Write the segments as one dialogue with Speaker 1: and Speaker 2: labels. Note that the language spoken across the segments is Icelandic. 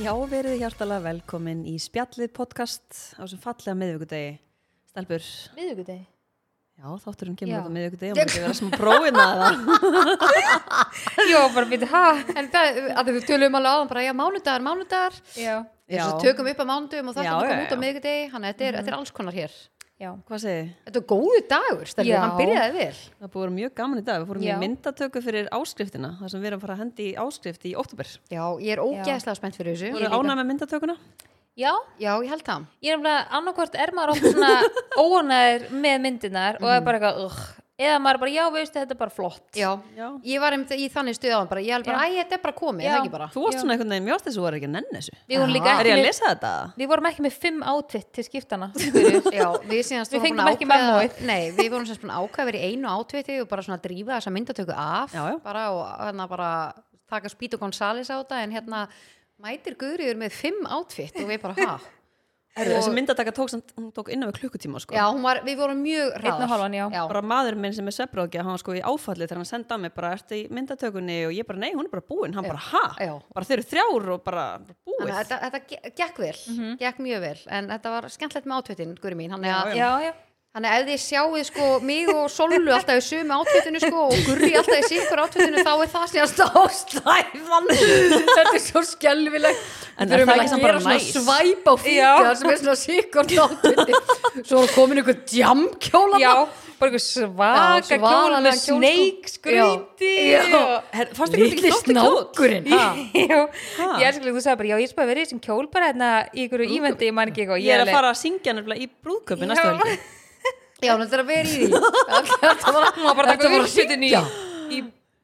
Speaker 1: Já, verið hjartalega velkomin í spjallið podcast á sem fallega miðvíkudegi. Stelbur,
Speaker 2: Miðvíkudegi?
Speaker 1: já, þátturum kemur
Speaker 2: Já.
Speaker 1: út á miðvíkudegi og maður ekki vera smá prófin að það.
Speaker 2: Já, bara býta, hæ? En það, að þau tölum alveg áðan bara, já, mánudagar, mánudagar. Já.
Speaker 1: Já.
Speaker 2: Svo tökum við upp á mánudum og það
Speaker 1: Já,
Speaker 2: kom
Speaker 1: já, já.
Speaker 2: út á miðvíkudegi, hann þetta er, þetta er alls konar hér. Já.
Speaker 1: Hvað segið?
Speaker 2: Þetta er góðu dagur, stærður,
Speaker 3: Já.
Speaker 2: hann byrjaði vel.
Speaker 1: Það búið að vera mjög gaman í dag. Við fórum
Speaker 3: Já.
Speaker 1: í myndatöku fyrir áskriftina, þar sem við erum að fara að hendi í áskrift í óttúber.
Speaker 2: Já, ég er ógeðslega spennt fyrir þessu.
Speaker 1: Þú eru
Speaker 3: líka.
Speaker 1: ánæg með myndatökuna?
Speaker 3: Já,
Speaker 2: Já, ég held það.
Speaker 3: ég er nefnilega annarkvort er maður oft svona óanæður með myndirnar og er bara eitthvað ugh. eða maður er bara, já veistu, þetta er bara flott
Speaker 2: Já.
Speaker 1: Já.
Speaker 2: Ég var einmitt í þannig stuð á hann bara, ég held bara, æ, þetta er bara komið,
Speaker 3: Já.
Speaker 2: það ekki bara.
Speaker 1: Þú varst svona einhvern veginn, mér varst þess að þú var ekki að nenni þessu.
Speaker 3: við vorum líka
Speaker 1: Er
Speaker 2: Aha.
Speaker 3: ekki
Speaker 1: ég að
Speaker 3: með,
Speaker 1: lesa þetta?
Speaker 3: við vorum ekki með fimm átvitt til skiptana
Speaker 2: Já, við síðanst
Speaker 3: Við
Speaker 2: vorum
Speaker 3: fengum
Speaker 2: búin að
Speaker 3: ekki
Speaker 2: ákveða-
Speaker 3: memóið.
Speaker 2: Nei, við vorum sérst búin að ákveða verið einu átviti og bara svona drífa þessa myndatöku af
Speaker 1: Já, já.
Speaker 2: bara og hérna bara taka Spítu González á þetta en hérna mætir Guðriður með fimm átvit og við bara ha
Speaker 1: Herru, Þessi myndataka tók, samt- hún tók innan við klukkutíma, sko.
Speaker 2: Já, hún var, við vorum mjög
Speaker 3: og
Speaker 2: ræðar
Speaker 3: hálfan, já.
Speaker 1: bara maður minn sem er svefnrákja hann var sko í áfalli þegar hann senda á mig bara ertu í myndatökunni og ég bara nei, hún er bara búin hann bara ha,
Speaker 2: Já.
Speaker 1: bara þeir eru þrjár og bara, bara búið
Speaker 2: Þannig að þetta, þetta ge- gekk vel, gekk mjög vel en þetta var skemmtilegt með átvitin, Guðri mín þannig að,
Speaker 3: já, já,
Speaker 2: þannig að ef þið sjáuð sko mig og Sollu alltaf í sömu átvitinu sko og Guðri alltaf í sikkur átvitinu þá er það síðast ástæðan þetta er svo skelvilegt
Speaker 1: En
Speaker 2: Við
Speaker 1: er
Speaker 2: þurfum
Speaker 1: það
Speaker 2: að
Speaker 1: ekki samt
Speaker 2: gera
Speaker 1: bara
Speaker 2: svona
Speaker 1: næs?
Speaker 2: svæp á fíkja sem er svona sikkur náttúti svo er komin einhver djamkjóla
Speaker 3: já bara einhver
Speaker 2: Já,
Speaker 3: svaka kjól
Speaker 2: svakalegan
Speaker 3: með
Speaker 2: kjól, sko.
Speaker 3: snake skrýti
Speaker 2: Já.
Speaker 3: og-
Speaker 1: Her, fannst þér
Speaker 2: Lítli
Speaker 1: ekki flott í kjóll?
Speaker 2: snákurinn ha?
Speaker 3: Já,
Speaker 1: Ha?
Speaker 3: ég elskulega, þú sagði bara, já, ég er bara verið í þessum kjól bara hérna í ykkur ívendi, ég man ekki eitthvað
Speaker 1: ég er að
Speaker 3: alveg-
Speaker 1: fara að syngja nefnilega í brúðköpi næstu
Speaker 3: Já.
Speaker 1: helgi
Speaker 2: Já, hún ætlar að vera í því Þetta var
Speaker 3: Hún var bara að taka uppsveitin í,
Speaker 2: hryggja.
Speaker 3: í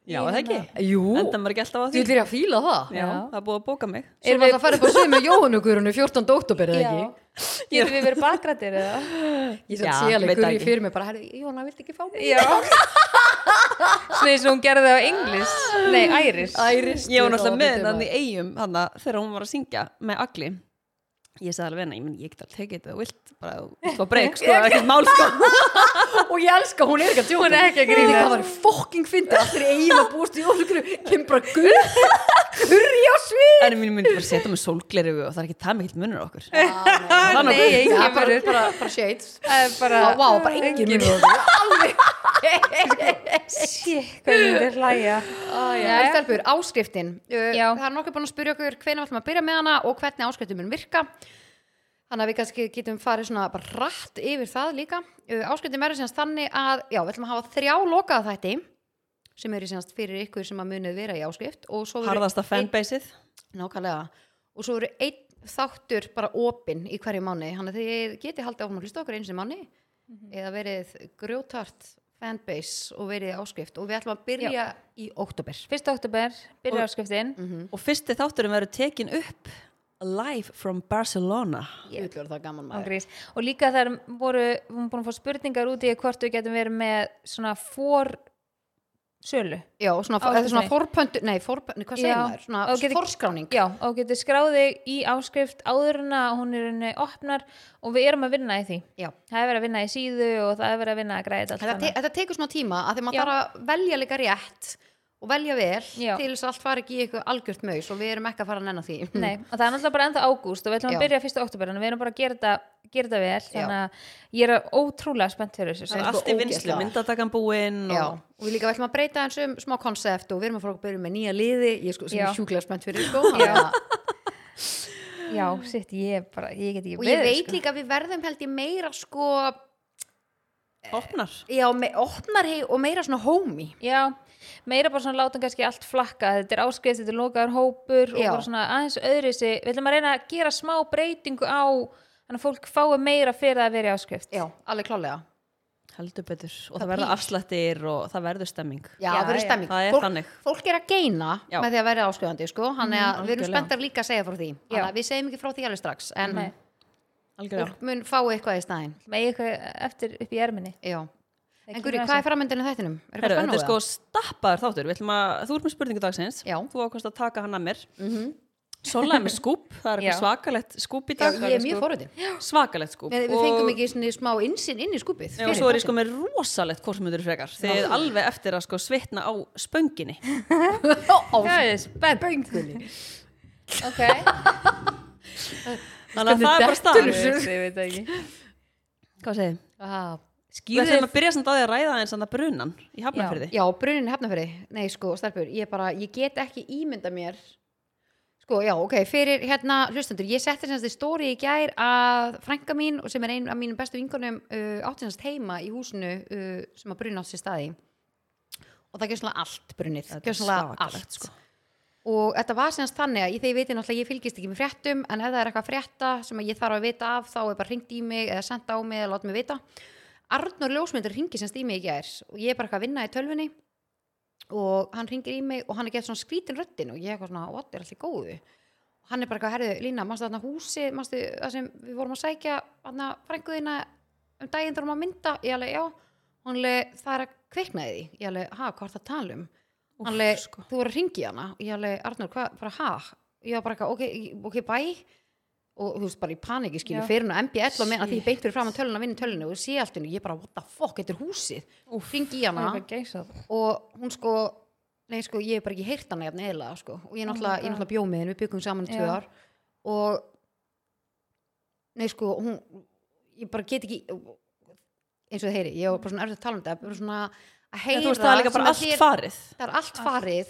Speaker 1: já, er það ekki,
Speaker 2: Jú,
Speaker 1: enda maður ekki alltaf á
Speaker 2: þú
Speaker 1: því
Speaker 2: ætlir að fíla það
Speaker 1: já, það er búið að bóka mig
Speaker 2: Svo var það að fara upp á sömu Jóhannugurinu 14. oktober eða
Speaker 3: Já.
Speaker 2: ekki
Speaker 3: Getum við verið bakrættir eða?
Speaker 1: Já,
Speaker 2: Ég satt síðaleg
Speaker 1: veit það
Speaker 2: Guðri
Speaker 1: ekki.
Speaker 2: fyrir mig bara "Herðu, Jóhanna, viltu ekki fá mig?
Speaker 3: Já Svona eins og hún gerði það á englis Nei, æris
Speaker 2: Æris
Speaker 1: ég var náttúrulega með hann í eigum hann þegar hún var að syngja með agli ég sagði alveg henni, ég, menn, ég get alveg tekið þetta þú vilt, bara þú vilt fá breyk sko, það er ekkert mál sko
Speaker 2: Og ég elska, hún er ekki að tjóna
Speaker 3: Hún er ekki að
Speaker 2: Ég veit
Speaker 3: grínast.
Speaker 2: Það var fokking fyndið Allir eigin að búast í Jóhannugurinu Kemur bara Guðri Guðri á svið
Speaker 1: en mín myndi bara setja með sólgleru og það er ekki það mikill munur á okkur
Speaker 3: Ah, Nei, engin
Speaker 2: Já, bara,
Speaker 3: verið
Speaker 2: bara, bara shades
Speaker 3: Það er bara
Speaker 2: Vá, vá, bara engin munur á
Speaker 3: Shit, hvað ég myndi hlæja
Speaker 2: En stelpur, áskriftin uh,
Speaker 3: Já.
Speaker 2: Það er nokkuð búin að spyrja okkur hvenær við ætlum að byrja með hana og hvernig áskriftin mun virka Þannig að við kannski getum farið svona bara rætt yfir það líka uh, Áskriftin verður síðanst þannig að Já, við ætlum að hafa þrjá lokaða þætti sem eru síðanst fyrir ykkur sem að munið vera í áskrift og svo verður
Speaker 1: harðasta fanbaseið
Speaker 2: einn- Nákvæmlega Og svo verður einn þáttur bara opinn í hverju mánu Þannig að þið geti haldið áfram að hlusta á okkur eins og mánu eða verið grjótart fanbase og verið í áskrift og við ætlum að byrja í óttúber
Speaker 3: 1. oktober, byrja áskriftin
Speaker 1: og fyrsti þátturum verður tekin upp live from Barcelona
Speaker 2: yeah. Útljóður það
Speaker 3: Án
Speaker 2: gaman maður
Speaker 3: gríns. Og líka þar voru, við erum búin að fá spurningar út í hvort við getum verið með svona fór sölu.
Speaker 2: Já, og svona,
Speaker 3: Áskriftinni.
Speaker 2: eða svona forpöntu, nei, forpöntu, hvað segir
Speaker 3: Já.
Speaker 2: maður? Svona
Speaker 3: Og getur-
Speaker 2: forskráning
Speaker 3: Já, og getur skráðið í áskrift áður en að hún er henni opnar og við erum að vinna í því.
Speaker 2: Já.
Speaker 3: Það er verið að vinna í síðu og það er verið að vinna að græða
Speaker 2: Þetta,
Speaker 3: allt
Speaker 2: te þetta tekur svona tíma að þegar maður
Speaker 3: Já.
Speaker 2: þarf að velja líka rétt og velja vel
Speaker 3: Já.
Speaker 2: til þess að allt fari ekki í eitthvað algjört maus og við erum ekki að fara að nennan því
Speaker 3: Nei, og það er náttúrulega bara ennþá ágúst og við ætlum
Speaker 2: Hm. Já.
Speaker 3: að byrja fyrsta oktober en við erum bara að gera þetta, gera þetta vel
Speaker 2: Já.
Speaker 3: þannig að ég er ótrúlega spennt fyrir þessu
Speaker 1: það er
Speaker 2: sko
Speaker 1: allt í vinslu,
Speaker 2: ógeðslega.
Speaker 1: myndatakan búinn
Speaker 2: Já,
Speaker 1: og
Speaker 2: og við líka ætlum að breyta eins um smá konsept og við erum að fara að byrja með nýja liði ég sko, sem
Speaker 3: Já.
Speaker 2: er sjúklega spennt fyrir sko, þannig að-
Speaker 3: Já, sitt, ég er bara, ég get ekki
Speaker 2: og ég
Speaker 3: beðið, sko.
Speaker 2: veit sko. líka að við verðum held ég meira sko,
Speaker 1: opnar
Speaker 2: já, me, opnar hei og meira svona homey
Speaker 3: Já, meira bara svona látum kannski allt flakka, þetta er áskrift, þetta er lokaður hópur og
Speaker 2: Já.
Speaker 3: bara svona aðeins öðru við ætlum að reyna að gera smá breytingu á þannig að fólk fái meira fyrir það að vera í áskrift
Speaker 2: Já, alveg klálega
Speaker 1: heldur betur og það,
Speaker 2: Það
Speaker 1: verða
Speaker 2: pír.
Speaker 1: afslættir og það verður stemming
Speaker 2: Já,
Speaker 3: Já,
Speaker 2: það verður
Speaker 3: já.
Speaker 2: stemming.
Speaker 1: Það er
Speaker 2: fólk,
Speaker 1: þannig.
Speaker 2: Fólk er að geina
Speaker 1: Já. Mhm,
Speaker 2: með því að verða áskrifandi, sko. Þannig að við erum
Speaker 1: algjörlega.
Speaker 2: spenntar líka að segja frá því.
Speaker 3: Já.
Speaker 2: Þannig að við segjum ekki frá því alveg strax, en
Speaker 3: Nei,
Speaker 1: algjörlega
Speaker 2: fólk mun fáu eitthvað í staðinn.
Speaker 3: með eitthvað eftir upp í erminni
Speaker 2: Já.
Speaker 3: Það
Speaker 2: En
Speaker 3: kemur
Speaker 2: Guri,
Speaker 3: að
Speaker 2: hvað
Speaker 3: þessu.
Speaker 2: er framöndinu þættinum?
Speaker 1: Heru,
Speaker 2: Er eitthvað
Speaker 1: þetta er
Speaker 2: spennað
Speaker 1: sko stappaður þáttur Við ætlum að, þú ert með spurningu dagsins
Speaker 2: Já. Mhm.
Speaker 1: þú ákvæmst að taka hann að mér mm -hmm. Sola er með skúp, það er
Speaker 3: Já.
Speaker 1: eitthvað svakalegt skúp í dag
Speaker 2: Já, ég er mjög fóruðin.
Speaker 1: svakalegt skúp
Speaker 2: Við, við fengum ekki svona smá insinn inn í skúpið.
Speaker 1: Nei, og svo er ég sko með rosalegt korsmyndur frekar þið er alveg eftir að sko svitna á spönginni
Speaker 2: Ó, ó,
Speaker 3: er spennt ok
Speaker 1: Þannig að það er bara staðan.
Speaker 3: Ég veist, ég veit það ekki
Speaker 1: Hvað segir þið?
Speaker 2: Ah,
Speaker 1: Við
Speaker 3: skýrðu
Speaker 1: ætlum að byrja samt á því að ræða eins að brunan í hafnafyrði.
Speaker 2: já, brunin hefnafyrir nei sko, stelpur, ég bara, ég get ekki ímynda mér sko, já, ok, fyrir hérna hlustendur, ég setti semst í stóri í gær að frænka mín og sem er ein af mínum bestu vingunum uh, átti semst heima í húsinu uh, sem að brun átt sér staði og það gjör svona allt brunið,
Speaker 1: Þetta er
Speaker 2: gjör svona
Speaker 1: svakalegt, sko.
Speaker 2: allt og þetta var semst þannig að ég þegar ég veitir náttúrulega ég fylgist ekki með fréttum en ef það er eitthvað að frétta sem að ég þarf að vita af þá er bara ringt í mig eða senda á mig eða láta mig vita Arnur Ljósmyndur ringi semst í mig í gær og ég er bara eitthvað að vinna í tölvunni og hann ringir í mig og hann er gett svona skrítin röddin og ég er eitthvað svona, what, er allir góðu og hann er bara eitthvað, herðu, Lína, mannstu þarna húsi mannstu það sem við vorum að sækja þarna frænguðina um daginn þurfum að mynda ég alveg, já hann alveg, það er að kviknaði því ég alveg, ha, hvað er það að tala um
Speaker 1: Úff,
Speaker 2: hann alveg,
Speaker 1: sko.
Speaker 2: þú voru að ringi hana ég alveg, Arnur, hvað, bara ha ég var bara eitthvað, ok, ok, bye og þú veist bara í panikið skilju
Speaker 3: Já.
Speaker 2: fyrir hann á MBL og meðan að því ég
Speaker 1: Shit.
Speaker 2: beint fyrir fram að tölun að vinna tölunni og ég sé allt henni, ég bara, what the fuck, þetta er húsið ringi í hana og hún sko nei sko ég hef bara ekki heyrt hana jafn eðlega sko og ég
Speaker 3: God.
Speaker 2: náttúrulega, ég náttúrulega bjóð með henni við byggum saman í tvö
Speaker 3: Já.
Speaker 2: ár og nei sko hún ég bara get ekki eins og það heyri, ég var bara svona erfitt að tala um þetta bara svona að heyra
Speaker 1: Þú veist það er líka bara allt
Speaker 2: sem að þér-
Speaker 1: farið.
Speaker 2: það er allt farið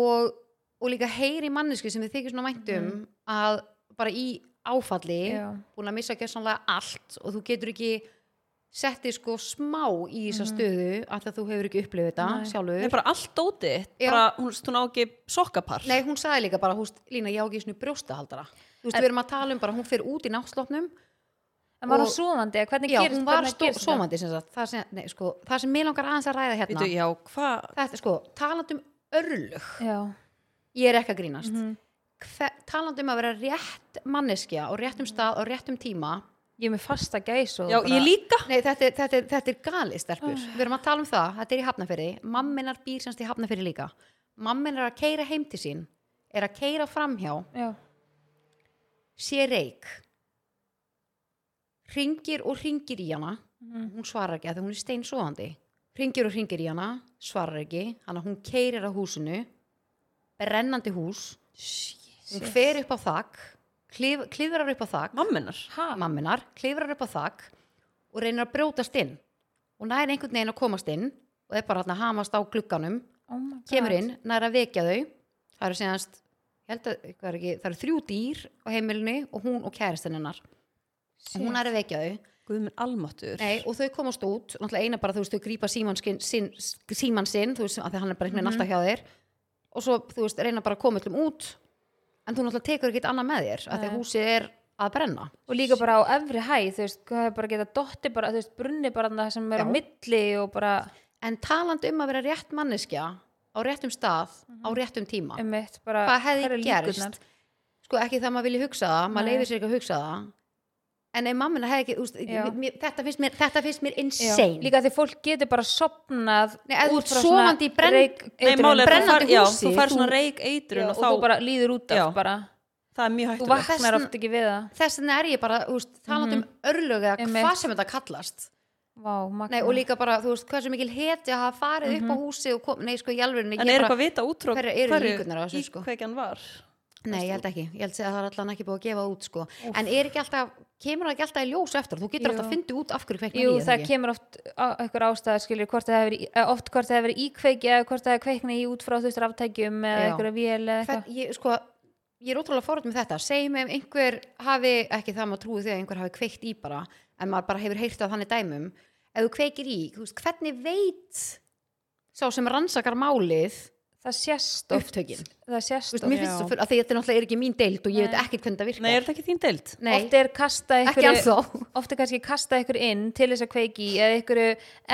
Speaker 2: og, og líka heyri mannesku sem við þykir svona mæntum mm. að bara í áfalli
Speaker 3: Já.
Speaker 2: búin að missa gæstanlega allt og þú getur ekki setti sko smá í þessa stöðu af því að þú hefur ekki upplifið þetta
Speaker 3: Mhm. Nei.
Speaker 1: Það er
Speaker 2: sjálfur
Speaker 1: bara allt dótið. þitt.
Speaker 2: Já.
Speaker 1: Bara, hún, veist, hún á ekki sokkapar.
Speaker 2: Nei, hún sagði líka bara, húst, Lína, ég á ekki svona brjóstahaldara Þú veist, við erum að tala um bara, hún fer út í náttslopnum
Speaker 3: en var hún
Speaker 2: Og-
Speaker 3: svoðandi, hvernig
Speaker 2: Já,
Speaker 3: gerist
Speaker 2: hún var
Speaker 3: hvernig
Speaker 2: stó-
Speaker 3: gerist það?
Speaker 2: sofandi sem sagt Það sem, nei, sko, það sem mig langar aðeins að ræða hérna
Speaker 1: Veitu, já, hvað?
Speaker 2: Þetta, sko, talandi um örlög
Speaker 3: já,
Speaker 2: Ég er ekki að grínast
Speaker 3: Mhm.
Speaker 2: Hve, Talandi um að vera rétt manneskja og réttum stað og réttum tíma
Speaker 3: ég er með fasta gæs og
Speaker 1: Já,
Speaker 3: bara-
Speaker 1: ég líka.
Speaker 2: Nei, þetta er, þetta er, þetta er gali, stelpur. Við erum að tala um það, þetta er í Hafnarfyrði. Mamminar býr semst í Hafnarfyrði líka. Mammin er að keira heim til sín, er að keira framhjá,
Speaker 3: já,
Speaker 2: sé reik. Ringir og ringir í hana. Hún svarar ekki að því hún er steinsóðandi. Ringir og ringir í hana, svarar ekki. Þannig að hún keirir að húsinu, brennandi hús. Hún fer upp á þak, klif, klifrar upp á þak
Speaker 1: Mammenar.
Speaker 3: ha,
Speaker 2: mamminar, klifrar upp á þak og reynir að brjótast inn og næri einhvern veginn að komast inn og þeir bara hann að hamast á glugganum
Speaker 3: oh my God.
Speaker 2: kemur inn, næri að vekja þau það eru síðanst ég held að, hvað er ekki, það eru þrjú dýr á heimilinu og hún og kæristinn hennar og hún næri að vekja þau
Speaker 1: Guð minn almáttur.
Speaker 2: Nei, og þau komast út, náttúrulega eina bara þú veist þau grípa símann sinn, sín, síman sinn þú veist, af því að hann er bara einhvern veginn alltaf hjá þér og svo þú veist, reyna bara að koma öllum út en þú náttúrulega tekur ekkert annað með þér af því að
Speaker 3: Nei.
Speaker 2: húsið er að brenna
Speaker 3: og líka bara á efri hæ þú veist, hvað er bara að geta dotti bara, þú veist, brunni bara það sem er á
Speaker 2: Já.
Speaker 3: milli og bara
Speaker 2: En talandi um að vera rétt manneskja á réttum stað, á réttum tíma
Speaker 3: um mitt, bara
Speaker 2: Ah. hvað
Speaker 3: hvar
Speaker 2: hefði
Speaker 3: eru líkurnar?
Speaker 2: gerst? Sko ekki það maður vilji hugsa það, maður
Speaker 3: Nei.
Speaker 2: leifir sér ekki að hugsa það en ef mammina hefði ekki, úst,
Speaker 3: Já.
Speaker 2: mér, þetta, finnst mér, þetta finnst mér
Speaker 3: Já,
Speaker 2: insane
Speaker 3: líka því fólk getur bara sopnað
Speaker 2: Nei, ef þú
Speaker 3: út
Speaker 2: ert
Speaker 3: frá svona
Speaker 2: sofandi í brenn-
Speaker 3: reyk-
Speaker 1: Nei,
Speaker 3: eitrun.
Speaker 1: málið er að þú
Speaker 2: Brennandi
Speaker 1: fær- já,
Speaker 2: húsi,
Speaker 1: þú fær svona
Speaker 2: þú-
Speaker 1: reik
Speaker 3: Já,
Speaker 1: eitrun
Speaker 3: og
Speaker 1: og
Speaker 3: þú
Speaker 1: þá,
Speaker 3: bara líður út af
Speaker 1: Já.
Speaker 3: bara
Speaker 1: það er mjög
Speaker 3: þú
Speaker 1: hægt.
Speaker 2: Þess
Speaker 3: vaknar
Speaker 2: vegna-
Speaker 3: oft ekki við það
Speaker 2: þess vegna er ég bara, úst, talandi um örlög eða
Speaker 3: Mhm. Einmitt.
Speaker 2: hvað sem þetta kallast
Speaker 3: Vá,
Speaker 2: nei, og líka bara, þú veist, hversu mikil heti að hafa farið
Speaker 3: Mhm.
Speaker 2: upp á húsi og kom, nei, sko, í alvörinu
Speaker 1: En
Speaker 2: ég
Speaker 1: er
Speaker 2: bara,
Speaker 1: eitthvað vita út frá
Speaker 2: Hverjar eru líkurnar á þessu, sko?
Speaker 1: íkveikjan var?
Speaker 2: nei, ég held ekki, ég held að það er allan ekki búið að gefa það út, sko, en er ekki alltaf kemur það ekki alltaf í ljós eftir, þú getur
Speaker 3: Jú.
Speaker 2: alltaf fundið út af hverju kveikna
Speaker 3: Jú, það kemur oft á- einhver ástæða skilur hvort það hefur, í- eh, oft hvort það hefur íkveiki eða hvort það hefur kveikna í út frá þú veist ráttækjum eða
Speaker 2: Já.
Speaker 3: einhverja vél eða
Speaker 2: Hvern,
Speaker 3: eitthvað
Speaker 2: ég, sko, ég er ótrúlega fórhund með þetta segjum ef einhver hafi, ekki það maður trúi þegar einhver hafi kveikt í bara en maður bara hefur heyrt á þannig dæmum ef þú kveikir í, þú veist, hvernig veit sá sem rannsakar málið
Speaker 3: það sést oft
Speaker 2: upptökin,
Speaker 3: það
Speaker 2: Þú
Speaker 3: sést
Speaker 2: veist,
Speaker 3: oft
Speaker 2: mér finnst
Speaker 1: Já.
Speaker 2: það fyrir, að því þetta er náttúrulega er ekki mín deild og ég
Speaker 3: Nei.
Speaker 2: veit ekkert hvernig það virkar
Speaker 1: Nei, er þetta ekki þín deild?
Speaker 2: Nei,
Speaker 3: oft er kastað
Speaker 2: ekki
Speaker 3: einhverju
Speaker 2: ennþá
Speaker 3: oft er kannski kastað ykkur inn til þess að kveiki í eða ykkur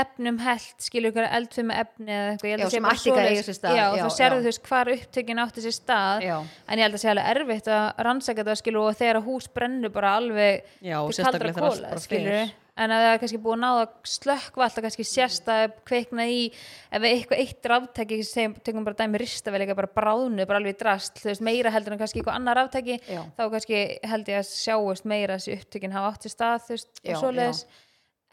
Speaker 3: efnum held skilur ykkur eldfum efni eða eitthvað ég held
Speaker 2: Já,
Speaker 3: að sé
Speaker 2: sem
Speaker 3: bara
Speaker 2: ætti ekki að eiga
Speaker 3: svoleiðis.
Speaker 2: sér stað,
Speaker 3: já,
Speaker 2: já,
Speaker 3: þá sérðu
Speaker 2: já.
Speaker 3: þú veist hvar upptökin átti sér stað
Speaker 2: Já.
Speaker 3: en ég held að sé alveg erfitt að rannsaka þetta skilur og þegar að hús brennur bara alveg
Speaker 1: Já,
Speaker 3: til
Speaker 1: sérstaklega
Speaker 3: kaldra
Speaker 1: þegar allt
Speaker 3: kola,
Speaker 1: bara
Speaker 3: skilur
Speaker 1: fer.
Speaker 3: en að það er kannski búið að náða slökkva alltaf kannski sérst að kveikna í ef eitthvað eitt ráftæki sem tökum bara dæmi ristavel eitthvað bara bráðnu bara alveg í drast, þú veist meira heldur en kannski eitthvað annar ráftæki,
Speaker 2: Já.
Speaker 3: þá kannski held ég að sjáast meira þessi upptökin hafa átt til stað þú veist,
Speaker 2: Já,
Speaker 3: og svoleiðis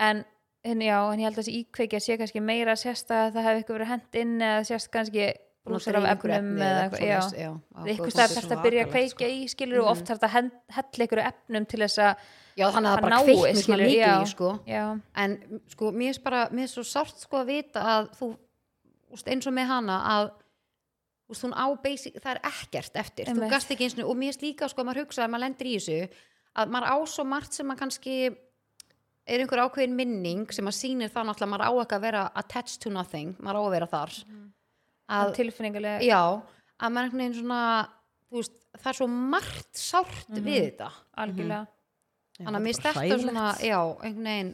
Speaker 3: en, en já, en ég held að þessi íkveikja sé kannski meira sérst að það hefði eitthvað verið hent inn eða sérst kannski
Speaker 2: búin að
Speaker 3: Blúsur af
Speaker 2: dreifa einhverju
Speaker 3: efnum
Speaker 2: efni
Speaker 3: eða
Speaker 2: eða
Speaker 3: eitthvað, já.
Speaker 2: eitthvað svoleiðis, já, á
Speaker 3: einhvers
Speaker 2: góðu
Speaker 3: staðar
Speaker 2: punkti.
Speaker 3: þarf að byrja að
Speaker 2: sko.
Speaker 1: Svakalegt,
Speaker 3: kveikja í skilur og oft þarf þetta hend- hella ykkur efnum til þess að
Speaker 2: Já, þannig að það
Speaker 3: það
Speaker 2: bara
Speaker 3: nái,
Speaker 2: kveiknir svona
Speaker 3: skilur,
Speaker 2: mikið
Speaker 3: já.
Speaker 2: í sko.
Speaker 3: já,
Speaker 2: en sko, mér er bara mér er svo sárt sko að vita að þú úst, eins og með hana að úst, hún á basic, það er ekkert eftir
Speaker 3: Einmitt.
Speaker 2: þú gast ekki eins og, og mér er líka sko að maður hugsa að maður lendir í þessu, að maður á svo margt sem maður kannski er einhver ákveðin minning sem maður sýnir það náttúrulega að maður á ekki að vera attached to nothing maður á að vera þar að,
Speaker 3: tilfinningulega
Speaker 2: já, að maður einhvern veginn svona þú veist, það er svo margt sárt við þetta
Speaker 3: algjörlega,
Speaker 2: Mhm. þannig að mér er þetta svona, já, einhvern veginn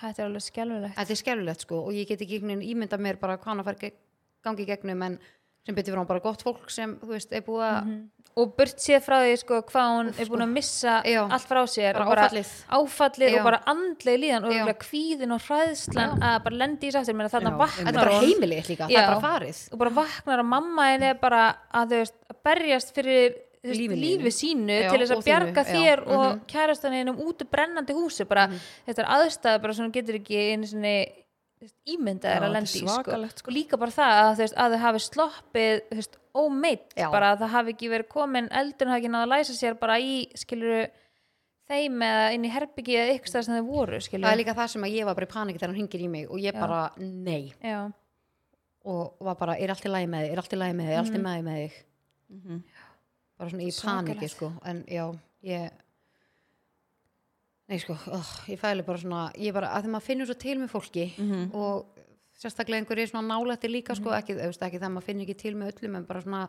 Speaker 3: þetta er alveg skelvilegt
Speaker 2: þetta er skjálfilegt sko og ég get ekki einhvern veginn ímynda mér bara hvað hann að fara geg- gangi í gegnum en sem betur fyrir hann bara gott fólk sem þú veist, er búið að
Speaker 3: og burt séð frá því sko hvað hún er búin að missa
Speaker 2: Já.
Speaker 3: allt frá sér
Speaker 2: Bara
Speaker 3: og bara
Speaker 2: áfallið.
Speaker 3: áfallið
Speaker 2: Já.
Speaker 3: og bara andleg líðan og
Speaker 2: Já.
Speaker 3: örugglega kvíðin og hræðslan að bara lendi í sáttir meina þarna
Speaker 1: Já,
Speaker 2: þetta er
Speaker 3: vaknar
Speaker 2: bara
Speaker 3: hún
Speaker 2: heimilið líka, það
Speaker 3: Já.
Speaker 2: er bara farið
Speaker 3: og bara vaknar að mamma henni er bara að þau veist að berjast fyrir þú veist,
Speaker 2: Lífinu
Speaker 3: lífi sínu
Speaker 2: Já,
Speaker 3: til þess
Speaker 2: og
Speaker 3: að
Speaker 2: þínu,
Speaker 3: bjarga
Speaker 2: já, Mhm.
Speaker 3: þér og mm -hmm. kærastaninum út úr brennandi húsi bara þetta er aðstæða bara sem þú getur ekki einu sinni þú veist, ímyndað
Speaker 1: Já,
Speaker 3: er að
Speaker 1: þetta er
Speaker 3: lendi í sko.
Speaker 1: svakalegt, sko.
Speaker 3: og líka bara það að, þú veist, að þau hafi sloppið þú veist, ómeitt
Speaker 2: Já.
Speaker 3: bara að það hafi ekki verið komin eldurinn hafi ekki náða að læsa sér bara í skiluru þeim eða inn í herbyggi eða ykkur stað sem þau voru skiluru
Speaker 2: það er líka það sem að ég var bara í paniki þegar hann hringir í mig og ég
Speaker 3: Já.
Speaker 2: bara, nei
Speaker 3: já,
Speaker 2: og var bara, er allt í lagi með þig, er allt í lagi með þig er allt í lagi með þig
Speaker 1: Mhm.
Speaker 2: bara svona í
Speaker 3: Svakalegt.
Speaker 2: paniki sko, en já, ég nei sko oh, ég fæli bara svona, ég bara að þegar maður finnur svo til með fólki og sérstaklega einhverju er svona nálætti líka sko, ekki, þú veist, ekki það maður finnur ekki til með öllum en bara svona,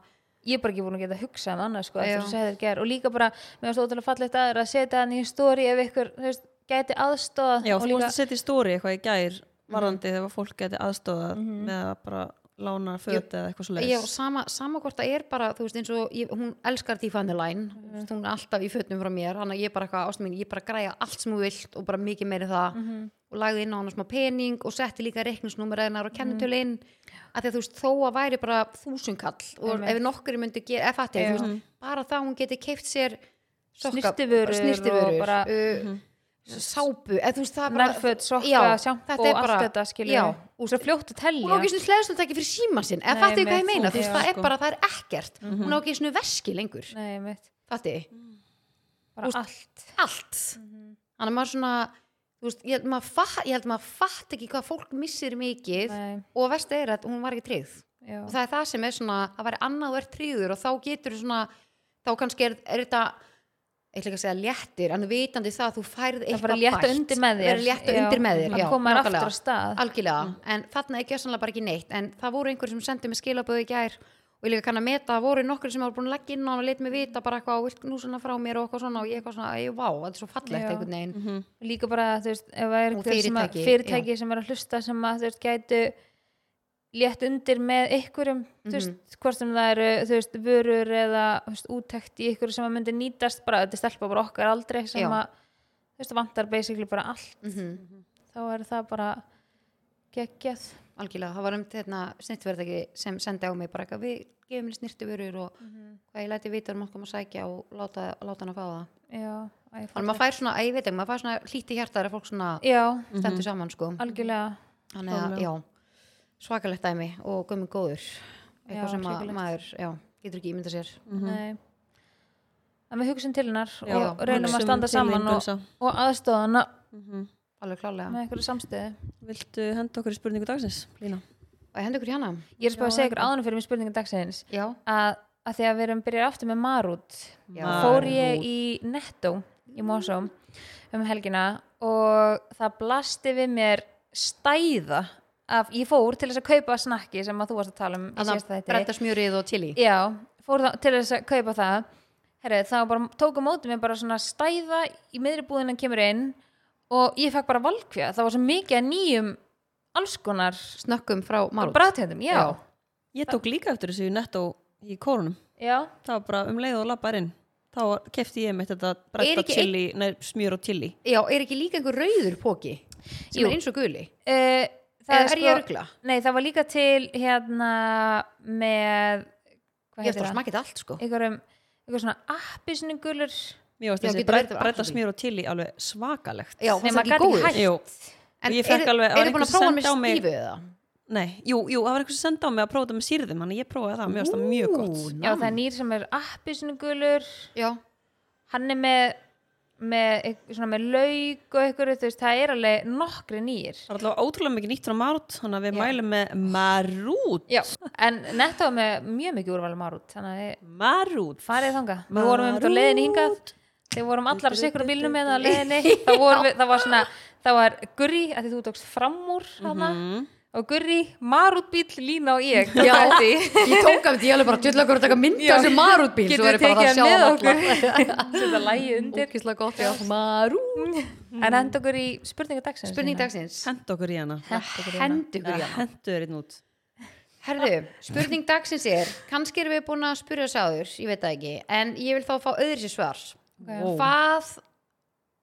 Speaker 3: ég er bara ekki búin að geta að hugsa um annað sko,
Speaker 2: Já.
Speaker 3: eftir að segja þér ger og líka bara, mér varst ótrúlega fallegt aðeins að setja hann í stóri ef ykkur, þú veist, gæti aðstóð
Speaker 1: Já,
Speaker 3: og
Speaker 1: þú
Speaker 3: líka,
Speaker 1: varst að setja í stóri eitthvað í gær
Speaker 2: Mhm.
Speaker 1: varðandi þegar fólk geti aðstóða með að bara lána föt eða eitthvað svo
Speaker 2: já,
Speaker 1: leiðis
Speaker 2: sama, sama hvort það er bara, þú veist, eins og ég, hún elskar Diva and the Line, mm -hmm. hún er alltaf í fötnum frá mér, þannig að ég bara eitthvað ástu mín, ég bara græja allt sem þú vilt og bara mikið meiri það
Speaker 3: Mhm.
Speaker 2: og lagði inn á hana smá pening og setti líka reikningsnúmer hennar og kennitölu
Speaker 3: Mhm.
Speaker 2: inn, að því að þú veist, þó að væri bara þúsunkall og
Speaker 3: Einmitt.
Speaker 2: ef nokkuri myndi gera, ef fattir, þú veist, bara það hún geti keift sér sokka-
Speaker 3: Snyrtivörur og
Speaker 2: snyrtivörur,
Speaker 3: bara- Mhm.
Speaker 2: uh, sápu, eða þú veist, það er bara
Speaker 3: nærföt, sokka,
Speaker 2: Já,
Speaker 3: sjampó,
Speaker 2: þetta er
Speaker 3: allt
Speaker 2: bara-
Speaker 3: þetta skilur
Speaker 2: já,
Speaker 3: við. og svo fljótt að
Speaker 2: hún á
Speaker 3: telja
Speaker 2: ekki svona hlæðstum ekki fyrir síman sinn eða
Speaker 3: Nei,
Speaker 2: fattu hvað ég
Speaker 3: mitt,
Speaker 2: meina, þú veist,
Speaker 3: já, Mhm.
Speaker 2: það er
Speaker 1: sko.
Speaker 2: bara það er ekkert, hún á ekki svona veski lengur
Speaker 3: Nei, mitt,
Speaker 2: fattu,
Speaker 3: Mhm. bara
Speaker 2: Úst-
Speaker 3: allt
Speaker 2: allt
Speaker 3: Mhm.
Speaker 2: þannig að maður svona þú veist, ég held maður fatt, ég held maður fatt ekki hvað fólk missir mikið
Speaker 3: Nei,
Speaker 2: og vest er að hún var ekki tryggð
Speaker 3: já,
Speaker 2: og það er það sem er svona, það væri annað og er tryggður og þá getur þú svona, þá kannski er, er þetta ég ætla ekki að segja léttir, en vitandi það að þú færð
Speaker 3: það bara
Speaker 2: eitthvað
Speaker 3: létta
Speaker 2: bætt.
Speaker 3: undir með
Speaker 2: Það
Speaker 3: þér
Speaker 2: verður létta
Speaker 3: já,
Speaker 2: undir með þér, já,
Speaker 3: að koma þér
Speaker 2: nákvæmlega
Speaker 3: aftur á stað
Speaker 2: algjörlega, en þarna er gjössanlega bara ekki neitt en það voru einhver sem sendi mig skilaböðu í gær og ég líka kann að meta, það voru nokkur sem var búin að leggja inn á hann og leit mig vita bara eitthvað og vilt nú svona frá mér og eitthvað svona og ég eitthvað svona, ég, vá, þetta er svo fallegt
Speaker 3: Já.
Speaker 2: einhvern veginn
Speaker 3: líka bara, þú veist, ef það er
Speaker 2: Og
Speaker 3: einhver sem að,
Speaker 2: fyrirtæki,
Speaker 3: fyrirtæki sem er að hlusta sem að, þú veist, gætu létt undir með ykkurum þú
Speaker 1: Mhm.
Speaker 3: veist, hvort sem það eru, þú veist, vörur eða, þú veist, úttekt í ykkur sem að myndi nýtast bara, þetta er stelpa bara okkar aldrei sem
Speaker 2: Já.
Speaker 3: að, þú veist, vantar basically bara allt,
Speaker 2: mm
Speaker 3: þá er það bara geggjað
Speaker 2: algjörlega, það var um þetta snirtverðaki sem sendi á mig bara eitthvað, við gefum henni snirtivörur og hvað ég læti vita um okkur að sækja og láta, láta hann að fá það
Speaker 3: já, að ég
Speaker 2: þannig að maður fær svona, að ég veit ekki, maður fær svona hlíti hjartar að fólk svona
Speaker 3: já,
Speaker 2: stendur saman sko
Speaker 1: Mhm.
Speaker 3: algjörlega
Speaker 2: þannig að,
Speaker 1: Klárlega.
Speaker 2: já, svakalegt dæmi og gömur góður eitthvað
Speaker 3: Já,
Speaker 2: sem að
Speaker 3: hrikalegt.
Speaker 2: maður, já, getur ekki ímynda sér
Speaker 1: Mhm.
Speaker 3: Nei. að við hugsun til hennar
Speaker 1: Já,
Speaker 3: og reynum að
Speaker 1: hugsum
Speaker 3: standa
Speaker 1: til þín,
Speaker 3: saman og,
Speaker 1: Gunnsa.
Speaker 3: og aðstoða hana
Speaker 2: alveg klálega
Speaker 3: með einhverju samstöðu
Speaker 1: Viltu henda okkur í spurningu dagsins, Lína?
Speaker 2: og ég hendi ykkur í hana
Speaker 3: Ég er spáð að segja ykkur áðan fyrir mér spurningu dagsins
Speaker 2: já,
Speaker 3: að, að því að við erum byrjar aftur með Marút
Speaker 2: Já.
Speaker 3: fór ég í Netto í Mosó um helgina og það blasti við mér stæða af, ég fór til þess að kaupa snakki sem að þú varst að tala um í
Speaker 2: þannig
Speaker 3: síðasta
Speaker 2: að
Speaker 3: þætti.
Speaker 2: brenda smjörið og chili
Speaker 3: Já, fór það, til þess að kaupa það Herri, þá bara tók á móti mér bara svona stæða í miðri búðinu kemur inn og ég fekk bara valkvja það var svo mikið að nýjum alls konar
Speaker 2: snökkum frá Marút
Speaker 3: bræðtjöndum, já.
Speaker 1: Ég tók líka eftir þessu nettó í korunum
Speaker 3: já
Speaker 1: Það var bara um leið og labbar inn Þá kefti ég mitt þetta
Speaker 2: Er
Speaker 1: bretta
Speaker 2: ekki
Speaker 1: chili, nei, smjör og chili
Speaker 2: já, er ekki líka einhver rauður póki sem
Speaker 3: Jú.
Speaker 2: er eins og guli
Speaker 3: Uh,
Speaker 2: Eða er ég að rugla?
Speaker 3: Nei, það var líka til hérna með hvað
Speaker 2: ég eftir
Speaker 3: heitir
Speaker 2: að
Speaker 3: það?
Speaker 2: smakið allt sko
Speaker 3: Einhverjum, einhver svona appisningulur
Speaker 1: Mér varst
Speaker 2: Já,
Speaker 1: þessi
Speaker 2: getur verið þetta var
Speaker 1: bretta
Speaker 2: appelsín.
Speaker 1: smjör og chili alveg svakalegt
Speaker 2: já, fannst
Speaker 3: Nei, maður
Speaker 2: ekki
Speaker 3: gat ekki
Speaker 2: góður
Speaker 3: hætt.
Speaker 1: Jú,
Speaker 2: en
Speaker 1: ég fekk
Speaker 2: eru-
Speaker 1: alveg- það var
Speaker 2: eru búin
Speaker 1: einhver
Speaker 2: að
Speaker 1: sem
Speaker 2: prófa
Speaker 1: sendi á
Speaker 2: með
Speaker 1: mig-
Speaker 2: stífu eða
Speaker 1: Nei, jú, jú, það var eitthvað sem senda á mig að prófa þetta með sýrðum Þannig að ég prófaði það, mér finnst það mjög gott
Speaker 3: Já, það er nýr sem er appisnugulur
Speaker 2: Já,
Speaker 3: hann er með með, eitth- svona, með lauk og ykkur þú veist, það er alveg nokkri nýr
Speaker 1: Það er alltaf ótrúlega mikið nýtt frá Marút Þannig að við
Speaker 2: Já.
Speaker 1: mælum með Marút
Speaker 3: Já, en netto er með mjög mikið úrvalum árút þannig að þið
Speaker 1: Marút
Speaker 3: farið þangað við vorum um þetta leiðin hingað
Speaker 1: Marút.
Speaker 3: þegar vorum allar á sikur á bílnum með það leiðinni það, vorum, við- það var svona það var gurri að því þú tókst fram úr hana og gurri, marút bíl, lína og ég
Speaker 2: Mhm. Já.
Speaker 3: Þetta-
Speaker 2: ég tók af því, ég alveg bara djöðlega okkur að taka mynda þessu marútbíl
Speaker 3: getum
Speaker 2: Svo
Speaker 3: við
Speaker 2: er ég bara
Speaker 3: tekið
Speaker 2: að
Speaker 3: hann
Speaker 2: sjá
Speaker 3: með
Speaker 2: það
Speaker 3: okkur
Speaker 2: allar
Speaker 3: þetta lægi undir
Speaker 2: Ókislega gott, já, marút
Speaker 3: en henda okkur í spurningu dagsins
Speaker 2: Mhm. Spurning dagsins
Speaker 1: Hentu okkur í hana
Speaker 2: Hendu ykkur í hana
Speaker 1: Hentu er einn út
Speaker 2: Herðu, spurning dagsins er kannski erum við búin að spyrja þessu áður ég veit það ekki, en ég vil þá fá öðru sér svar
Speaker 1: Ó.
Speaker 2: Hvað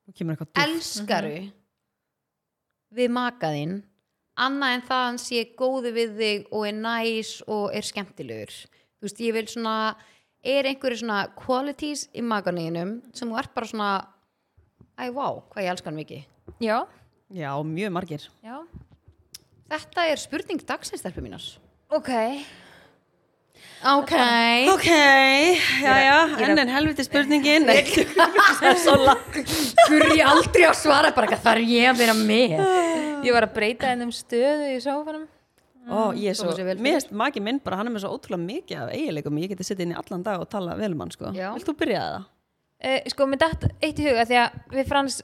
Speaker 1: Nú kemur eitthvað dúft.
Speaker 2: elskaru við makaðinn annað en það að hann sé góðu við þig og er næs og er skemmtilegur þú veist, ég vil svona er einhverju svona qualities í makaninum sem þú ert bara svona æ, vá, hvað ég elska hann mikið
Speaker 3: já,
Speaker 1: Já, mjög margir
Speaker 3: já,
Speaker 2: þetta er spurning dagsins þarfum mínars
Speaker 3: ok
Speaker 2: ok,
Speaker 1: Ok, já, já, enn en helviti spurningin Nei, það er svo langt
Speaker 2: fyrir ég aldrei að svara bara eitthvað þar ég að vera með
Speaker 3: ég var að breyta hennum stöðu í sófanum
Speaker 1: Ó, ég er
Speaker 2: Koma
Speaker 1: svo,
Speaker 2: sér vel fyrir.
Speaker 1: mér erst magi minn bara, hann er með svo ótrúlega mikið af eiginleikum Ég geti sittið inn í allan dag og tala vel um hann, sko
Speaker 2: Já.
Speaker 1: Vilt þú byrjaði það?
Speaker 3: Uh, sko, mér datt eitt í huga því að við frans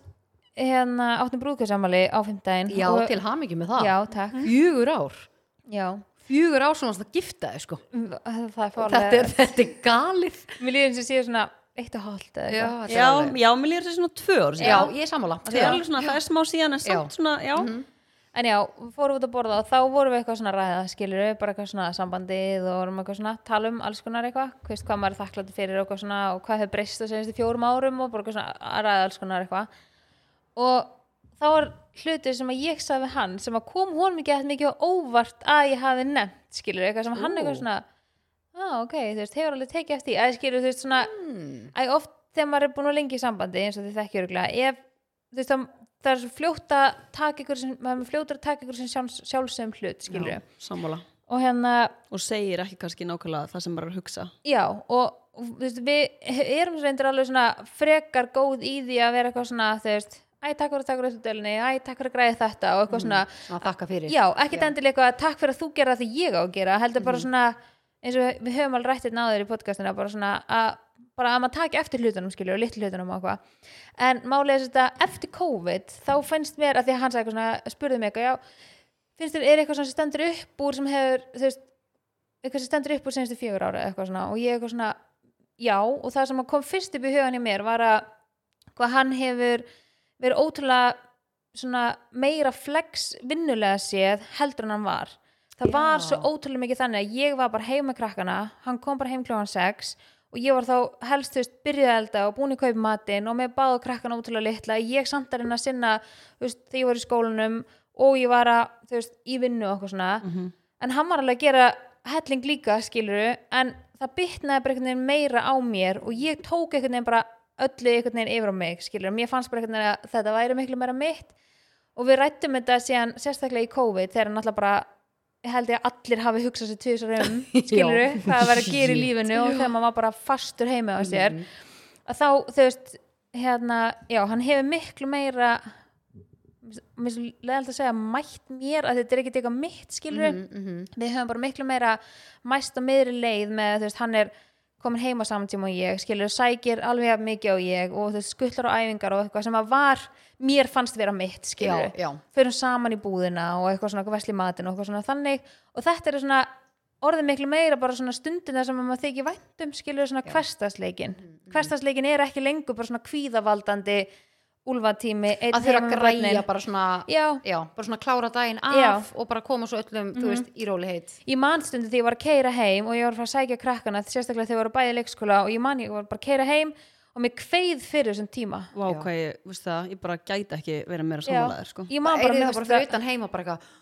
Speaker 3: hérna áttum brúðkjössamali á fimmtæðin
Speaker 2: já, til hamingi með það
Speaker 3: Já, takk
Speaker 2: fjögur ár
Speaker 3: Já,
Speaker 2: fjögur ár svona að gifta þig sko
Speaker 3: Mm, það er
Speaker 2: þetta
Speaker 3: fórlega
Speaker 2: er, þetta er galið
Speaker 3: Mér líður eins og séu svona eitt og hálft eða eitthvað
Speaker 2: þetta er
Speaker 1: Já,
Speaker 2: alveg-
Speaker 1: já, mér líður þessi svona tvö ár
Speaker 2: Já, ég er sammála
Speaker 1: Það er alveg svona, það er smá síðan en samt
Speaker 2: Já. Mhm.
Speaker 1: svona, já
Speaker 3: En já, fórum út að borða og þá vorum við eitthvað svona að ræða, skilur við, bara eitthvað svona sambandið og vorum eitthvað svona að tala um alls konar eitthvað, hvað veist hvað maður er þakklættur fyrir og eitthvað svona og hvað hefur breyst á senstu fjórum árum og bara eitthvað svona að ræða alls konar eitthvað. Og þá var hlutur sem að ég sagði við hann sem að kom honum ekki eitthvað mikið á óvart að ég hafi nefnt, skilur við, eitthvað sem hann eitthvað svona, á ok, þú veist, hefur alveg tekið eftir, að skilur þú veist svona, Æ, oft þegar maður er búin að lengi í sambandi eins og þið þekkjur örgulega ef, þú veist, það, það er svo fljótt að taka ykkur sem, maður er fljótt að taka ykkur sem sjálfs, sjálfsögum hlut, skilur
Speaker 1: Já, sammála
Speaker 3: og hérna,
Speaker 1: Og segir ekki kannski nákvæmlega það sem maður er að hugsa
Speaker 3: já og og, þú veist, við erum reyndir alveg svona frekar góð í því að vera eitthvað svona þú veist, æ, takk fyrir, takk fyrir þessu dölni æ, takk fyrir að græði þetta og eitthvað svona
Speaker 2: að þakka fyrir
Speaker 3: Já, ekkert endilega eitthvað að takk fyrir að þú gera það því ég á að gera, heldur bara svona eins og við höfum alveg rættið náður í podcastinu bara svona að, bara að maður taki eftir hlutunum skilur og litlu hlutunum og eitthvað en málið er þetta eftir COVID þá finnst mér að því að hann sagði eitthvað svona spurði mig eitthvað, já, finnst þér er eitthvað svona sem stendur upp úr sem hefur þú veist, eitthvað sem stendur upp úr senstu fjögur ára eitthvað svona og ég eitthvað svona já og það sem kom fyrst upp í hugan í mér var að hvað hann hefur verið ótrúlega svona meira flex vinnulega séð heldur en hann var það var svo ótrúlega mikið þannig að ég var bara heim með krakkana, hann kom bara heim kljóðan 6 og ég var þá helst þú veist byrjuð að elda og búin í kaup matinn og með báðu krakkana ótrúlega litla, ég samt að reyna að sinna þú veist þegar ég var í skólanum og ég var að, þú veist, í vinnu og okkur
Speaker 1: Mhm.
Speaker 3: svona
Speaker 2: Mhm.
Speaker 3: en hann var alveg að gera helling líka skiluru en það bytnaði bara einhvern veginn meira á mér og ég tók einhvern veginn bara öllu einhvern veginn yfir á mig skiluru, mér fannst bara einhvern veginn að þetta væri miklu meira mitt og við rættum þetta síðan sérstaklega í COVID þegar náttúrulega bara ég held ég að allir hafi hugsað sér tvisar um skiluru,
Speaker 2: Já.
Speaker 3: hvað það var að gera í lífinu og þegar maður var bara fastur heima á sér að þá, þú veist hérna, já, hann hefur miklu meira mér svo leðalt að segja mætt mér að þetta er ekkert eitthvað mitt skilur
Speaker 2: Mhm.
Speaker 3: við höfum bara miklu meira mæst á miðri leið með þú veist hann er komin heim á samtíma og ég skilur sækir alveg jafn mikið á ég og þú veist skullar og æfingar og eitthvað sem að var mér fannst vera mitt skilur
Speaker 2: Já, já.
Speaker 3: förum saman í búðina og eitthvað svona eitthvað vesli matin og eitthvað svona þannig og þetta er svona orðið miklu meira bara svona stundina sem að maður þykir væntum skilur svona hverstasleikin
Speaker 2: Mm,
Speaker 3: hverstasleikin er ekki lengur bara svona kvíðavaldandi úlfatími einn
Speaker 2: að þeirra
Speaker 3: heima með
Speaker 2: græja
Speaker 3: börnin.
Speaker 2: bara svona
Speaker 3: Já.
Speaker 2: bara svona klára daginn af
Speaker 3: Já.
Speaker 2: og bara koma svo öllum, þú veist, í róliheit
Speaker 3: ég man stundu þegar ég var að keira heim og ég var að fara að sækja krakkana sérstaklega þegar ég var að bæði leikskóla og ég man ég var bara að keira heim og mér kveið fyrir þessum tíma
Speaker 1: Vá, hvað ég, veist það, ég bara gæti ekki verið meira sammálaðir, sko
Speaker 3: ég man bara,
Speaker 2: maður bara,
Speaker 3: mér
Speaker 2: það bara
Speaker 3: fannst
Speaker 2: fyrir
Speaker 3: þetta-
Speaker 2: utan heima bara eitthvað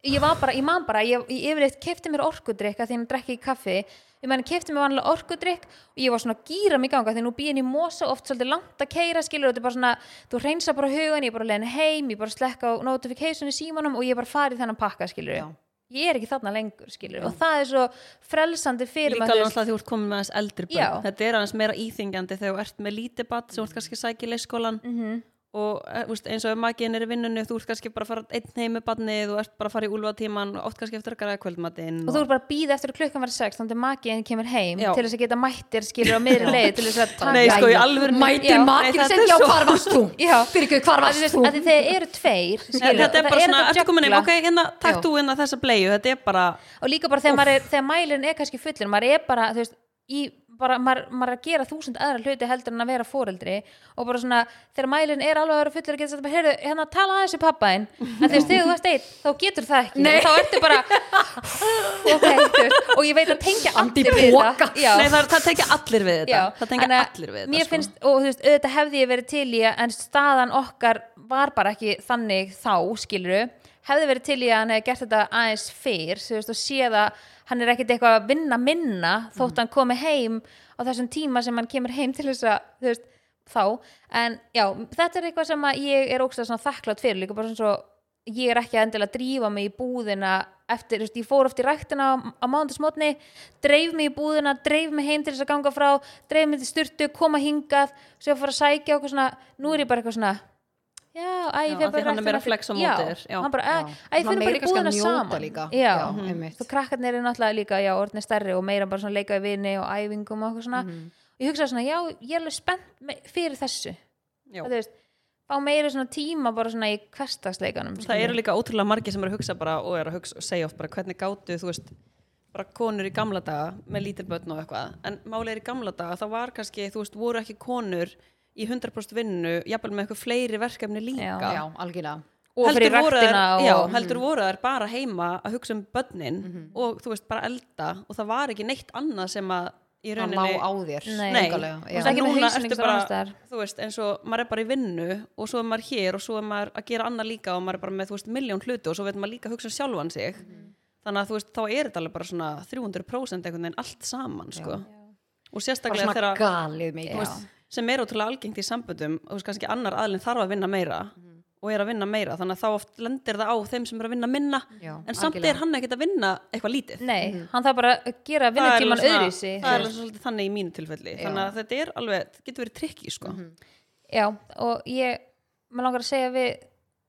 Speaker 3: ég var bara, ég man bara ég, ég yfirleitt kefti mér orkudrykk að því hann drekki í kaffi ég menn kefti mér vanlega orkudrykk og ég var svona að gýra mig í ganga því nú býðin í mosa oft svolítið langt að keira skilur og þetta er bara svona, þú reynsa bara hugan ég er bara leiðin heim, ég bara slekka á notification í símanum og ég er bara farið þennan pakka skilur
Speaker 2: Já.
Speaker 3: ég er ekki þarna lengur skilur og það er svo frelsandi fyrir
Speaker 1: Líka
Speaker 3: maður,
Speaker 1: alveg
Speaker 3: þú veist,
Speaker 1: alltaf því þú ert komin með aðeins eldri börn.
Speaker 3: Já.
Speaker 1: Þetta er aðeins meira íþingjandi þegar þú ert með lítið barn sem þú ert kannski að sækja í leikskólan
Speaker 3: mhm,
Speaker 1: og eh, þú veist, eins og ef maginn er í vinnunni þú ert kannski bara að fara einn heim með barnið þú ert bara að fara í úlfatíman og oft kannski eftir að græða kvöldmatinn
Speaker 3: og þú er bara að býða eftir að klukkan var sex þannig að makiðin kemur heim
Speaker 1: Já.
Speaker 3: til þess að geta mættir skilur á miðri leið til þess að taka
Speaker 1: Nei, sko, í
Speaker 3: Já.
Speaker 1: alvöru
Speaker 2: mæti
Speaker 3: Já.
Speaker 1: Nei,
Speaker 2: makinn
Speaker 1: þetta er
Speaker 2: sinn, já,
Speaker 1: svo-
Speaker 2: hvar varst þú?
Speaker 3: Já.
Speaker 2: Fyrir ekki, hvar
Speaker 3: Að því, þú
Speaker 2: varst
Speaker 3: veist,
Speaker 2: þú?
Speaker 3: að því þeir eru tveir
Speaker 1: Nei,
Speaker 3: skilur,
Speaker 1: þetta er
Speaker 3: og það
Speaker 1: bara svona,
Speaker 3: hægt að
Speaker 1: ertu komin heim,
Speaker 3: jökla.
Speaker 1: ok, hérna, takk
Speaker 2: Já.
Speaker 1: þú hérna þessa bleiðu, þetta er bara,
Speaker 3: og líka bara þegar, maður er, þegar mælirinn er kannski fullur maður er bara, þú veist í, bara, maður, maður er að gera þúsund aðra hluti heldur en að vera foreldri og bara svona þegar mælirinn er alveg að vera fullur að geta sagt bara, heyrðu, hérna tala aðeins við pappaðinn en þú veist, þegar þú ert einn, þá getur það ekki
Speaker 2: Nei.
Speaker 3: þá ertu bara ok, þú veist, og ég veit að tengja
Speaker 2: Andi
Speaker 3: allir við
Speaker 2: poka.
Speaker 3: það Já.
Speaker 1: nei það, það tekja allir við þetta,
Speaker 3: Já,
Speaker 1: það tekja
Speaker 3: þannig að
Speaker 1: allir við
Speaker 3: mér
Speaker 1: þetta, sko.
Speaker 3: finnst, og þú veist, auðvitað hefði ég verið til í að, en staðan okkar var bara ekki þannig þá, skiluru hefði verið til í að hann hefði gert þetta aðeins fyrr, þú veist, og séð að hann er ekkit eitthvað að vinna minna
Speaker 1: Mm.
Speaker 3: þótt hann komi heim á þessum tíma sem hann kemur heim til þess að, þú veist, þá en já, þetta er eitthvað sem að ég er ógstlega svona þakklátt fyrir líka bara svona svo ég er ekki að endilega drífa mig í búðina eftir, þú veist, ég fór oft í ræktina á, á mánundasmótni, dreif mig í búðina dreif mig heim til þess að ganga frá dreif mig til styrtu, koma hingað svo að fara að sækja okkur svona, nú er ég bara eitthvað svona já,
Speaker 1: Já,
Speaker 3: æ, ég fer
Speaker 1: af því
Speaker 3: bara í
Speaker 1: hann er meira
Speaker 3: ræktina fyrir-
Speaker 1: flex á móti þér, já.
Speaker 3: já, hann bara, æ, æ, ég
Speaker 2: Maður
Speaker 3: fer bara
Speaker 2: meiri
Speaker 3: í
Speaker 2: kannski að
Speaker 3: búðina
Speaker 2: njóta
Speaker 3: saman
Speaker 2: líka.
Speaker 3: já,
Speaker 2: Já,
Speaker 3: Mhm.
Speaker 2: einmitt.
Speaker 3: svo krakkarnir eru náttúrulega líka, já, orðin stærri og meira bara svona leika við vini og æfingum og okkur svona
Speaker 1: Mhm.
Speaker 3: og ég hugsaði svona, já, ég er alveg spennt me- fyrir þessu
Speaker 1: Já.
Speaker 3: Að þú veist, fá meiri svona tíma bara svona í hverstagsleikanum
Speaker 1: það eru líka ótrúlega margir sem eru að hugsa bara og eru að hugsa og segja oft bara hvernig gátu þú veist bara konur í gamla daga með lítil börn og eitthvað en málið er í gamla daga þá var kannski þú veist voru ekki konur í 100% vinnu jafnvel með eitthvað fleiri verkefni líka
Speaker 3: Já.
Speaker 2: Já, algjörlega.
Speaker 3: og fyrir
Speaker 1: voru þær-
Speaker 3: ræktina og Mhm.
Speaker 1: já, heldur voru þær bara heima að hugsa um börnin og þú veist bara elda og það var ekki neitt annað sem að í
Speaker 2: Það
Speaker 1: rauninni
Speaker 2: lá á þér.
Speaker 3: Nei.
Speaker 2: algjörlega,
Speaker 1: þú
Speaker 2: já.
Speaker 1: veist,
Speaker 3: Ekki með
Speaker 1: núna
Speaker 3: hausinn
Speaker 1: ertu
Speaker 3: einhvers annars
Speaker 1: bara,
Speaker 3: staðar.
Speaker 1: þú veist, eins og maður er bara í vinnu og svo er maður hér og svo er maður að gera annað líka og maður er bara með, þú veist, miljón hluti og svo veit maður líka að hugsa um sjálfan sig
Speaker 2: Mhm.
Speaker 1: þannig að þú veist, þá er þetta alveg bara svona 300% einhvern veginn allt saman, sko og
Speaker 2: Bara
Speaker 1: sérstaklega
Speaker 2: svona
Speaker 1: þegar
Speaker 2: galið mikið.
Speaker 3: veist,
Speaker 1: sem er ótrúlega algengt í samböndum og þú veist, kannski annar aðlinn þarf að vinna meira
Speaker 2: Mhm.
Speaker 1: og er að vinna meira, þannig að þá oft lendir það á þeim sem er að vinna minna
Speaker 2: Já,
Speaker 1: en samt
Speaker 2: algjörlega.
Speaker 1: er hann ekkert að vinna eitthvað lítið
Speaker 3: nei, hann þarf bara að gera
Speaker 1: Mhm. Það er
Speaker 3: vinnutíman
Speaker 1: alveg svona-
Speaker 3: öðruvísi
Speaker 1: það er alveg svolítið þannig í mínu tilfelli þannig að þetta er alveg, þetta getur verið trikki sko.
Speaker 3: Mhm. já, og ég, maður langar að segja við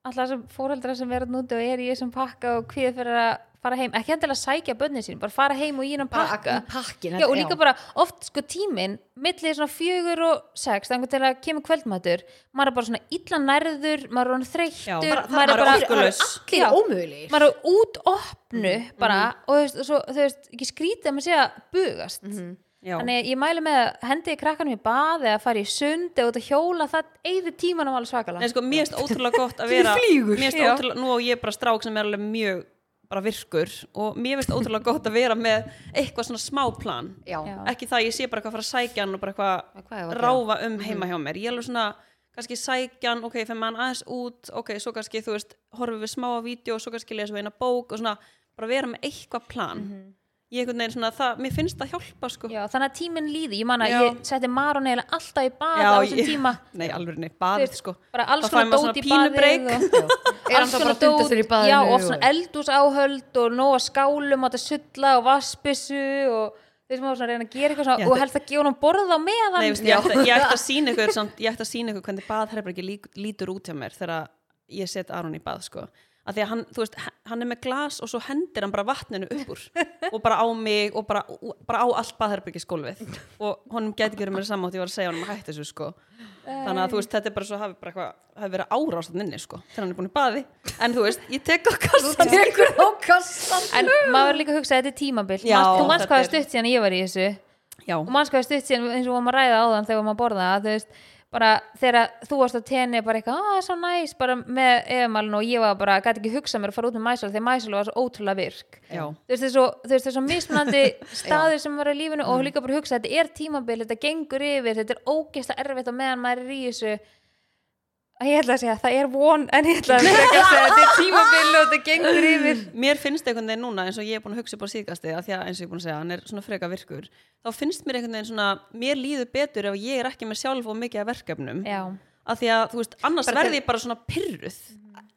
Speaker 3: alla þessum fóreldra sem verða núti og er í þessum pakka og hvíð fyrir að fara heim, ekki endilega sækja börnin sín, bara fara heim og í hennan pakka
Speaker 2: Pakka. Pakkin.
Speaker 3: já, og líka bara oft sko tíminn millið svona fjögur og sex þannig til að kemur kvöldmætur maður er bara svona illa nærður, maður er
Speaker 1: Já,
Speaker 3: orðinn þreyttur
Speaker 1: bara- það-
Speaker 3: maður er bara
Speaker 1: orku-
Speaker 2: Það er
Speaker 1: Skulaus.
Speaker 2: allir
Speaker 3: Já.
Speaker 2: ómögulegir.
Speaker 3: maður er út opnu
Speaker 1: Mm,
Speaker 3: bara og þú veist, og svo, þú veist, ekki skrítið að maður sé að bugast
Speaker 1: Mhm, Já.
Speaker 3: þannig að ég mæli með að hendi krakkanum í bað eða fari í sund eða út að hjóla það eigði tímanum alveg svakalega
Speaker 1: Nei, sko, mér finnst ótrúlega gott að vera
Speaker 2: flýgur.
Speaker 1: Mér finnst
Speaker 3: Já.
Speaker 1: ótrúlega, nú og ég er bara strák sem er alveg mjög bara virkur og mér finnst ótrúlega gott að vera með eitthvað svona smáplan
Speaker 2: Já.
Speaker 3: Já.
Speaker 1: ekki það að ég sé bara eitthvað að fara að sækja hann og bara
Speaker 2: Hvað- hvað ég
Speaker 1: eitthvað
Speaker 2: var að
Speaker 1: ráfa um
Speaker 3: Mhm.
Speaker 1: heima hjá mér ég er alveg svona, kannski sækja hann ok, fyrir maður aðeins út, ok, svo kannski þú veist, horfum við smá á vídeo, svo kannski lesum við eina bók og svona, bara vera með eitthvað plan
Speaker 3: Mhm.
Speaker 1: ég einhvern veginn svona, það, mér finnst það hjálpa sko.
Speaker 3: Já, þannig að tíminn líði, ég man að
Speaker 1: Já.
Speaker 3: ég setti Maron eiginlega alltaf í bað á þessum tíma
Speaker 1: nei, alveg nei,
Speaker 3: Þú
Speaker 1: baðið
Speaker 3: veist,
Speaker 1: sko
Speaker 3: bara alls
Speaker 1: Þá fær maður
Speaker 3: konar dót
Speaker 1: svona
Speaker 3: í baðið
Speaker 1: pínubreik.
Speaker 3: og-
Speaker 2: Er hann
Speaker 3: alls
Speaker 2: þá
Speaker 3: konar
Speaker 2: bara að dunda sér í
Speaker 3: dót,
Speaker 2: baðinu
Speaker 3: já, og
Speaker 2: og-
Speaker 3: svona eldúsáhöld og nóga skálum og þetta sulla og vassbissu og þessum að svona reyna að gera eitthvað svona
Speaker 1: Já,
Speaker 3: og
Speaker 1: þetta-
Speaker 3: helst að gefa hann borða á meðan
Speaker 1: Nei, veist, ég, ætti, ég ætti að sína ykkur samt, ég ætti að sína ykkur hvernig baðherbergi lík, lítur út hjá mér þegar ég set Aron í bað sko. að því að hann, þú veist, h- hann er með glas og svo hendir hann bara vatninu upp úr og bara á mig og bara, og bara á allt baðherbergiskólfið og honum gæti ekki verið mér samátt ég var að segja honum að hætti þessu sko. þannig að þú veist, þetta er bara svo hafi, bara eitthvað, hafi verið árásað inni sko, þegar hann er búin í baði en þú veist, ég tek á kassan
Speaker 2: Tekur á kassan.
Speaker 3: en maður er líka að hugsa að þetta er tímabill
Speaker 1: Já,
Speaker 3: Manst- þú manns
Speaker 1: þetta
Speaker 3: hvað
Speaker 1: er-
Speaker 3: er stutt síðan að ég var í þessu
Speaker 1: Já,
Speaker 3: og manns hvað er stutt síðan eins og maður ræða áðan þegar maður borða að þú veist bara þegar þú varst á tenni bara eitthvað, að svo næs, bara með efumalinn og ég var bara, gæti ekki hugsað mér að fara út með mæsal þegar mæsal var svo ótrúlega virk
Speaker 1: Já.
Speaker 3: þú veist þessu, þú veist þessu mismunandi staður sem var í lífinu
Speaker 1: Mm.
Speaker 3: og líka bara hugsa þetta er tímabil, þetta gengur yfir þetta er ógeðslega erfitt og meðan maður er í þessu að ég ætla að segja það er von, en ég ætla að segja þetta er tímabil og þetta gengur yfir
Speaker 1: mér finnst einhvern veginn núna eins og ég er búin að hugsa upp á síðgasti að því að eins og ég er búin að segja, hann er svona freka virkur þá finnst mér einhvern veginn svona, mér líður betur ef ég er ekki með sjálf og mikið af verkefnum
Speaker 3: já,
Speaker 1: af því að þú veist, annars
Speaker 2: Bara
Speaker 1: verði ég bara svona pyrruð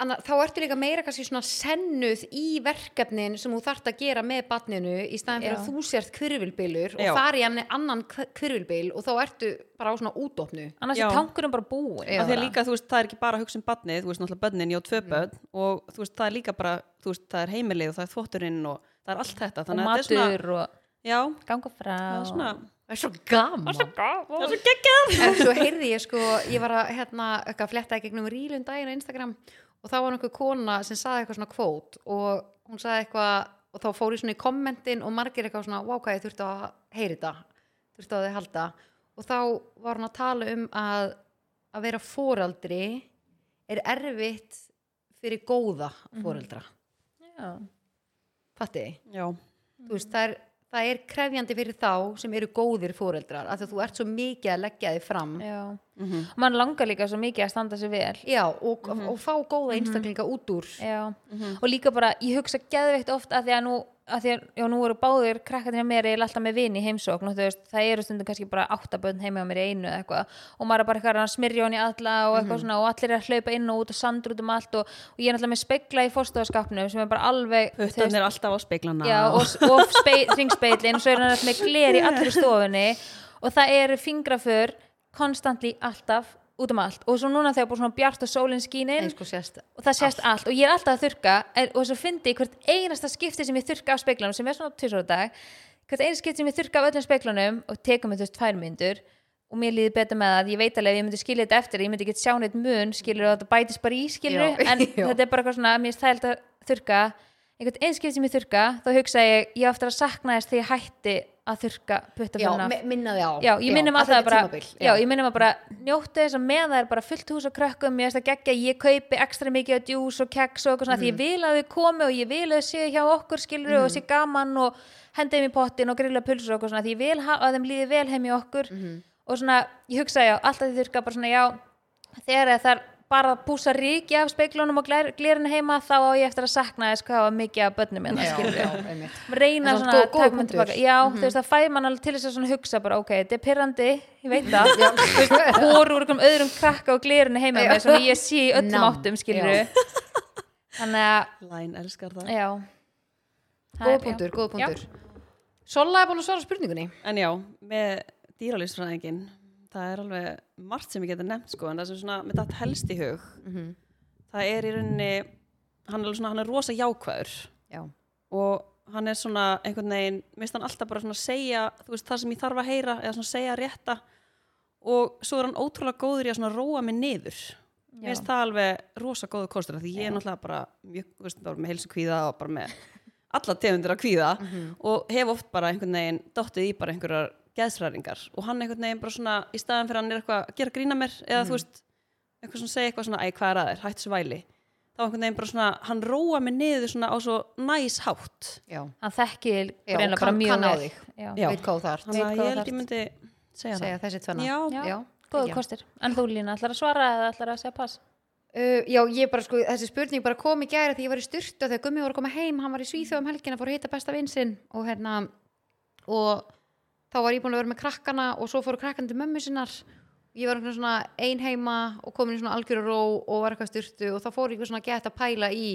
Speaker 2: Anna, þá ertu líka meira kannski svona sennuð í verkefnin sem þú þart að gera með batninu í staðin fyrir
Speaker 3: Já.
Speaker 2: að þú sért kvirvilbylur
Speaker 1: Já.
Speaker 2: og þar í hann annan kvirvilbyl og þá ertu bara á svona útopnu
Speaker 3: annars
Speaker 1: Já.
Speaker 3: er tankurinn bara búin
Speaker 2: Já.
Speaker 1: af því að líka, þú veist, það er ekki bara að hugsa um badnið þú veist, náttúrulega badnin, já,
Speaker 3: Mm.
Speaker 1: tvö börn og þú veist, það er líka bara, þú veist, það er heimilið og það er þvotturinn og það er allt þetta
Speaker 3: og
Speaker 1: þannig að
Speaker 3: matur
Speaker 1: þetta er svona,
Speaker 3: og
Speaker 1: já,
Speaker 3: ganga frá
Speaker 1: það er svona
Speaker 2: Það er svo gaman
Speaker 1: það er svo geggjað
Speaker 2: En svo heyrði ég sko, ég var að hérna, eitthvað fletta í gegnum rílum daginn á Instagram og þá var einhver kona sem saði eitthvað svona kvót og hún saði eitthvað og þá fór ég svona í kommentin og margir eitthvað svona wow hvað ég þurfti að heyri þetta þurfti að þið halda og þá var hún að tala um að að vera fóraldri er erfitt fyrir góða fóreldra mm -hmm.
Speaker 3: Já.
Speaker 1: já,
Speaker 2: þú veist það er Það er krefjandi fyrir þá sem eru góðir fóreldrar af því að þú ert svo mikið að leggja þig fram
Speaker 3: Já.
Speaker 1: mhm,
Speaker 3: og mann langar líka svo mikið að standa sér vel
Speaker 2: Já, og, og fá góða einstaklinga út úr.
Speaker 3: Já.
Speaker 1: mhm,
Speaker 3: og líka bara, ég hugsa geðveikt oft að því að nú, að því að, já, nú eru báðir krakkarnir mér eða alltaf með vini í heimsókn og þú veist, það eru stundum kannski bara áttabönd heima á mér í einu eða eitthvað og maður er bara eitthvað að smyrja hann í alla og
Speaker 2: Mhm.
Speaker 3: eitthvað svona og allir er að hlaupa inn og út og sandur út um allt og, og ég er alltaf með spegla í fórstofaskapnum sem er bara alveg, þú
Speaker 1: puttan er alltaf á speiklana
Speaker 3: já, og, og ringspeilin svo er hann alltaf með gler í allir stofunni og það eru fingraför konstantli alltaf út um allt og svo núna þegar bara svona bjart og sólinn skínin
Speaker 2: Nei, sko sérst,
Speaker 3: og það sést allt og ég er alltaf að þurka er, og svo fyndi ég hvert einasta skipti sem ég þurka af speiklanum sem er svona tvisar á dag hvert einasta skipti sem ég þurka af öllum speiklanum og tekum með þessu tvær myndur og mér líði betur með það, ég veit alveg ef ég myndi skilja þetta eftir, ég myndi ekki sjá neitt mun skilur og þetta bætist bara í skilur
Speaker 2: Já,
Speaker 3: en
Speaker 2: já.
Speaker 3: þetta er bara eitthvað svona, mér er stælt að þurka einhvern einskipt sem ég þurka þá hugsa ég, ég á eftir að sakna þess þegar ég hætti að þurka
Speaker 2: já,
Speaker 3: puttafélna
Speaker 2: mi- minna þig á.
Speaker 3: já, ég minnum að
Speaker 2: þetta
Speaker 3: það bara
Speaker 2: tímabil,
Speaker 3: já, ég minnum að bara njóttu þess að með það er bara fullt hús og krökkum, ég veist að gegja ég kaupi ekstra mikið af djús og keks og eitthvað svona, því ég vil að þau komi og ég vil að þau séu hjá okkur skilur og séu gaman og henda þeim í pottin og grilla pulsur og eitthvað svona, því ég vil ha- að þeim líði vel heim í okkur og svona, ég hugsa já, alltaf því þurrka bara svona já þegar það er bara að púsa ríki af speiklunum og glirinu heima þá á ég eftir að sakna þess hvað var mikið af börnum hérna, minna,
Speaker 2: já,
Speaker 3: skilur
Speaker 2: já, einmitt.
Speaker 3: reyna
Speaker 2: En samt
Speaker 3: svona
Speaker 2: góð-
Speaker 3: að
Speaker 2: góður
Speaker 3: taka mig
Speaker 2: punktur. Mhm.
Speaker 3: tilbaka já, þú veist, það fæði mann alveg til þess að svona hugsa bara, ok, þetta er pirrandi, ég veit það Þú veist, hvor úr einhverjum öðrum krakka og glirinu heima
Speaker 2: Já.
Speaker 3: með sem ég sé í öllum
Speaker 2: Nam,
Speaker 3: áttum, skilur
Speaker 2: já.
Speaker 3: þannig að,
Speaker 1: Læn elskar það
Speaker 3: já Það
Speaker 2: Góð
Speaker 3: er- já.
Speaker 2: punktur, góð
Speaker 3: Já.
Speaker 2: punktur. Sola er búin að svara spurningunni.
Speaker 1: En já, með dýralýsfræðingin það er alveg margt sem ég geta nefnt sko, en það sem svona, með þetta helst í hug það er í rauninni hann er, alveg svona, hann er rosa jákvæður
Speaker 2: Já.
Speaker 1: og hann er svona einhvern veginn, minnst hann alltaf bara svona segja þú veist, það sem ég þarf að heyra eða svona segja rétta og svo er hann ótrúlega góður í að svona róa mig niður
Speaker 3: Já.
Speaker 1: Mér finnst það alveg rosa góðu kostur af því ég er náttúrulega bara mjög, þú veist, bara með heilsu kvíða og bara með alla tegundir að kvíða og hef oft bara einhvern veginn dottið í bara einhverjar geðsræringar og hann einhvern veginn bara svona í staðan fyrir að hann er eitthvað að gera grína mér eða þú veist, eitthvað svona segja eitthvað svona æ, hvað er að þér, hættu svo væli þá einhvern veginn bara svona, hann róa mig niður svona á svo næs hátt
Speaker 2: Já.
Speaker 3: hann þekki
Speaker 2: Já,
Speaker 3: reyna bara
Speaker 2: kann-
Speaker 3: mjög
Speaker 2: kann á
Speaker 3: vel
Speaker 2: þig.
Speaker 3: já.
Speaker 1: Já.
Speaker 2: Veit hvað þú þarft.
Speaker 1: þannig
Speaker 3: Veit
Speaker 1: að
Speaker 3: hvað
Speaker 1: ég
Speaker 3: þú
Speaker 1: held ég myndi segja
Speaker 2: Segja
Speaker 1: það
Speaker 2: þessi tvenna.
Speaker 1: Já.
Speaker 3: Já.
Speaker 2: Já.
Speaker 3: góðu
Speaker 2: Já.
Speaker 3: kostur, en þú Lína, ætlar að svara eða ætlar að segja pass
Speaker 2: Uh, já, ég bara sko, þessi spurning bara kom í gæra því ég var í styrtu þegar Gummi var að koma heim, hann var í Svíþjóð um helgina, fór að hitta besta vinsinn og hérna, og þá var ég búin að vera með krakkana og svo fóru krakkana til mömmu sinnar ég var einhvern svona ein heima og komin í svona algjöru ró og var eitthvað í styrtu og þá fór ég eitthvað svona að geta að pæla í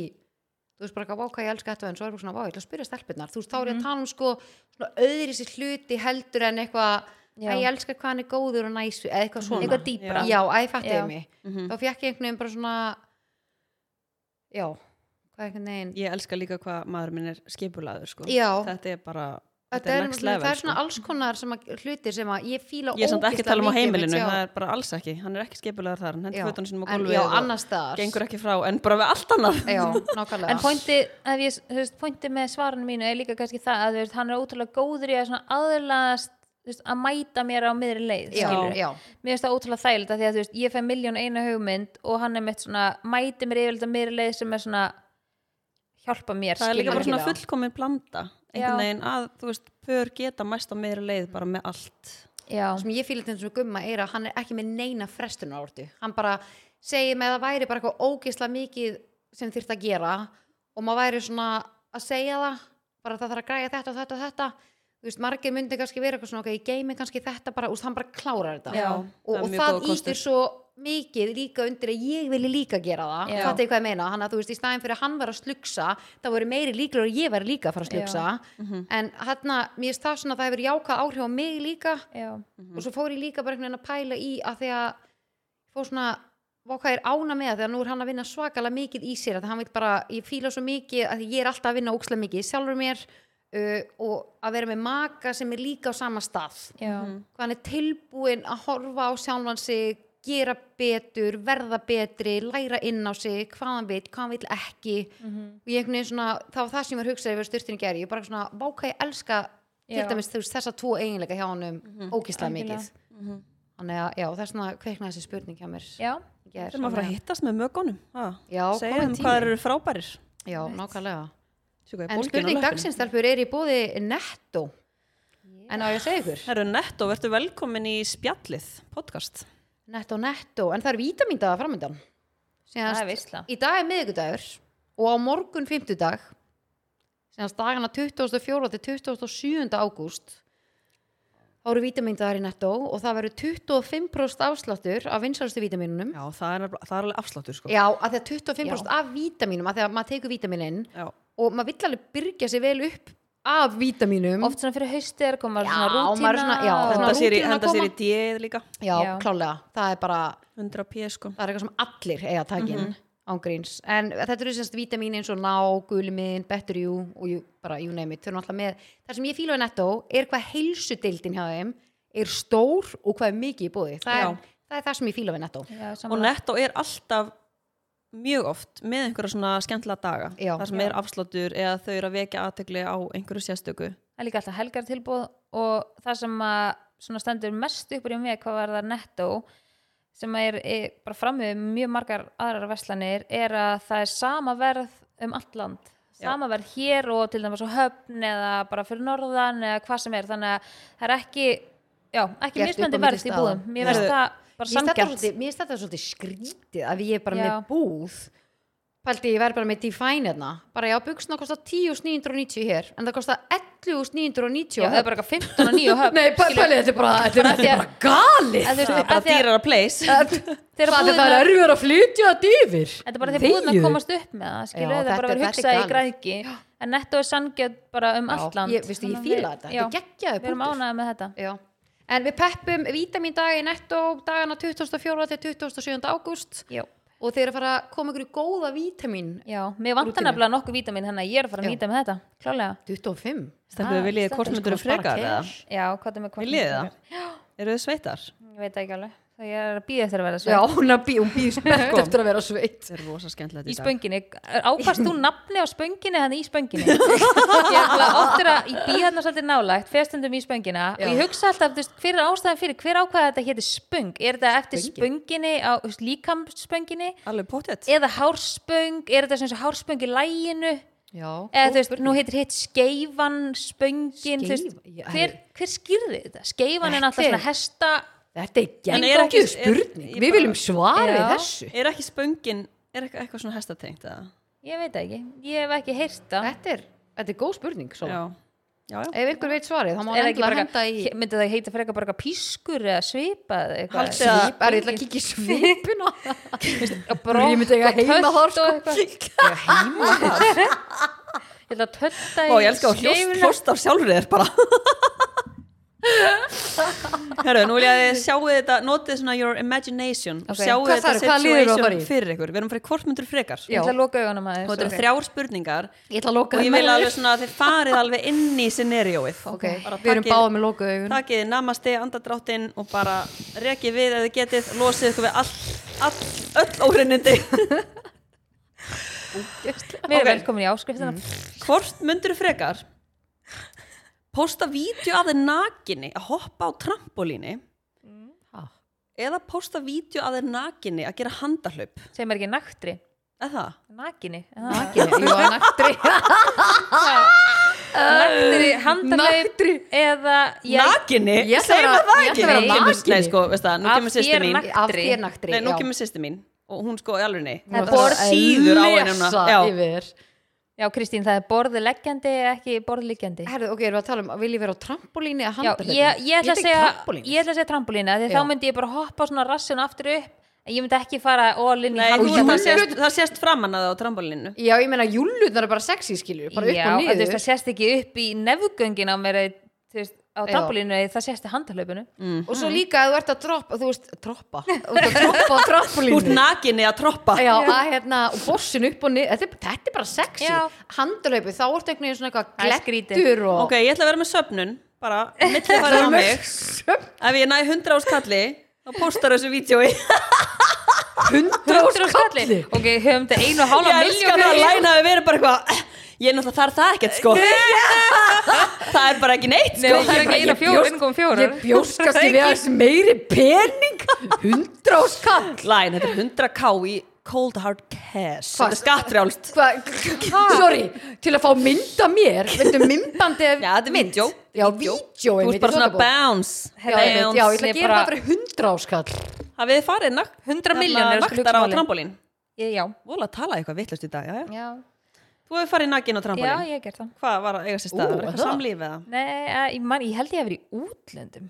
Speaker 2: þú veist bara eitthvað, vá hvað ég elska þetta en svo er bara svona, vá ég ætla að spyrja stelpurnar þú veist, þá er ég
Speaker 3: Mhm.
Speaker 2: að tala um sko svona öðri sér hluti heldur en eitthvað
Speaker 3: Já. Mhm.
Speaker 2: að ég elska hvað hann er góður og næsu eða eitthvað svona
Speaker 3: eitthvað dýpra
Speaker 2: já, að ég fatti
Speaker 3: Já.
Speaker 2: mig
Speaker 1: Mhm.
Speaker 2: þá fekk ég einhvern veginn bara svona já, hvað einhvern veginn
Speaker 1: ég elska líka hvað maður minn er skipulaður sko.
Speaker 2: Já.
Speaker 1: þetta er bara
Speaker 2: þetta er,
Speaker 1: next
Speaker 2: svona,
Speaker 1: level,
Speaker 2: það er
Speaker 1: sko.
Speaker 2: svona alls konar sem að, hlutir sem að ég fíla
Speaker 1: Ég er samt ekki að
Speaker 2: ógeðslega
Speaker 1: tala um á
Speaker 2: mikið,
Speaker 1: heimilinu,
Speaker 2: mitt, já.
Speaker 1: það er bara alls ekki, hann er ekki skipulegar þar, hann hendur
Speaker 2: Já,
Speaker 1: fötunum sínum á
Speaker 2: en-
Speaker 1: gólfið
Speaker 2: já,
Speaker 1: og
Speaker 2: annars staðar
Speaker 1: gengur ekki frá, en bara við allt annað.
Speaker 2: já, nákvæmlega
Speaker 3: En pointi, ef ég, þú veist, pointi með svarinu mínu er líka kannski það að þú veist, hann er ótrúlega góður í að svona aðlaðast þú veist, að mæta mér á miðri leið
Speaker 2: já,
Speaker 3: skilurðu.
Speaker 2: já,
Speaker 3: mér finnst það ótrúlega þægild að því að þú veist, ég fæ miljón eina hugmynd og hann er mitt svona, mæti mér yfirleitt á miðri leið sem er svona hjálpa mér
Speaker 1: Það er líka
Speaker 3: skilurðu.
Speaker 1: bara svona
Speaker 2: algjörlega.
Speaker 1: fullkomin blanda,
Speaker 3: Já.
Speaker 1: einhvern veginn að, þú veist, pör geta mæst á meira leið bara með allt.
Speaker 3: já,
Speaker 2: sem ég fíla til þessum gumma er að hann er ekki með neina frestunar orðu hann bara segir með að það væri bara eitthvað ógeðslega mikið sem þyrft að gera og maður væri svona að segja það bara það þarf að græja þetta og þetta og þetta þú veist, margir myndi kannski vera eitthvað svona ok, ég geymi kannski þetta bara, úst, hann bara klárar þetta
Speaker 3: Já,
Speaker 2: og,
Speaker 1: það er
Speaker 2: og
Speaker 1: mjög
Speaker 2: það
Speaker 1: góður kostur.
Speaker 2: ítir svo mikið líka undir að ég vilji líka gera það
Speaker 3: Já.
Speaker 2: fattu ég hvað ég meina, hann að þú veist í staðin fyrir að hann var að slugsa, það voru meiri líklega að ég var líka að fara að slugsa en hann að, mér finnst það svona að það hefur jákað áhrif á mig líka
Speaker 3: já,
Speaker 2: og svo fór ég líka bara einhvern veginn að pæla í að því að fór svona vá hvað er ána með það þegar nú er hann að vinna svakalega mikið í sér að hann vil bara, ég fíla svo mikið að ég er alltaf að vinna ókslega mikið í sjálfur mér uh, og að vera með maka sem er líka á sama stað
Speaker 3: já,
Speaker 1: Mhm.
Speaker 2: hvað hann er tilbúin að horfa á sjálfan sig gera betur, verða betri læra inn á sig, hvað hann veit hvað hann vil ekki og ég einhvern veginn svona, það var það sem ég var hugsað yfir styrtinu gæri, ég bara svona, váka ég elska til
Speaker 3: Já.
Speaker 2: dæmis þú veist, þessa tvo eiginleika hjá hann um ógislega mikið
Speaker 3: Algjörlega.
Speaker 2: þannig að, já, það er svona kveiknaði þessi spurning hjá mér
Speaker 3: já.
Speaker 2: í gær.
Speaker 1: Þurfum að fara að hittast með mögunum.
Speaker 2: Já,
Speaker 1: Segja
Speaker 2: kominn
Speaker 1: þeim
Speaker 2: tími.
Speaker 1: hvað þeir eru frábærir.
Speaker 2: já, nákvæmlega
Speaker 1: Sjá hvað er
Speaker 2: en
Speaker 1: bólgin á
Speaker 2: spurning
Speaker 1: löppinni.
Speaker 2: dagsinstelpur er í bóði netto en á ég að segja ykkur
Speaker 1: Herru Netto, verður velkomin í spjallið podcast.
Speaker 2: Netto, netto, en það er vítamíndaða framöndan
Speaker 3: Það er veisla.
Speaker 2: Í dag er miðvikudagur og á morgun fimmtudag Sérnast dagana 24. til 27. ágúst þá eru vítamíndaðar í netto og það verður 25% afsláttur af vinsalastu vítamínunum
Speaker 1: Já, það er, nefnilega- það er alveg afsláttur sko.
Speaker 2: Já, að því að 25% af vítamínum að því að maður tekur vítaminin
Speaker 1: Já.
Speaker 2: og maður vill alveg byrja sér vel upp af vítamínum
Speaker 3: oft svona fyrir haustið er að koma
Speaker 2: Mm. Já,
Speaker 3: svona
Speaker 2: maður er
Speaker 3: rútína
Speaker 2: svona- já,
Speaker 3: og-
Speaker 2: svona-
Speaker 1: Henda sér í,
Speaker 2: rútínan að
Speaker 1: henda sér í
Speaker 2: koma.
Speaker 1: D líka.
Speaker 2: Já,
Speaker 3: Já.
Speaker 2: klálega, það er bara
Speaker 1: 100 PS sko.
Speaker 2: það er eitthvað sem allir eiga takin mm án gríns, en þetta eru semst vítamín eins og ná, gulimin, better you og you, bara you name it, þau eru alltaf með það sem ég fíla við netto er hvað heilsudildin hjá þeim er stór og hvað er mikið í bóði, það
Speaker 1: Já.
Speaker 2: er, það er það sem ég fíla við netto
Speaker 3: Já,
Speaker 1: Og
Speaker 3: sammála.
Speaker 1: Netto er alltaf mjög oft með einhverja svona skemmtilega daga.
Speaker 2: Já.
Speaker 1: Það sem er afsláttur eða þau eru að vekja aðtegli á einhverju sérstöku.
Speaker 3: það er líka alltaf helgar tilbúð og það sem að svona stendur mest upp úr hjá mig hvað var það netto sem er, er bara framöðu mjög margar aðrar verslanir er að það er sama verð um allt land sama verð hér og til dæmis á höfn eða bara fyrir norðan eða hvað sem er þannig að það er ekki já, ekki
Speaker 2: Gert upp á
Speaker 3: mismöndi
Speaker 2: milli
Speaker 3: verð í
Speaker 2: staða.
Speaker 3: búðum
Speaker 1: Já.
Speaker 3: mér finnst það bara
Speaker 2: Mér finnst þetta
Speaker 3: samgjart
Speaker 2: svolítið- mér finnst þetta svolítið skrítið að ég er bara
Speaker 3: Já.
Speaker 2: með búð Paldi, ég verð bara með Define hérna bara já, buksna kostar 10.990 hér en það kostar 11.990
Speaker 3: Já, það er bara eitthvað 15 og 9 höfn
Speaker 2: Nei, pæli,
Speaker 3: skilur.
Speaker 2: þetta er bara, þetta er þetta er bara
Speaker 3: En
Speaker 2: galið
Speaker 3: þú veist,
Speaker 1: Það er bara
Speaker 3: af því að-
Speaker 1: dýrar að place.
Speaker 3: þegar
Speaker 2: Hvað þetta
Speaker 3: búðirnar-
Speaker 2: er erfiður að flytja þetta yfir?
Speaker 3: Þetta er bara þegar búðin að komast upp með það, skilur,
Speaker 2: Já,
Speaker 3: þetta er bara
Speaker 2: þetta-
Speaker 3: verið
Speaker 2: þetta er
Speaker 3: hugsað í
Speaker 2: galið.
Speaker 3: græðki en netto er sangjöð bara um allt land
Speaker 2: Ég, veistu, ég
Speaker 3: Þannig að
Speaker 2: fíla
Speaker 3: við-
Speaker 2: þetta,
Speaker 3: já,
Speaker 2: þetta er geggjaði
Speaker 3: Við erum
Speaker 2: punktur.
Speaker 3: ánægð með þetta
Speaker 2: Já. En við peppum vítamin dagi netto dagana 24. til 27. ágúst
Speaker 3: Já,
Speaker 2: og þeir eru að fara að koma ykkur í góða vítamin
Speaker 3: já mér vantar
Speaker 2: Rútínu.
Speaker 3: nefnilega nokkuð vítamin þannig að ég er að fara að
Speaker 2: Já.
Speaker 3: nýta með þetta, klálega
Speaker 2: 25
Speaker 1: Stelpur,
Speaker 3: Ah,
Speaker 1: viljið
Speaker 3: stendur
Speaker 1: hvort myndur
Speaker 2: sko bara
Speaker 1: frekar
Speaker 2: til.
Speaker 1: eða?
Speaker 3: Já, hvað er með hvað
Speaker 1: Viljið þið það? Eru þið sveitar?
Speaker 3: Ég veit það ekki alveg, það ég er að býða eftir að vera
Speaker 2: Já,
Speaker 3: sveit
Speaker 2: hún er bí- hún býr spett
Speaker 1: Sko.
Speaker 2: eftir að vera sveitt
Speaker 1: Það er rosa skemmtilegt
Speaker 3: Í
Speaker 1: í dag.
Speaker 3: spönginni, ákvast þú nafni á spönginni þannig í spönginni Ég er alveg oftur að, ég býð hérna svolítið nálægt festundum í spöngina og
Speaker 2: Já.
Speaker 3: ég hugsa alltaf, þú veist, hver er ástæðan fyrir hver ákvæða þetta héti spöng, er þetta eftir spönginni á líkamspönginni
Speaker 1: Alveg pottet.
Speaker 3: eða hárspöng, er þetta sem svo hárspöng í læginu
Speaker 2: Já,
Speaker 3: eða þú veist, nú heitir hitt skeifan spöngin, þú veist,
Speaker 2: Skeif- já,
Speaker 3: hver, hver skýrði þetta? Skeifan er náttúrulega svona hesta
Speaker 1: En er
Speaker 2: þetta er
Speaker 1: ekki-
Speaker 2: gengókið
Speaker 1: er-
Speaker 2: spurning
Speaker 1: ég
Speaker 2: Við
Speaker 1: bara-
Speaker 2: viljum svara við
Speaker 3: Já.
Speaker 2: þessu
Speaker 1: Er ekki spöngin, er eitthvað, eitthvað svona hestatengt eða?
Speaker 3: ég veit það ekki, ég hef ekki heyrt það
Speaker 2: Þetta er, þetta er góð spurning svo.
Speaker 1: Já. Já, já.
Speaker 2: Ef ykkur veit svarið, þá
Speaker 3: Er það
Speaker 2: má
Speaker 3: ekki
Speaker 2: endilega
Speaker 3: bara
Speaker 2: henda í
Speaker 3: eitthvað- myndi það heita frekar bara eitthvað pískur eða svipa eða eitthvað
Speaker 1: Haldið að-
Speaker 2: Svip, er ég ætla að kíkja í svipin á það
Speaker 3: að brokk
Speaker 2: Ég myndi eiga
Speaker 3: og tölt
Speaker 2: heimahár, sko.
Speaker 3: og eitthvað. ég ætla að tölta
Speaker 1: Ó, ég elska að hljóst, hljóst af sjálfur þér bara Herru, nú vil ég að sjáu þetta notið svona your imagination og
Speaker 3: Ok.
Speaker 1: sjáu
Speaker 2: Hvað
Speaker 1: þetta
Speaker 2: þarf- hvað líður þú að fara í?
Speaker 1: situation fyrir ykkur Við erum fyrir hvort myndur frekar
Speaker 3: ég ætla að loka augunum
Speaker 1: og
Speaker 3: aðeins
Speaker 1: þetta eru
Speaker 3: ok.
Speaker 1: þrjár spurningar
Speaker 2: Ég ætla
Speaker 1: og
Speaker 2: að loka
Speaker 1: ég
Speaker 2: þeim
Speaker 1: vil
Speaker 2: með.
Speaker 1: alveg svona að þið farið alveg inn í scenarióið
Speaker 2: Ok,
Speaker 1: Bara
Speaker 2: við erum
Speaker 1: takið-
Speaker 2: báða með lokuð augun
Speaker 1: Takið namaste, andadráttinn og bara rekið við ef þið getið, losið ykkur við all, all, öll óhreinindi
Speaker 3: mér er
Speaker 1: Ok.
Speaker 3: velkomin í áskriftina
Speaker 1: Hvort myndur frekar Pósta vídeo af þeir nakinni að hoppa á trampolíni
Speaker 2: Ha.
Speaker 1: eða pósta vídeo að þeir nakinni að gera handahlaup
Speaker 3: sem er ekki naktri,
Speaker 1: eða það?
Speaker 3: nakinni
Speaker 2: Nakinni, jú, að naktri
Speaker 3: Ah. naktri, handalaup eða ég,
Speaker 1: Nakinni?
Speaker 2: Ég ætla
Speaker 1: Segir
Speaker 2: að
Speaker 1: maður
Speaker 2: vera-
Speaker 1: það
Speaker 2: ég
Speaker 1: ekki?
Speaker 2: ætla að vera
Speaker 1: Nei, kemur-
Speaker 2: nakinni.
Speaker 1: Nei, sko, veist það, nú
Speaker 3: Af
Speaker 1: kemur sýsti
Speaker 3: þér
Speaker 1: mín
Speaker 3: nakinni.
Speaker 2: Af því er naktri
Speaker 1: Nei, nú
Speaker 2: já.
Speaker 1: kemur sýsti mín og hún sko í alveg
Speaker 3: Þetta
Speaker 1: og það
Speaker 3: var
Speaker 1: síður á henni núna.
Speaker 2: Lesa
Speaker 1: Já.
Speaker 2: yfir
Speaker 3: já Kristín það er borðleggjandi ekki borðliggjandi
Speaker 2: Herðu, ok, erum við að tala um Vil ég vera á trampolíni
Speaker 3: Já,
Speaker 2: að handla
Speaker 3: ég, ég ætla að segja
Speaker 2: trampolín
Speaker 3: ég ætla að segja trampolína því
Speaker 2: Já.
Speaker 3: þá myndi ég bara hoppa svona rassin aftur upp En Ég myndi ekki fara all in í
Speaker 1: Nei,
Speaker 2: Og
Speaker 1: þú, það,
Speaker 2: Júlíu-
Speaker 1: sést, það sést framan að það á trambolinu
Speaker 2: Já, ég meina, júlutnar er bara sexy, skilur, bara upp
Speaker 3: Já,
Speaker 2: og
Speaker 3: þú veist,
Speaker 2: niður.
Speaker 3: það sést ekki upp í nefgöngin á mér eh, þú veist, á
Speaker 2: Já.
Speaker 3: trampolínu, það sést í handalaupinu
Speaker 1: mm.
Speaker 2: Og
Speaker 3: Mhm.
Speaker 2: svo líka að þú ert að droppa, þú veist, droppa, þú ert að droppa á
Speaker 1: Úr
Speaker 2: trampolínu.
Speaker 1: nakinni að troppa
Speaker 2: Já, að hérna, og bossin upp og niður, þetta, er- þetta er bara sexy.
Speaker 3: Já.
Speaker 2: Handalaupi, þá ertu einhvern veginn svona
Speaker 3: Það er
Speaker 2: eitthvað
Speaker 3: skrítið.
Speaker 2: glettur og...
Speaker 1: Ok, ég ætla að vera með söfnun bara, milli
Speaker 2: Það
Speaker 1: fara á
Speaker 2: er með
Speaker 1: mig Ef ég næ 100 ás kalli þá postar þessu vídjói
Speaker 2: hundra úr skalli.
Speaker 3: ok, höfum þetta einu og hálfa
Speaker 1: Ég elska
Speaker 3: miljón
Speaker 1: það að læna við verið bara eitthvað "Eh, Ég er náttúrulega þarf það ekkert sko Það er bara ekki neitt
Speaker 3: Nei,
Speaker 1: sko
Speaker 3: það er ekki einu og fjóra, einu komum fjóra
Speaker 2: Ég bjóskast í við aðeins meiri pening, hundra úr skall.
Speaker 1: Læn, þetta er 100k í cold hard cash
Speaker 2: Hvað?
Speaker 1: Þetta er skattfrjálst
Speaker 2: Hva? Sorry, til að fá mynda mér Veitum myndbandi eða
Speaker 1: Já, þetta er
Speaker 2: mynd?
Speaker 1: vídjó.
Speaker 2: Já,
Speaker 1: Vídjó.
Speaker 2: vídjó
Speaker 1: Þú
Speaker 2: einmitt,
Speaker 1: ert bara svona
Speaker 2: í þotabók.
Speaker 1: bounce
Speaker 2: Já, einmitt, já, ég ætla
Speaker 3: Ég
Speaker 2: að gera
Speaker 3: bara-
Speaker 2: það fyrir hundra áskall
Speaker 1: Hafið þið farið nakk
Speaker 3: 100 milljónir, sko,
Speaker 1: Vaktar á
Speaker 3: hugsa málin.
Speaker 1: trampolín
Speaker 3: Ég- já,
Speaker 1: Vola að tala eitthvað vittlust í dag, já, já
Speaker 3: já,
Speaker 1: Þú hefur farið nakkin á
Speaker 3: já,
Speaker 1: trampolín
Speaker 3: ég hef gert það
Speaker 1: Hvað var að eiga sér
Speaker 2: Ú,
Speaker 1: stað? Var
Speaker 2: er
Speaker 1: eitthvað
Speaker 2: það?
Speaker 1: samlíf eða?
Speaker 3: Nei, eh, ég, man, ég held ég hef verið í útlöndum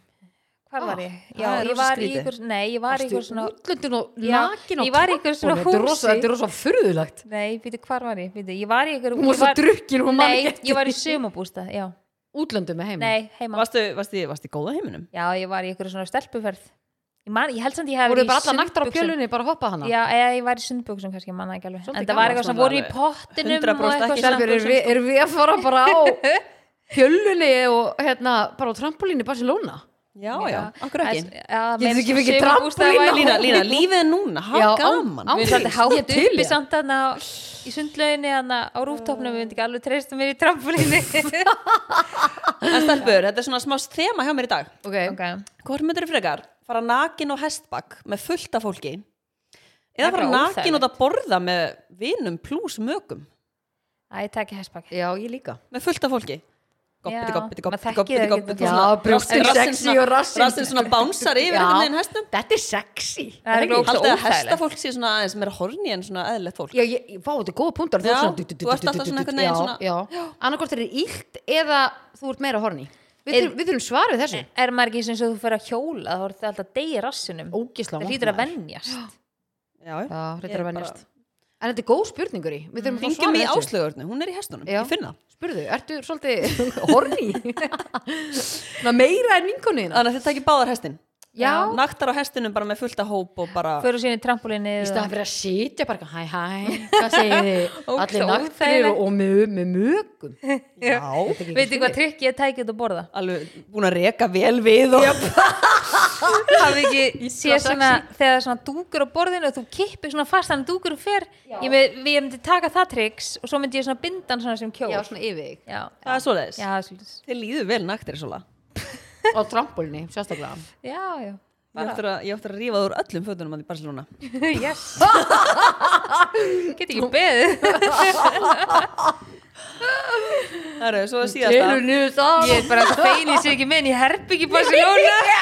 Speaker 3: Hvar
Speaker 2: Ah,
Speaker 3: var ég?
Speaker 1: það
Speaker 3: Já,
Speaker 1: er
Speaker 3: ég
Speaker 1: rosa
Speaker 3: var í
Speaker 1: skrítið.
Speaker 3: ykkur Nei, ég var í ykkur svona
Speaker 2: Útlöndun og
Speaker 3: Já,
Speaker 2: nakin
Speaker 3: ég var í einhverju svona
Speaker 2: Þetta er rosa-
Speaker 3: húsi.
Speaker 2: þetta er rosa furðulegt
Speaker 3: Nei, býtu, hvar var ég? Býtu, ég var í ykkur
Speaker 2: Hún var
Speaker 3: ég
Speaker 2: svo drukkin, hún man
Speaker 3: Nei,
Speaker 2: ekki
Speaker 3: ég var í sumabústað, já
Speaker 2: Útlöndum með heima
Speaker 3: Nei, heima
Speaker 1: Varstu, varstu, varstu í góða heiminum?
Speaker 3: Já, ég var í ykkur svona stelpuferð Ég, man, ég held samt ég hef
Speaker 2: Voruð
Speaker 3: verið
Speaker 2: þið bara alla naktar á
Speaker 3: sundbuxum.
Speaker 2: pjölunni, bara hoppað hana
Speaker 3: Já, eða ég var í sundbuksum kannski, ég manna ekki alveg
Speaker 2: Svolítið
Speaker 3: En það var
Speaker 2: gaman,
Speaker 3: eitthvað sem
Speaker 1: svona
Speaker 3: voru í
Speaker 1: alveg
Speaker 3: pottinum
Speaker 1: 100%
Speaker 3: og
Speaker 1: ekki.
Speaker 3: eitthvað svona-
Speaker 2: Stelpur, erum við- erum við að fara bara á pjölunni og hérna, bara á trampolínu í Barcelona
Speaker 1: Já, já, okkur ekki
Speaker 3: Það- Já,
Speaker 2: Getur
Speaker 3: meira
Speaker 2: ekki fengið
Speaker 3: sumarbústað
Speaker 2: trampólín
Speaker 3: var-
Speaker 2: á-
Speaker 1: Lína, Lína, lífið er núna,
Speaker 2: Já,
Speaker 1: hafa gaman
Speaker 2: á- á-
Speaker 3: Við
Speaker 2: Ángríns,
Speaker 3: erum
Speaker 2: ég
Speaker 3: svolítið
Speaker 2: til
Speaker 3: hátt uppi
Speaker 2: ég.
Speaker 3: samt þarna á- í sundlauginni þarna á rúftopnum, við myndum ekki alveg treysta mér í trampolínu
Speaker 1: En stelpur, þetta er svona smá þema hjá mér í dag
Speaker 2: Ok,
Speaker 1: Hvort myndir þú frekar? Fara nakin og hestbak með fullta fólki Eða fara
Speaker 3: er bara
Speaker 1: nakin
Speaker 3: óþægilegt.
Speaker 1: og það borða með vinum plús mögum
Speaker 3: Æ, ég takk í hestbakki
Speaker 2: já, ég líka
Speaker 1: Með fullta fólki Goppiti,
Speaker 3: Já,
Speaker 1: goppiti,
Speaker 3: maður
Speaker 1: goppiti,
Speaker 3: þekkir
Speaker 1: goppiti,
Speaker 3: það
Speaker 1: goppiti
Speaker 3: ekki.
Speaker 1: og svona-
Speaker 2: Já, brjóstin
Speaker 1: rassinn
Speaker 2: sexy
Speaker 1: svona-
Speaker 2: og rassinn-
Speaker 1: Rassinn svona bánsar yfir hérna
Speaker 2: Já.
Speaker 1: einhvern veginn hestum
Speaker 2: Þetta er sexy
Speaker 3: Það er ekki
Speaker 1: Haldið að
Speaker 3: óþægilegt.
Speaker 1: hestafólk sé svona aðeins meira horni en svona eðlilegt fólk
Speaker 2: Já, ég, ég- vá, þetta er góða punktar
Speaker 1: Já, þú ert alltaf svona einhvern veginn svona-
Speaker 2: Já, já, annarkort er ílt eða þú ert meira horni Við,
Speaker 3: Er-
Speaker 2: þurfum, við þurfum svar við þessu
Speaker 3: Er maður ekki eins og þú fyrir að hjóla þá er það alltaf degi rassinum
Speaker 2: Ógisla
Speaker 3: Það hlýtur að venjast
Speaker 1: Já,
Speaker 2: Já,
Speaker 1: Ég
Speaker 2: hlýtur
Speaker 1: bara-
Speaker 2: að venjast En þetta er góð spurningur í Við þurfum að fá
Speaker 1: Ringjum
Speaker 2: svar
Speaker 1: í
Speaker 2: við þessu
Speaker 1: áslögurnu, hún er í hestunum,
Speaker 2: Já.
Speaker 1: ég finn það
Speaker 2: Spurðu, ertu svolítið horni? Ná, meira en vinkonuðina
Speaker 1: Þannig að þið takir báðar hestin
Speaker 2: Já,
Speaker 1: Naktar á hestinum bara með fullta hóp og bara
Speaker 3: Fyrir síðan í trampolínu
Speaker 2: í staðan fyrir að sitja bara eitthvað, Hæ, hæ, hvað segir þið? Allir
Speaker 3: Ógeðslega
Speaker 2: naktir
Speaker 3: óþægilegt.
Speaker 2: og, og með, með mögum
Speaker 1: Já
Speaker 2: Þetta er ekki
Speaker 3: Veitu hvað trikk ég að tækja þetta að borða?
Speaker 1: alveg búin að reka vel við og
Speaker 3: Hafið ekki séð
Speaker 2: sexy.
Speaker 3: svona þegar svona dúkur á borðinu og þú kippir svona fast þannig að dúkur fer ég, með, ég myndi taka það triks og svo myndi ég svona binda hann svona sem kjól
Speaker 2: Já, svona yfir þig
Speaker 3: Já,
Speaker 1: það er svoleiðis.
Speaker 3: já, svolítið.
Speaker 1: Þið líður vel naktir svona.
Speaker 2: Á trampolni, sérstaklega
Speaker 3: já, já.
Speaker 1: Ég ætti að, ég ætti að rífa það úr öllum fötunum að því Barcelona.
Speaker 3: Yes Get ekki beðið
Speaker 1: Það eru, svo að síðast
Speaker 2: Telur niður það
Speaker 3: Ég er bara að feini sig ekki með en ég herp ekki Barcelona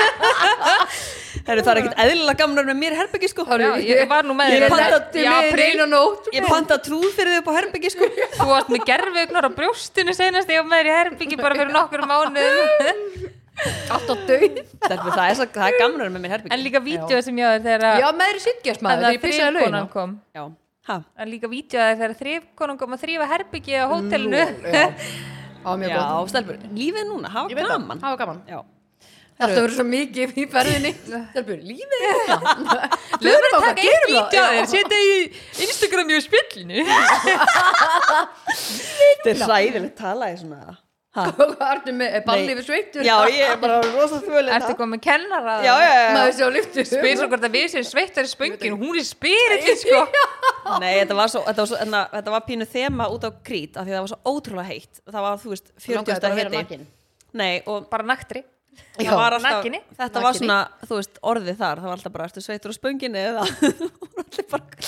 Speaker 1: Herru, það er ekkert eðlilega gamnar með mér í herbyggi sko.
Speaker 3: Já, ég var nú með
Speaker 1: Ég
Speaker 3: þér.
Speaker 1: pantaði
Speaker 2: Þetta
Speaker 3: Já,
Speaker 2: er með
Speaker 3: apríl.
Speaker 2: einu nótt
Speaker 1: Ég panta trúð fyrir þau upp á herbyggi sko.
Speaker 3: Þú varst með gerfugnar á brjóstinu senast ég var með þér í herbyggi bara fyrir nokkur mánuðum
Speaker 2: Allt á döið
Speaker 1: Stelpur, það er, svo- það er gamnar með mér í
Speaker 3: En
Speaker 1: herbyggi.
Speaker 3: líka vídeo sem ég á þér þegar að-
Speaker 2: Já, maður er sittgjast maður,
Speaker 3: að
Speaker 2: þegar ég pissaði laugina
Speaker 3: þrifkonan kom
Speaker 1: Já, ha,
Speaker 3: En líka vídeo að þegar þrifkonan kom að þrifa herbyggi á hótelinu
Speaker 2: Á mjög
Speaker 1: já,
Speaker 2: gott
Speaker 1: stelpur, lífið núna, hafa
Speaker 2: Ég veit það,
Speaker 1: gaman.
Speaker 2: Það var gaman
Speaker 1: Já.
Speaker 2: Þetta verður svo mikið í ferðinni Stelpur, lífið er þetta
Speaker 3: Löfum
Speaker 2: bara,
Speaker 3: taka eitt
Speaker 2: gerum það.
Speaker 3: vídeo að
Speaker 2: Já.
Speaker 3: þér Setja í Instagram í spillinu
Speaker 1: Þetta er ræðilegt tala í svona. Ha.
Speaker 2: Hvað ertu með er balli
Speaker 1: Nei.
Speaker 2: við sveittur?
Speaker 1: Já, ég er bara rosa þvölið
Speaker 3: Ertu komið kennara
Speaker 1: Já, já, já.
Speaker 2: Maður sé á lyftu
Speaker 3: spyr svo hvort að við sem sveittar í spöngin og hún er spyrillin sko
Speaker 1: Nei, þetta var, svo, þetta, var svo, enna, þetta var pínu þema út á krít af því það var svo ótrúlega heitt það var, þú veist, 40
Speaker 2: Langaði bara að vera
Speaker 1: hiti
Speaker 2: nakin.
Speaker 1: Nei, og
Speaker 3: bara naktri
Speaker 1: það
Speaker 2: Já,
Speaker 1: var alltaf,
Speaker 3: nakinni,
Speaker 1: þetta var
Speaker 2: nakinni.
Speaker 1: svona, þú veist, orðið þar það var alltaf bara, ertu sveittur á spönginni eða voru allir bara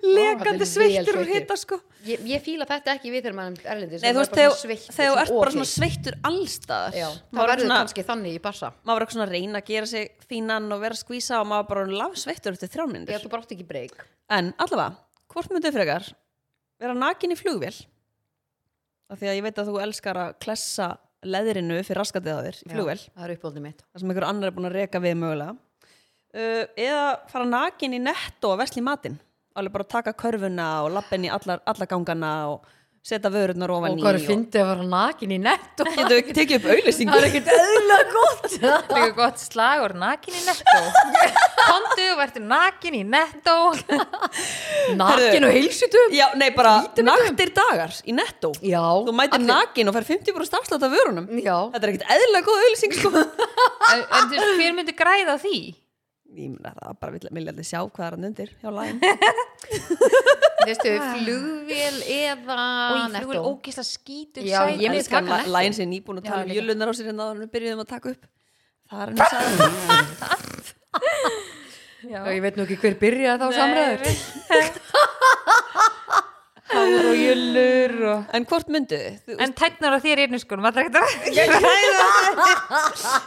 Speaker 1: lekandi
Speaker 2: allir vel
Speaker 1: sveittur úr
Speaker 2: sveittir.
Speaker 1: hita, sko
Speaker 2: Ég, ég fíla þetta ekki við þegar maður er erlendis
Speaker 1: Nei, þú veist, þegar þegar þú ert bara svona sveittur allstaðar
Speaker 2: Já,
Speaker 1: maður
Speaker 2: það
Speaker 1: var
Speaker 2: verður
Speaker 1: svona,
Speaker 2: kannski þannig í bassa
Speaker 1: maður var eitthvað svona að reyna að gera sig fínan og vera að skvísa og maður bara laf sveittur eftir
Speaker 2: Já,
Speaker 1: þrjármyndir
Speaker 2: þú bara átt ekki breyk
Speaker 1: En allavega, hvort myndið frekar vera nakin í flugvél af því að ég veit að þú elskar að klessa leðrinu fyrir raskatið á þér í flugvél
Speaker 2: Það er uppáldið mitt
Speaker 1: þar sem einhver annar er búin að reka við mögulega uh, eða fara nakin í netto og vesli matinn alveg bara taka körfuna og lappin í allar, allar gangana og setja vörurnar ofan
Speaker 2: og
Speaker 1: í
Speaker 2: hvað er fyndið að vera nakin í nett og
Speaker 1: getur við tekið upp auðlýsingu
Speaker 2: það er ekkert eðla gott
Speaker 3: Líka gott slagur, nakin í netto Kondu, verður nakin í netto
Speaker 2: nakin og heilsutum
Speaker 1: já, nei bara naktir dagar í netto
Speaker 2: um. já,
Speaker 1: þú mætir nakin og fær 50% afslátt af vörunum
Speaker 2: já,
Speaker 1: þetta er ekkert eðlilega góð auðlýsing sko.
Speaker 3: En, en þú veist, hver myndi græða á því?
Speaker 1: ég meina það bara vill, vilja allir sjá hvað er hann undir hjá læn
Speaker 2: veistu, flugvél eða
Speaker 3: Og ég flugur
Speaker 2: Ah, nettó
Speaker 3: ógisla skítur
Speaker 2: Já, ég myndi
Speaker 1: Elskan,
Speaker 2: taka Netto.
Speaker 1: Lions er nýbúin að tala um
Speaker 3: Já, líka.
Speaker 1: jölunar á sér en áður en við byrjuðum að taka upp það er hann að sagða
Speaker 3: Já,
Speaker 2: ég veit nú ekki hver byrjaði þá samræður
Speaker 3: Hár og jöllur og...
Speaker 1: en hvort myndu þið?
Speaker 3: En tætnar á þér einu skunum, allra ekkert að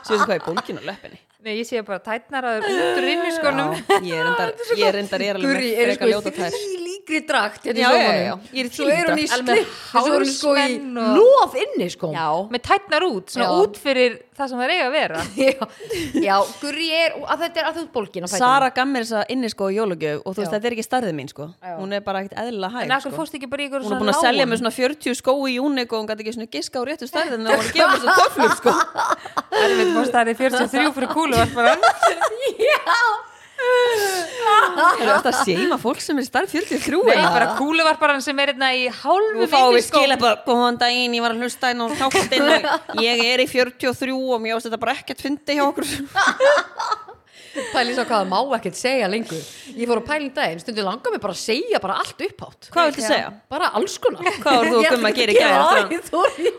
Speaker 1: Sjóðu hvað er bólkin á löppinni?
Speaker 3: Nei, ég sé bara tætnar á þér undur innu skunum
Speaker 1: Já, ég er endar, ég er endar, ég er alveg
Speaker 2: Guri
Speaker 1: með
Speaker 2: er
Speaker 1: frekar
Speaker 2: sko í
Speaker 1: ljóta tær.
Speaker 2: þvílíkri drakt hérna í
Speaker 1: Já, já,
Speaker 2: sófanum.
Speaker 1: já, já. Ég er í
Speaker 2: Svo er hún í
Speaker 1: þvílíkt
Speaker 3: drakt.
Speaker 2: slip Svo er hún sko í
Speaker 3: Hálsmenn og-
Speaker 2: lof inni sko
Speaker 1: Já,
Speaker 3: Með tætnar út, svona
Speaker 2: Já.
Speaker 3: út fyrir það sem það eiga að vera
Speaker 2: já, já, Guri er og að þetta er að þú bólkin á fætinum.
Speaker 1: Sara gaf mér þessa inni sko í jólugjöf og þú veist
Speaker 2: Já.
Speaker 1: þetta er ekki starðið mín sko.
Speaker 2: Já.
Speaker 1: Hún er bara ekkert eðlilega
Speaker 3: En
Speaker 1: hæg
Speaker 3: akkur
Speaker 1: sko.
Speaker 3: fórst ekki bara í ykkur
Speaker 1: Hún er búin að selja mér svona 40 skó í júnik og hún gæti ekki svona giska á réttu starðið en hún var að gefa mér þessa töflur sko.
Speaker 3: Það er fórst það er 43 fyrir kúluvarparan
Speaker 1: Það er alltaf að séma fólk sem er í starð 43
Speaker 3: Nei,
Speaker 1: eða?
Speaker 3: bara kúluvarparan sem er hérna í hálfu
Speaker 1: Nú fáum
Speaker 2: sko-
Speaker 1: við skila bara, góðan daginn, ég var að hlusta inn á þáttinn og ég er í 43 og mér ást þetta bara ekkert fyndi hjá okkur.
Speaker 2: Pæli svo hvað það má ekkert segja lengur Ég fór að pæli í daginn, stundum langar mig bara að segja bara allt upphátt
Speaker 1: Hvað viltu segja?
Speaker 2: Bara alls konar
Speaker 1: Hvað voru þú og Gummi að gera í gær eftir hann?
Speaker 2: gæra?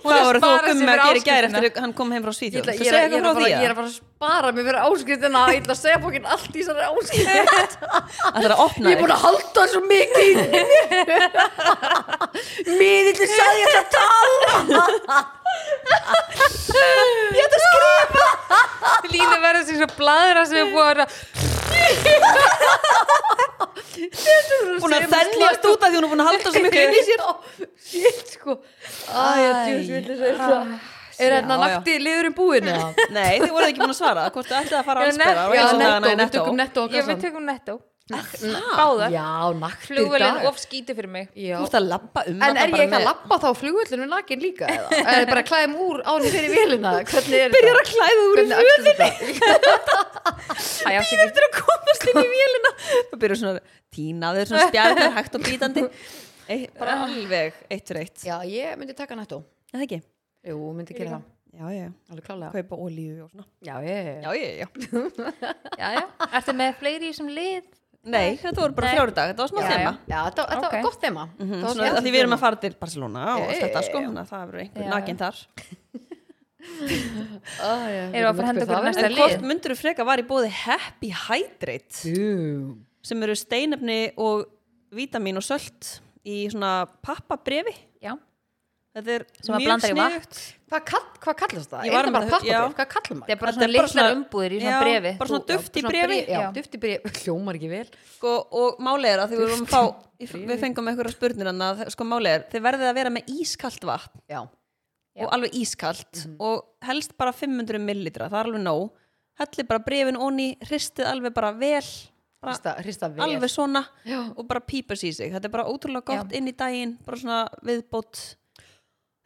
Speaker 1: Hvað voru þú og
Speaker 3: spara sig
Speaker 1: Gummi að
Speaker 3: fyrir
Speaker 1: gera í gær
Speaker 3: áskriftina.
Speaker 1: eftir að hann kom heim frá
Speaker 2: Ég
Speaker 1: Svíþjóð? Þú
Speaker 2: ætla- ég er-
Speaker 1: segja
Speaker 2: ég
Speaker 1: eitthvað frá
Speaker 2: er bara-
Speaker 1: því
Speaker 2: ég er
Speaker 1: að
Speaker 2: bara að spara mig fyrir áskriftina Ég ætla að segja bókin allt í þessari áskrift
Speaker 1: það er að
Speaker 2: Ég
Speaker 1: opna
Speaker 2: er búin
Speaker 1: þig.
Speaker 2: að halda svo mikið í mér. Miðillin sagði ég ætla að tala
Speaker 3: Línu verður sem svo bladra sem er búin að vera
Speaker 1: Búin að þennjast út af því hún er búin að halda svo miklu inn í sér.
Speaker 2: Shit sko Æja, djúsvillis er það Er þetta
Speaker 1: Já, já.
Speaker 2: nakti liður um búinu? Já,
Speaker 1: Nei, þið voruð ekki búin að svara. Hvort þið ætlaði að fara
Speaker 3: Já,
Speaker 1: að anspera?
Speaker 3: net-
Speaker 1: og eins og
Speaker 2: nettó,
Speaker 1: dagana í
Speaker 2: við tökum nettó
Speaker 3: Ég við tökum netto Báðar
Speaker 2: Já, nakti
Speaker 3: Flugvölinn of skíti fyrir mig
Speaker 2: Já.
Speaker 1: Þú ert að labba um
Speaker 2: En
Speaker 1: þarna
Speaker 2: er ég
Speaker 1: bara
Speaker 2: ekki að
Speaker 1: með-
Speaker 2: lappa þá flugvöllinu nakin líka eða? Eða bara klæðum úr ánum fyrir vélina? Hvernig er
Speaker 1: Byrjar að klæða úr í
Speaker 2: Hvernig
Speaker 1: fötin.
Speaker 2: axlast þetta?
Speaker 3: Æ, afsakið.
Speaker 1: Þú ert að komast inn í vélina. Þú byrjar svona að tína þau svona spjarnar hægt og bítandi. Ei, Bara alveg eitt fyrir eitt.
Speaker 2: Já, ég myndi taka nettó.
Speaker 1: Er það ekki?
Speaker 2: Jú, myndi gera það.
Speaker 1: Já, já.
Speaker 2: Alveg klálega.
Speaker 1: Kaupa olíu og svona.
Speaker 2: Já, ég,
Speaker 1: Já, já, já.
Speaker 3: Já, já Ertu með fleiri í sem lið?
Speaker 1: Nei, þetta voru bara
Speaker 3: Nei.
Speaker 1: fjóri dag. Þetta var smá
Speaker 3: Já,
Speaker 1: þema.
Speaker 2: Já, þetta þetta
Speaker 3: Ok.
Speaker 2: var gott þema.
Speaker 1: Mhm, Svona, að því við erum að fara til Barcelona og allt
Speaker 2: Já,
Speaker 1: þetta
Speaker 2: já,
Speaker 1: sko,
Speaker 2: já.
Speaker 1: þannig að það verður einhver
Speaker 3: Já,
Speaker 1: nakin þar
Speaker 2: Erum
Speaker 3: Erum við að fara að henda okkur í
Speaker 1: En
Speaker 3: næsta lið?
Speaker 1: hvort myndur þú freka var í bóði Happy Hydrate
Speaker 2: Jú.
Speaker 1: sem eru steinefni og vítamin og sölt í svona pappabrefi
Speaker 3: Já
Speaker 1: Þetta er
Speaker 3: Sem
Speaker 1: mjög
Speaker 3: að blanda í vatn.
Speaker 1: sniðugt
Speaker 2: Hvað, kall, hvað kallast það?
Speaker 1: Ég
Speaker 2: Er
Speaker 1: var
Speaker 2: það
Speaker 1: með
Speaker 2: bara
Speaker 1: það- já.
Speaker 2: pappabréf? Hvað kallar
Speaker 3: Það
Speaker 2: maður?
Speaker 3: er bara
Speaker 1: Þetta er
Speaker 3: svona
Speaker 1: bara
Speaker 3: litlar
Speaker 1: svona-
Speaker 3: umbúðir í
Speaker 1: Já,
Speaker 3: svona brefi
Speaker 1: bara svona
Speaker 2: Ú, já,
Speaker 1: duft í
Speaker 2: svona
Speaker 1: bréfi.
Speaker 2: bréf- Já, duft í brefi. Hljómar ekki vel.
Speaker 1: sko, og málið er að því við, vorum að fá, við fengum einhverja spurnir hann að sko, málið er, þið verðið að vera með ískalt vatn
Speaker 2: Já.
Speaker 3: Já.
Speaker 1: og alveg ískalt og helst bara 500 millilitra, það er alveg nóg hellið bara brefin onni, hristið alveg bara vel bara
Speaker 2: Hrista, hrista vel.
Speaker 1: alveg svona
Speaker 2: Já.
Speaker 1: og bara pípar sér í sig þetta er bara ótrúlega gott inn í daginn bara svona viðbót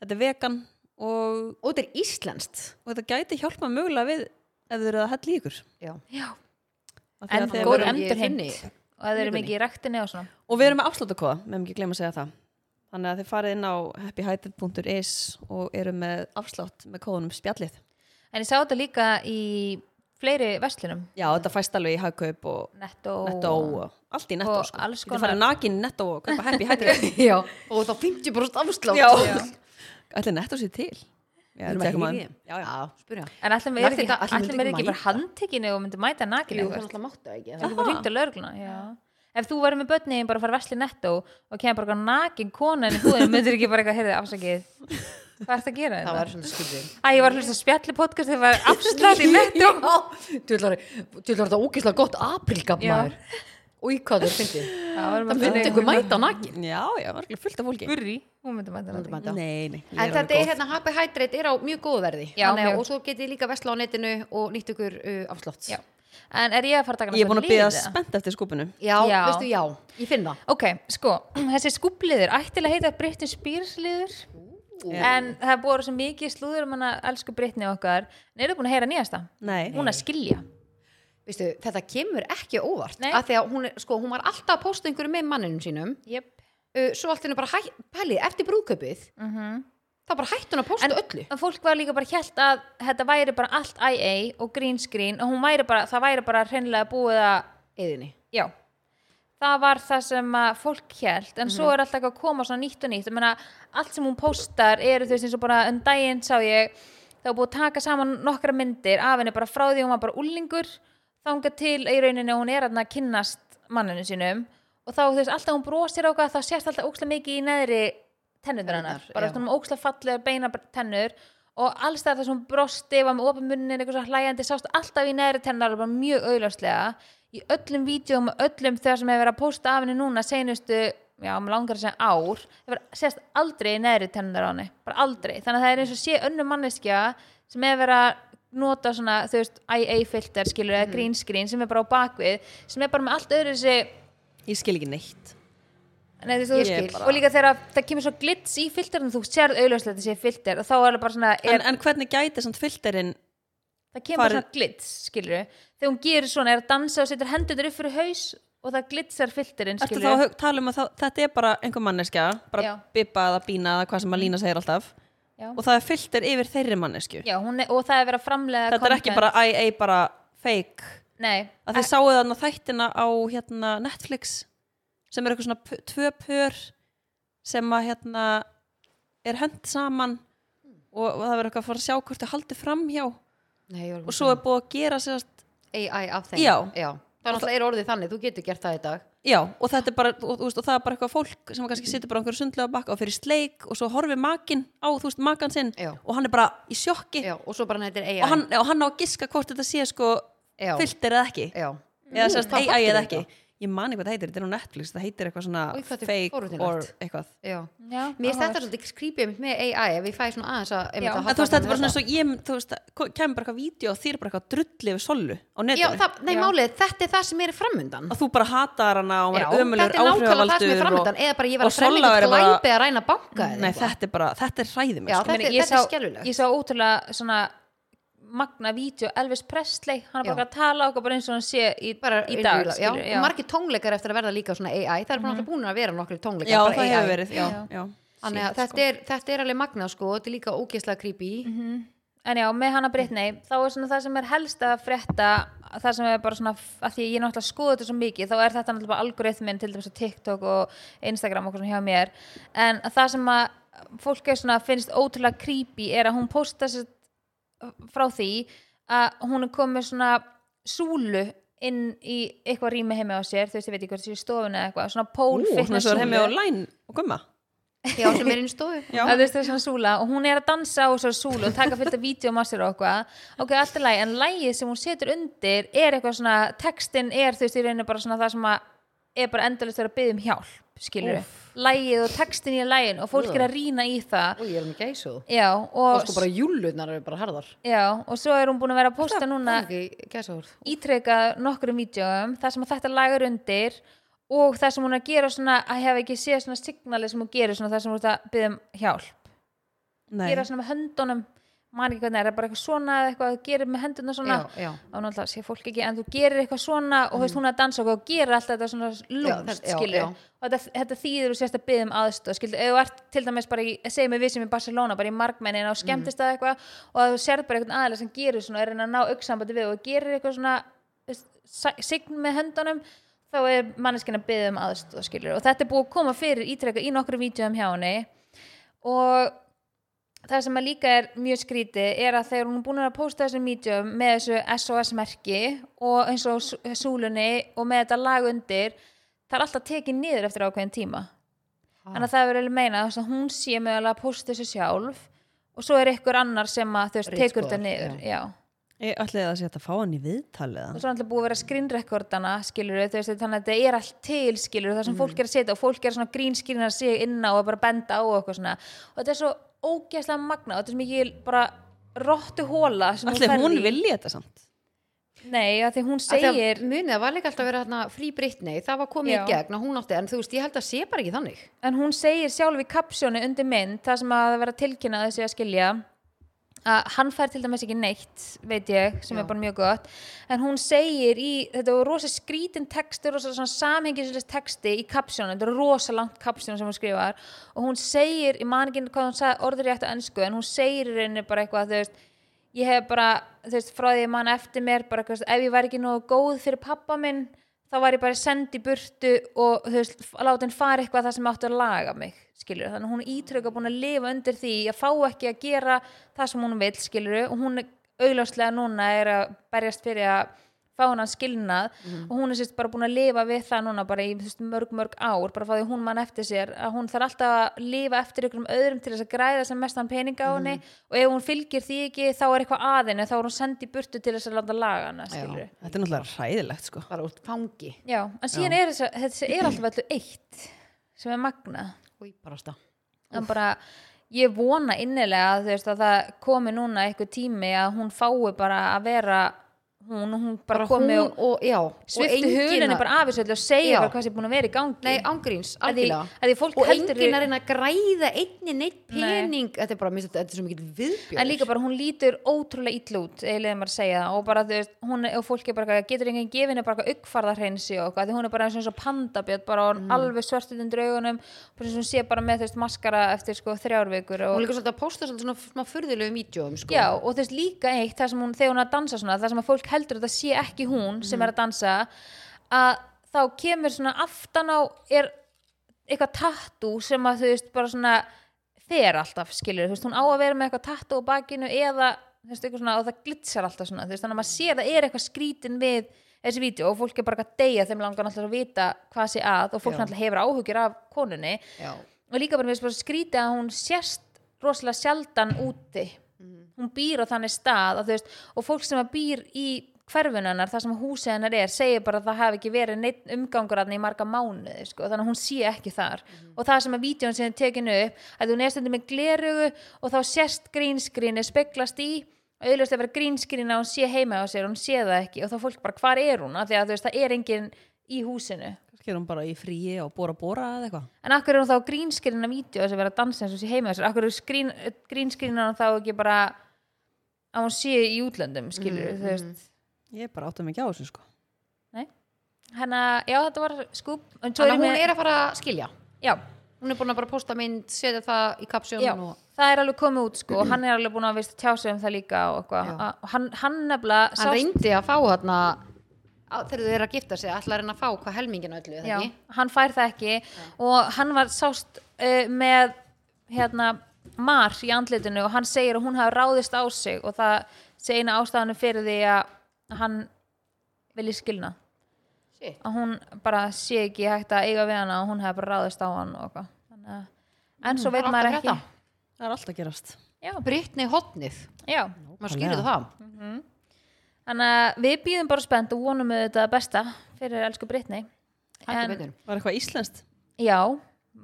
Speaker 1: þetta er vegan og,
Speaker 2: Og þetta er íslenskt.
Speaker 1: og þetta gæti hjálpa mögulega við ef þið eru að hella í ykkur
Speaker 2: Já.
Speaker 3: Já
Speaker 1: Af því
Speaker 3: En
Speaker 1: að þið
Speaker 2: það
Speaker 3: góð
Speaker 1: eru-
Speaker 2: vorum í
Speaker 3: endurheimt
Speaker 2: hinni-
Speaker 3: Og það eru mikið í rektinni og svona
Speaker 1: og við erum með afsláttakóða, meðum ekki gleyma að segja það þannig að þið farið inn á happyhydrate.is og eru með afslátt með kóðunum spjallið
Speaker 3: En ég sá þetta líka í fleiri vestlunum
Speaker 1: já, þetta fæst alveg í hagkaup og
Speaker 3: Netto
Speaker 1: netto og allt í netto
Speaker 3: og
Speaker 1: sko.
Speaker 3: alls
Speaker 1: þið
Speaker 3: konar.
Speaker 1: farið nakin í netto og kaupa happy hydrate
Speaker 2: Já. Og þá 50% afslátt.
Speaker 1: já, ætli netto sér til já,
Speaker 2: Erum að
Speaker 1: tekum að
Speaker 2: heyra í þeim?
Speaker 1: já, já.
Speaker 2: spyrja.
Speaker 3: En ætlum við
Speaker 2: Mætti
Speaker 3: ekki,
Speaker 2: þetta- ætli
Speaker 3: ætlum
Speaker 2: myndi
Speaker 3: við
Speaker 2: ekki
Speaker 3: ekki bara
Speaker 2: mæta?
Speaker 3: handtekinu og myndum mæta nakinu
Speaker 2: Jú,
Speaker 3: þú
Speaker 2: það
Speaker 3: veist?
Speaker 2: alltaf máttu það ekki.
Speaker 3: Það
Speaker 2: eða?
Speaker 3: er bara hringt á lögregluna, já. Ef þú verður með börni bara að fara vesli netto og kemur bara nakin kona en húðin myndir ekki bara eitthvað, heyrðu, afsakið Hvað ert að gera
Speaker 2: Það
Speaker 3: þetta?
Speaker 2: var svona skrifin.
Speaker 3: Æ, ég var hlust að spjalli podcast þegar var afslátt í netto
Speaker 2: Tjóðlar þetta ógeðslega gott aprilgaf
Speaker 3: Já.
Speaker 2: maður. Og í hvað þú fyndið?
Speaker 3: Það var
Speaker 2: Það myndi einhver mæta á nakin.
Speaker 1: já, já, örugglega fullt af fólki
Speaker 3: Gurri, hún myndi mæta
Speaker 2: Myndi
Speaker 3: nakin
Speaker 2: mæta. Þetta.
Speaker 1: Nei, nei, ég
Speaker 2: En
Speaker 1: alveg
Speaker 2: þetta er
Speaker 1: góð.
Speaker 2: hérna, Happy Hydrate er á mjög góðu verði
Speaker 3: Já,
Speaker 2: Þannig, að-
Speaker 3: mjög.
Speaker 2: og svo getið þið líka vesla á netinu og nýtt ykkur uh, afslátt
Speaker 3: Já. en er ég að fara að taka hana
Speaker 1: Ég er búin að byrja
Speaker 3: liði?
Speaker 1: spennt eftir skúpinu.
Speaker 2: Já,
Speaker 3: Já.
Speaker 2: veistu, já, ég finn það
Speaker 3: ok, sko, þessi skúbliður ættilega heita Brittin Spýrsliður en það er búið svo mikið slúður um hana elsku Brittni okkar en eru búin að heyra nýjasta?
Speaker 1: Nei.
Speaker 3: hún að skilja
Speaker 2: Veistu, þetta kemur ekki á óvart
Speaker 3: Nei.
Speaker 2: af því að hún, er- sko, hún var alltaf að posta einhverju með manninum sínum
Speaker 3: yep.
Speaker 2: uh, svo allt henni bara hæ, pælið eftir brúðkaupið
Speaker 3: mm
Speaker 1: Mhm.
Speaker 2: þá bara hætti hún að posta
Speaker 3: en,
Speaker 2: öllu
Speaker 3: en fólk var líka bara hjælt að þetta væri bara allt IA og green screen og hún væri bara, það væri bara hreinlega búið að
Speaker 2: eðinni
Speaker 3: já, það var það sem að fólk hjælt en
Speaker 2: Mhm.
Speaker 3: svo er alltaf eitthvað að koma svona nýtt og nýtt Ég meina, allt sem hún postar eru þú veist eins og bara um daginn sá ég það var búið að taka saman nokkra myndir af henni bara frá því hún var bara úlingur þanga til í rauninni að hún er þarna að kynnast manninu sínum og þá þú veist alltaf hún brosir á hvað þá sést alltaf ókslega mikið í neðri tennur hennar,
Speaker 2: Tennurnar,
Speaker 3: bara
Speaker 2: já.
Speaker 3: svona um ókslega fallega beina tennur og alls það þar sem hún brosti var með opið munnin, eitthvað svo hlæjandi sást alltaf í neðri tennar bara mjög auðljóslega í öllum vídjóum og öllum þegar sem hefur verið að posta af henni núna seinustu, já, maður langar að segja ár hefur sést aldrei í neðri tennar á henni bara aldrei, þannig að það er eins og sé önnum manneskja sem hefur verið að nota svona, þú veist, IA-filter skilur eða green screen sem er bara á bakvið sem er bara með allt öðru
Speaker 1: Ég skil ekki neitt.
Speaker 3: Nei, þú veist,
Speaker 1: Ég
Speaker 3: þú skil.
Speaker 1: bara-
Speaker 3: og líka þegar það kemur svo glits í filterinu, þú sérð auðvitað þetta sé filter og þá er það bara svona, er,
Speaker 1: En, en hvernig gæti samt filterinn
Speaker 3: það kemur
Speaker 1: farið-
Speaker 3: svona glits skilur þegar hún gerir svona, er að dansa og setur hendur upp fyrir haus og það glitsar filterinn
Speaker 1: Ertu
Speaker 3: skilur
Speaker 1: þá að hug- tala um að það, þetta er bara einhver manneskja, bara
Speaker 3: Já.
Speaker 1: bibba eða bína eða hvað sem að lína segir alltaf
Speaker 3: Já.
Speaker 1: og það er filter yfir þeirri mannesku
Speaker 3: Já, hún er, og það er verið að framlega
Speaker 1: þetta er ekki
Speaker 3: content.
Speaker 1: bara IA bara fake
Speaker 3: Nei,
Speaker 1: að þið sáuð þarna þættina á hérna, Netflix sem er eitthvað svona p- tvö pör sem að hérna er hönd saman og, og það verður eitthvað að fara að sjá hvort þau haldi fram hjá og
Speaker 2: Nei, og
Speaker 1: svo er búið að gera sérst
Speaker 2: AI um af þeim
Speaker 1: Já.
Speaker 2: Það er náttúrulega er orðið þannig, þú getur gert það í dag
Speaker 1: Já, og þetta er bara, og, og, og það er bara eitthvað fólk sem
Speaker 2: Mm.
Speaker 1: kannski situr bara á einhverju sundlega bakka og fyrir sleik og svo horfi makin á, þú veist, makan sinn
Speaker 2: Já.
Speaker 1: og hann er bara í sjokki
Speaker 2: já, og svo bara hann heitir AI
Speaker 1: og hann, og hann á að giska hvort þetta sé sko
Speaker 2: Já.
Speaker 1: filter eða ekki
Speaker 2: já.
Speaker 1: eða sérst
Speaker 2: hvað
Speaker 1: AI
Speaker 2: heitir
Speaker 1: eða
Speaker 2: Mm. þetta?
Speaker 1: ekki ég man eitthvað það heitir, þetta er á Netflix það heitir eitthvað svona
Speaker 2: Új, hvað þetta er
Speaker 1: fake
Speaker 2: forvitinlegt.
Speaker 1: or eitthvað
Speaker 2: Já.
Speaker 3: Já,
Speaker 2: Mér finnst þetta
Speaker 3: áhugavert.
Speaker 2: svolítið skrýpið mitt með AI ef ég fæ svona aðeins að einmitt
Speaker 3: Já.
Speaker 2: að
Speaker 1: en
Speaker 2: halda
Speaker 1: þú veist þetta er bara
Speaker 2: áfram
Speaker 1: svona
Speaker 2: með
Speaker 1: eins og ég þú veist, ko- kemur bara eitthvað vídeo og þér bara eitthvað drulli yfir sollu á
Speaker 2: það. Já,
Speaker 1: netinu
Speaker 2: það, nei
Speaker 3: Já.
Speaker 2: málið, þetta er það sem er framundan
Speaker 1: að þú bara hatar hana og
Speaker 2: Já,
Speaker 1: maður ömulur
Speaker 2: þetta er nákvæmlega það sem er
Speaker 1: áhrifavaldur og,
Speaker 2: framundan eða bara ég var
Speaker 1: og
Speaker 2: að fremja
Speaker 1: Solla
Speaker 2: eitthvað
Speaker 1: væri bara-
Speaker 2: glæpi að ræna banka eða
Speaker 1: nei,
Speaker 2: eitthvað.
Speaker 1: þetta er bara, þetta er hræði
Speaker 2: Já,
Speaker 1: mig sko.
Speaker 2: þetta er-
Speaker 3: ég
Speaker 2: þetta er
Speaker 3: sá-
Speaker 2: skelfilegt.
Speaker 3: Ég sá ótrúlega svona magna vídeo Elvis Presley, hann er
Speaker 2: Já.
Speaker 3: bara að tala okkur bara eins og hann sé í,
Speaker 2: bara
Speaker 3: í dag
Speaker 2: já,
Speaker 3: skilur,
Speaker 2: og margir tónleikar eftir að verða líka svona AI það er bara náttúrulega búin að vera nokkri tónleikar
Speaker 1: Mhm. já,
Speaker 2: bara
Speaker 1: það
Speaker 2: AI.
Speaker 1: hefur verið já, já. sko.
Speaker 2: Þannig að þetta, er, þetta er alveg magnað sko, þetta er líka ógeðslega creepy
Speaker 1: Mhm.
Speaker 3: En já, með hana Brittany, þá er svona það sem er helst að frétta, það sem er bara svona, að því ég er náttúrulega að skoða þetta svo mikið, þá er þetta náttúrulega bara algoritminn, til dæmis á TikTok og Instagram og okkur svona hjá mér, en það sem að fólk er svona, finnst ótrúlega creepy er að hún posta sér frá því að hún er komið svona súlu inn í eitthvað rými heimi á sér, þú veist, ég veit ekki hvort það sé í stofunni eða eitthvað, svona pól
Speaker 1: Ú, svona
Speaker 3: fitness
Speaker 1: svo er heimi
Speaker 3: súlu.
Speaker 1: og læn og gumma
Speaker 2: já, sem er inn í stofu
Speaker 1: Já.
Speaker 3: að þú veist það er svona súla og hún er að dansa á svo súlu og taka fullt af vídjum á sér og okkur ok, allt er lægi, en lægið sem hún setur undir er eitthvað svona, textin er þú veist, í rauninu bara svona það sem að er bara endalist verið að byggja um hjálp, skilur lægið og textin í lægin og fólk er að rýna í það
Speaker 2: og ég er um gæsu
Speaker 3: já,
Speaker 2: og
Speaker 3: og,
Speaker 2: sko bara júlurnar eru bara harðar
Speaker 3: já, og svo er hún búin að vera að posta núna
Speaker 2: gæsuður
Speaker 3: ítrekað nokkrum vídjóum þar sem að þetta lagar undir og það sem hún er að gera svona að hef ekki séð svona signalið sem hún gerir svona það sem hún er að byggja um hjálp
Speaker 1: Nei.
Speaker 3: gera svona með höndunum man ekki hvernig er það bara eitthvað svona eða eitthvað þú gerir með hendunum svona
Speaker 2: Já, já.
Speaker 3: og náttúrulega sé fólk ekki en þú gerir eitthvað svona og veist hún er að dansa og gerir alltaf þetta svona lúmst
Speaker 2: það- já,
Speaker 3: skilur
Speaker 2: já.
Speaker 3: og þetta, þetta þýður og sérst að byggja um aðstöð skilur eða þú ert til dæmis bara í segjum við við sem í Barcelona bara í markmennin á
Speaker 2: Mm.
Speaker 3: skemmtist að eitthvað og að þú sér bara eitthvað aðlega sem gerir svona og er að reyna að ná auksambandi við og gerir eitthvað svona þú veist, sa- sign með höndunum þá er manneskinn að byggja um aðstöð skilur og þetta er búið að koma fyrir ítrekka í nokkru vídeoum hjá henni og það sem að líka er mjög skrítið er að þegar hún er búin að posta þessum medium með þessu SOS-merki og eins og sú- súlunni og með þetta lag undir það er alltaf tekið niður eftir ákveðin tíma þannig að það er verið meina að hún sé mögulega að posta þessu sjálf og svo er ykkur annar sem að þú veist tekur
Speaker 2: Ritskoðar,
Speaker 3: þetta niður já.
Speaker 1: Ég ætlaði að sé að fá hann í viðtal eða
Speaker 3: og svo er alltaf búið að vera skrínrekordana skilur þú veist þannig að þetta er allt til skilur það sem fólk er að setja og fólk er svona grínskrinar sig inn á og bara benda á og eitthvað svona og þetta er svo ógeðslega magna og þetta er svo mikið bara rottu hóla sem
Speaker 1: Ætlaði
Speaker 3: ferð
Speaker 1: hún
Speaker 3: í.
Speaker 1: vilja þetta samt
Speaker 3: Nei, að því hún
Speaker 2: Af því að
Speaker 3: segir
Speaker 2: munið það var líka alltaf að vera hérna frí Britney það var komið
Speaker 3: Já.
Speaker 2: í gegn og hún átti en þú veist ég held að sé bara ekki þannig
Speaker 3: en hún segir sjálf í kapsjónu undir mynd það sem að vera tilkynnað þessi að skilja að hann fær til dæmis ekki neitt veit ég, sem
Speaker 2: Já.
Speaker 3: er bara mjög gott en hún segir í, þetta var rosa skrítin textur og svona samhengislega texti í kapsjónu, þetta er rosa langt kapsjónu sem hún skrifar og hún segir, ég man ekki hvað hún sagði orður rétt á ennsku en hún segir í rauninni bara eitthvað þú veist ég hef bara, þú veist, frá því að mann eftir mér bara, þú veist, ef ég var ekki nógu góð fyrir pappa minn, þá var ég bara send í burtu og, þú veist, láta hann fara eitthvað það sem átti að laga mig, skilur þannig að hún er ítröka búin að lifa undir því að fá ekki að gera það sem hún vil, skilur og hún er augljóslega núna er að berjast fyrir að fá hann skilnað og hún er sérst bara búin að lifa við það núna bara í þú veist, mörg mörg ár bara frá því að hún mann eftir sér að hún þarf alltaf að lifa eftir ykkur öðrum til þess að græða sem mestan peninga á henni og ef hún fylgir því ekki þá er eitthvað að henni þá er hún sendið í burtu til þess að landa laga hana skilur já.
Speaker 1: Þetta er náttúrulega ræðilegt sko.
Speaker 2: bara út fangi
Speaker 3: já, en síðan er þess að þetta er alltaf alltaf eitt sem er magnað
Speaker 2: Új, barasta.
Speaker 3: en bara ég vona innilega að, þú veist, að það komi núna eitthvað tími að hún fái bara að vera hún, hún bara,
Speaker 2: bara
Speaker 3: komi
Speaker 2: hún
Speaker 3: og
Speaker 2: og, já og
Speaker 3: svifti
Speaker 2: enginn
Speaker 3: hulunni
Speaker 2: að-
Speaker 3: bara af þessu öllu og segja
Speaker 2: Já.
Speaker 3: bara hvað sem er búin að vera í gangi
Speaker 2: nei ángríns
Speaker 3: að því,
Speaker 2: algjörlega
Speaker 3: að því fólk
Speaker 2: og
Speaker 3: heldur
Speaker 2: enginn að reyna að græða einni neitt
Speaker 3: Nei.
Speaker 2: pening þetta er bara mér finnst þetta þetta er svo mikið viðbjörn
Speaker 3: en líka bara hún lítur ótrúlega illa út eiginlega maður að segja það og bara þú veist hún og fólki bara eitthvað, getur enginn gefinu bara uppfarðarhreinsi og eitthvað því hún er bara eins og eins og pandabjörn bara og
Speaker 2: Mhm.
Speaker 3: mm. alveg svörtut undir augunum bara eins og hún sé bara með þú veist maskara eftir sko þrjár vikur og,
Speaker 2: hún er líka svolítið að posta svolítið svona, svona furðulegu mítjóðum sko.
Speaker 3: Já, og þess líka eitt, það sem hún, þegar hún er að dansa svona, það sem að fólk heldur að það sé ekki hún sem
Speaker 2: Mhm.
Speaker 3: er að dansa, að þá kemur svona aftan á er eitthvað tattu sem að þú veist, bara svona fer alltaf, skilur, þú veist, hún á að vera með eitthvað tattu á bakinu eða, þú veist, eitthvað svona og það glitsar alltaf svona, þú veist, þannig að maður sér það er eitthvað skrítin við þessi vídeo og fólk er bara eitthvað að deyja þeim langar alltaf að vita hvað sé að og fólk
Speaker 2: Já.
Speaker 3: alltaf hefur áhugjur af konunni
Speaker 2: já,
Speaker 3: og líka bara mér finnst bara skrítið að hún sérst rosalega sjaldan úti hún býr á þannig stað að, þú veist, og fólk sem að býr í hverfunennar, það sem húsið hennar er segir bara að það hafi ekki verið neitt umgangur hann í marga mánuði, sko, þannig að hún sé ekki þar og það sem að vídjón sem tekinu upp að hún er stundum með glerugu og þá sérst grínskrínu speglast í og auðvitað að vera grínskrínu að hún sé heima á sér, hún sé það ekki og þá fólk bara hvar er hún, af því að þú veist, það er engin í húsinu
Speaker 1: Kannski er hún bara í fríi og bóra bóra eða eitthvað.
Speaker 3: En akkur er hún þá grínskrinna vídeo sem vera að dansa eins og sé heima þessar? Akkur er skrín, grínskrinna hún þá ekki bara að hún sé í útlöndum, skilur
Speaker 2: Mm-hmm.
Speaker 3: mm, þú veist?
Speaker 1: Ég bara átta mig ekki á þessu sko.
Speaker 3: Nei. Hanna, já, þetta var skúp. En svo
Speaker 2: þannig að
Speaker 3: ég
Speaker 2: hún
Speaker 3: með-
Speaker 2: er að fara að skilja
Speaker 3: Já,
Speaker 2: hún er búin að bara posta mynd, setja það í
Speaker 3: já.
Speaker 2: kapsjón og
Speaker 3: Það er alveg komið út, sko. og Hann er alveg búin að veist tjá sig um það líka og eitthvað.
Speaker 2: Já.
Speaker 3: Að- og Hann, hann nefnilega
Speaker 2: hann
Speaker 3: sást-
Speaker 2: reyndi að fá þarna á- þegar þau eru að gifta sig, ætla að reyna að fá hvað helmingin öllu, eða
Speaker 3: já,
Speaker 2: ekki?
Speaker 3: hann fær það ekki og hann var sást uh, með hérna mar í andlitinu og hann segir að hún hafi ráðist á sig og það segir eina ástafanum fyrir því að hann vilji skilna
Speaker 2: Shit.
Speaker 3: að hún bara sé ekki hægt að eiga við hana og hún hafi bara ráðist á hann og eitthvað Þannig að- en svo
Speaker 2: það
Speaker 3: veit
Speaker 2: er
Speaker 3: maður
Speaker 2: alltaf
Speaker 3: ekki
Speaker 2: Mm, frétta.
Speaker 1: Það er alltaf gerast.
Speaker 3: já,
Speaker 2: Britney hotnið,
Speaker 3: já.
Speaker 2: maður skýrðu það
Speaker 3: þannig að við býðum bara spennt og vonum auðvitað besta fyrir elsku Brittany
Speaker 2: Heldur
Speaker 3: en,
Speaker 2: betur.
Speaker 1: Var eitthvað íslenskt?
Speaker 3: já,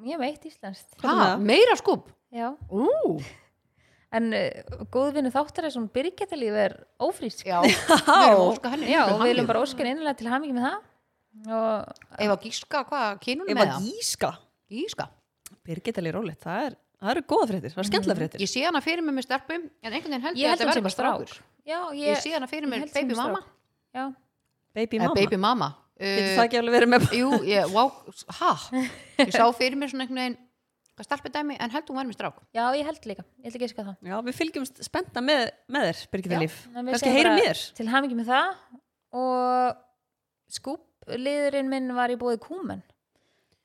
Speaker 3: ég veit íslenskt
Speaker 1: Hvað er
Speaker 2: Ha,
Speaker 1: það?
Speaker 2: meira skúb
Speaker 3: já
Speaker 2: Ú,
Speaker 3: En uh, góðvinnu þáttar þessum Birgitalíf er ófrísk.
Speaker 2: já, við erum að óska henni
Speaker 3: Já, og við
Speaker 2: hamingju.
Speaker 3: viljum bara óskan innlega til hamingi með það og
Speaker 2: Ef að gíska, hvað kynum
Speaker 1: Ég
Speaker 2: með
Speaker 1: var
Speaker 2: það?
Speaker 1: gíska.
Speaker 2: Gíska.
Speaker 1: Birgit er rólegt. Það, er, það eru góða fréttir. Það eru skemmtilega fréttir.
Speaker 2: Ég sé hana fyrir mér með stelpu, en einhvern veginn held
Speaker 3: ég
Speaker 2: ég að
Speaker 3: held
Speaker 2: þetta
Speaker 3: hún
Speaker 2: verði
Speaker 3: sem
Speaker 2: bara strákur.
Speaker 3: strák. Já, ég,
Speaker 2: Ég sé hana fyrir mér
Speaker 3: held sem
Speaker 2: baby mamma.
Speaker 3: strák. Já,
Speaker 1: Baby
Speaker 2: Eh,
Speaker 1: mamma.
Speaker 2: Baby mamma.
Speaker 1: Getur
Speaker 2: Eh,
Speaker 1: það ekki alveg verið með
Speaker 2: Jú, ég, wow, ha, ég sá fyrir mér svona einhvern veginn, hvað stelpu dæmi, en held hún verði með strák.
Speaker 3: já, ég held líka. Ég held ekki að það.
Speaker 1: Já, við fylgjumst spennta með, með þér, Birgitta
Speaker 2: Já,
Speaker 1: Líf.
Speaker 3: En við
Speaker 1: Kannski
Speaker 3: segjum
Speaker 1: heyrum
Speaker 3: bara
Speaker 1: í þér.
Speaker 3: Til hamingi með það og skúp, liðurinn minn var í bóði kúmen.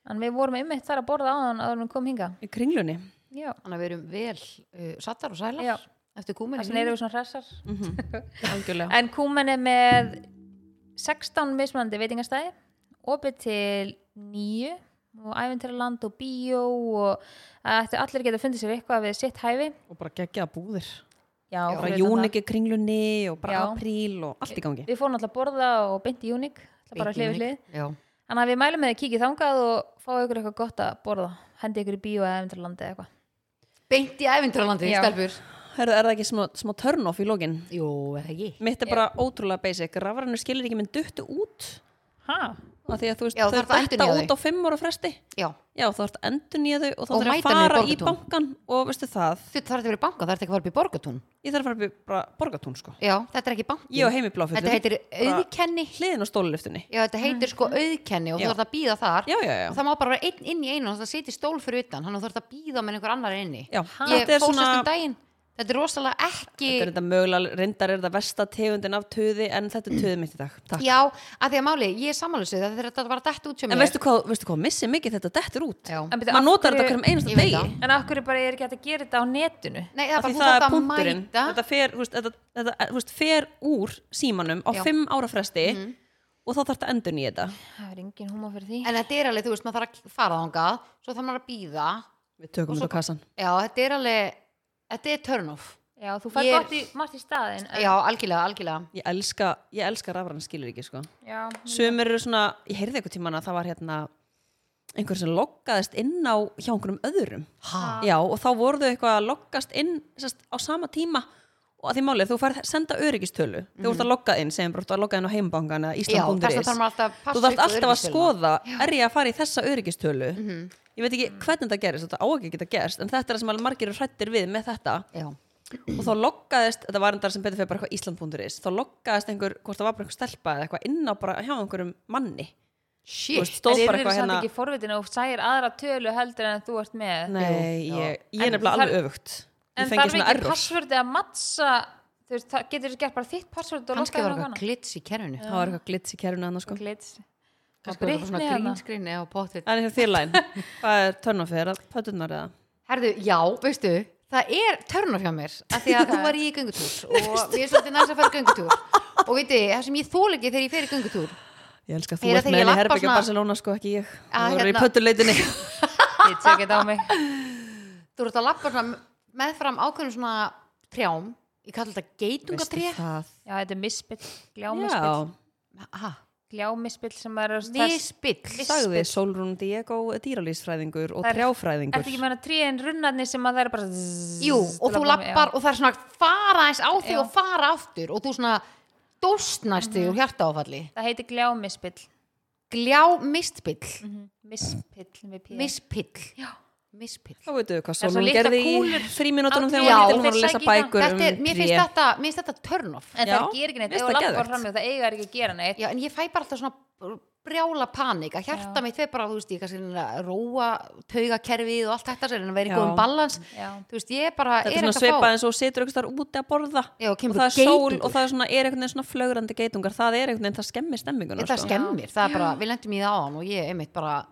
Speaker 3: En við vorum einmitt þar að borða á hann að hann kom hinga.
Speaker 1: Í kringlunni.
Speaker 3: Já,
Speaker 2: Þannig að við erum vel uh, sattar og sælar
Speaker 3: Já.
Speaker 2: eftir kúminni.
Speaker 3: þess vegna erum við svona hressar.
Speaker 2: Mhm. Eh.
Speaker 1: Algjörlega.
Speaker 3: En kúmen er með 16 mismunandi veitingastæði opið til 9 og æfintirland og bíó og ættu allir geta fundið sér eitthvað við sitt hæfi
Speaker 1: Og bara geggjaða búðir.
Speaker 3: Já,
Speaker 1: Og bara
Speaker 3: fyrir utan
Speaker 1: júnik í kringlunni og bara
Speaker 3: Já.
Speaker 1: apríl og allt í gangi.
Speaker 3: það. Við fórum alltaf að borða og beinti júnik það bara hlifið hlið
Speaker 2: Já,
Speaker 3: Þannig að við mælum með að kíkja þangað og fá ykkur eitthvað gott að borða hendi ykkur í bíó eða æfintirlandi eða eitthvað
Speaker 2: beint í æfintralandi,
Speaker 3: Já.
Speaker 2: stelpur.
Speaker 1: Herðu, er það ekki smá, smá turn off í lógin?
Speaker 2: Jú, er það ekki?
Speaker 1: Mitt er bara ótrúlega basic. Rafrænu skilir ekki minn duttu út
Speaker 3: Ha?
Speaker 1: af því að þú veist,
Speaker 2: Já,
Speaker 1: þau
Speaker 2: þarf að
Speaker 1: detta
Speaker 2: endurnýja
Speaker 1: út á fimm ára fresti.
Speaker 2: Já,
Speaker 1: Já, þú ert endur nýja þau og þá
Speaker 2: Og
Speaker 1: þarf að
Speaker 2: mæta niður
Speaker 1: fara í
Speaker 2: Borgartún.
Speaker 1: bankan og veistu það,
Speaker 2: þú þarf þetta verið banka, það er ekki að fara upp í borgatún.
Speaker 1: ég þarf að fara upp í bara borgatún sko.
Speaker 2: Já, þetta er ekki banki.
Speaker 1: Ég og heimi bláfjöldum.
Speaker 2: Þetta heitir auðkenni.
Speaker 1: Hliðin á stóluliftunni.
Speaker 2: Já, þetta heitir sko auðkenni og
Speaker 1: Mhm. Já.
Speaker 2: þú þarf að býða þar.
Speaker 1: Já, já, já.
Speaker 2: Og það má bara vera einn inn í einu og það sitja í stól fyrir utan, þannig að þú þarf að býða með einhver annar inni.
Speaker 1: já.
Speaker 2: Ég
Speaker 1: Þetta er
Speaker 2: fór
Speaker 1: svona,
Speaker 2: sérst um daginn, þetta er rosalega ekki...
Speaker 1: þetta er þetta mögulega, reyndar er þetta versta tegundin af töði en þetta
Speaker 2: Mm.
Speaker 1: er töði mitt í dag. Takk.
Speaker 2: Já, af því að máli, ég er sammálusið að þetta var dætt út sem
Speaker 1: En veistu hvað, veistu hvað, missi mikið þetta dettur út.
Speaker 2: Já.
Speaker 3: En byrju, af
Speaker 1: Man notar
Speaker 3: hverju-
Speaker 1: þetta hverjum
Speaker 2: Ég
Speaker 1: einasta
Speaker 2: veit
Speaker 1: degi.
Speaker 2: það.
Speaker 3: En af hverju bara er ekki hægt að gera þetta á netinu?
Speaker 2: Nei, það er
Speaker 1: Af
Speaker 2: bara
Speaker 1: því
Speaker 2: þú
Speaker 1: það
Speaker 2: þarf
Speaker 1: er
Speaker 2: að
Speaker 1: punkturinn
Speaker 2: mæta
Speaker 1: þetta fer, þú veist, þetta, þetta, þú veist, fer úr símanum á
Speaker 2: Já. Mhm.
Speaker 1: fimm ára fresti og þá þarf þetta endur nýja þetta
Speaker 3: Það er engin húma fyrir því.
Speaker 2: En þetta er alveg, þú veist, maður þarf að fara þangað Svo þarf maður að býða
Speaker 1: við tökum þetta á kassan
Speaker 2: Já, þetta er alveg, þetta er turn off
Speaker 3: Já, þú fær
Speaker 2: Ég-
Speaker 3: gott í margt í staðin. en-
Speaker 2: Já, algjörlega, algjörlega
Speaker 1: ég elska, ég elska rafrann skilur ekki sko.
Speaker 3: Já.
Speaker 1: sömur eru svona, ég heyrði eitthvað tíman að það var hérna einhver sem loggaðist inn á hjá einhverjum öðrum
Speaker 2: Ha,
Speaker 1: já og þá voru þau eitthvað að loggast inn sest, á sama tíma og að því málið þú færð senda öryggistölu mm -hmm. þú ert að logga inn, segjum bara, þú ert að logga inn á heimabangan eða
Speaker 2: Mhm. já þess vegna
Speaker 1: Ísland.is
Speaker 2: þarf maður alltaf að
Speaker 1: þú
Speaker 2: passa
Speaker 1: þarft
Speaker 2: upp á
Speaker 1: alltaf að
Speaker 2: öryggistöluna.
Speaker 1: skoða er ég að fara í þessa öryggistölu
Speaker 2: Mhm.
Speaker 1: ég veit ekki hvernig þetta gerist þetta á ekki að geta gerst, en þetta er það sem alveg margir eru hrættir við með þetta
Speaker 2: Já,
Speaker 1: og þá loggaðist, þetta var endar sem betur fyrir bara eitthvað Ísland.is, þá loggaðist einhver hvort það var bara einhver stelpa eða eitthvað inn á bara hjá einhverjum manni, þú veist,
Speaker 2: shit
Speaker 1: stóð
Speaker 3: en
Speaker 1: bara
Speaker 3: eru
Speaker 1: eitthvað
Speaker 3: samt
Speaker 1: hérna
Speaker 3: ekki forvitin og særir aðra tölu heldur en þú ert með.
Speaker 1: nei, ég,
Speaker 2: Jú, já.
Speaker 1: ég er
Speaker 3: En
Speaker 1: nefnilega
Speaker 3: þar-
Speaker 1: alveg öfugt ég
Speaker 3: En
Speaker 1: fengi
Speaker 3: þarf
Speaker 1: svona
Speaker 3: ekki
Speaker 1: error,
Speaker 3: passvörði að mattsa, þú veist, það getur þú gert bara þitt passvörði og
Speaker 2: Kannski
Speaker 3: lokka
Speaker 2: var
Speaker 3: hérna og
Speaker 2: eitthvað
Speaker 3: hana.
Speaker 2: glits í kerfinu
Speaker 3: Eh,
Speaker 1: það var eitthvað glits í kerfinu annars sko,
Speaker 3: Glits. hérna.
Speaker 2: Kannski var eitthvað svona
Speaker 3: Britney hana.
Speaker 2: grínskrinni á pottit
Speaker 1: en hérna, þér þýrlæn hvað er törnafeir, pötunar eða
Speaker 2: Herðu, já, veistu Það er turn off hjá mér af Því að þú var í göngutúr Og mér er svolítið næst að fara í göngutúr Og veitu, það sem ég þól ekki þegar ég fer í göngutúr
Speaker 1: ég elska að
Speaker 2: Ég
Speaker 1: þú
Speaker 2: er
Speaker 1: ert með
Speaker 2: að þegar ég
Speaker 1: henni
Speaker 2: labba
Speaker 1: herbyggja
Speaker 2: svona-
Speaker 1: Barcelona sko, ekki ég
Speaker 2: Að,
Speaker 3: Ah,
Speaker 1: þú verður í
Speaker 2: hérna-
Speaker 1: pötuleitinni
Speaker 3: Glits, ég get á mig.
Speaker 2: þú ert að lappa svona meðfram ákveðnum svona trjám ég kallar þetta geitungatré
Speaker 1: það
Speaker 3: Já, þetta er misspill,
Speaker 1: já,
Speaker 3: gljámispill.
Speaker 2: Ha,
Speaker 3: Gljámispill sem er... Það
Speaker 2: mispill
Speaker 1: sagði Solrún Diego dýralýsfræðingur og
Speaker 3: Það er- er
Speaker 1: trjáfræðingur
Speaker 3: ekki meina tríin runnarnir sem að það er bara... zzzz
Speaker 2: jú,
Speaker 1: Mm,
Speaker 3: til
Speaker 2: og
Speaker 3: að
Speaker 2: þú
Speaker 3: koma-
Speaker 2: lappar og það er svona að fara eins á þig
Speaker 3: Já.
Speaker 2: og fara aftur og þú svona dóstnæst
Speaker 1: Mhm.
Speaker 2: þig úr hjartaáfalli
Speaker 3: Já, Það heitir gljámispill.
Speaker 2: gljá mistpill,
Speaker 1: Mm, Mhm.
Speaker 3: Mispill með píða.
Speaker 2: mispill mispill
Speaker 1: Þá veitum við hvað
Speaker 3: Það er svo
Speaker 1: Solon
Speaker 3: litlar
Speaker 1: gerði í
Speaker 3: kúlur
Speaker 1: fríminútonum þegar
Speaker 3: á
Speaker 2: tré.
Speaker 1: hún var
Speaker 2: Já,
Speaker 1: lítil, hún var að
Speaker 3: þeir
Speaker 1: lesa
Speaker 3: sækja í það.
Speaker 1: bækur um
Speaker 2: þetta er, mér finnst
Speaker 1: tré.
Speaker 2: þetta, mér finnst þetta turn off
Speaker 3: En
Speaker 1: Já,
Speaker 3: það ger ekki neitt,
Speaker 1: mér
Speaker 3: ef
Speaker 1: finnst
Speaker 3: þú
Speaker 1: það
Speaker 3: lappar
Speaker 1: geðveikt.
Speaker 3: fram hjá það eiga þær ekki að gera neitt.
Speaker 2: já, en ég fæ bara alltaf svona brjála panik að hjarta mitt veið bara, þú veist, ég kannski reyni að róa taugakerfið og allt þetta sem er að vera í
Speaker 1: Já.
Speaker 2: góðum balans
Speaker 3: Já.
Speaker 2: þú veist, ég bara,
Speaker 1: Þetta
Speaker 2: er
Speaker 1: er svona
Speaker 2: ekki að fá
Speaker 1: svipað eins og situr einhvers þar úti að borða
Speaker 2: Já, og
Speaker 1: og
Speaker 2: kemur
Speaker 1: það er sól
Speaker 2: geitungur.
Speaker 1: og það er svona, er einhvern veginn svona flögrandi geitungar það er einhvern veginn, það skemmir stemminguna
Speaker 2: það
Speaker 1: sko.
Speaker 2: skemmir, það er bara, við lendum í það á og ég einmitt bara,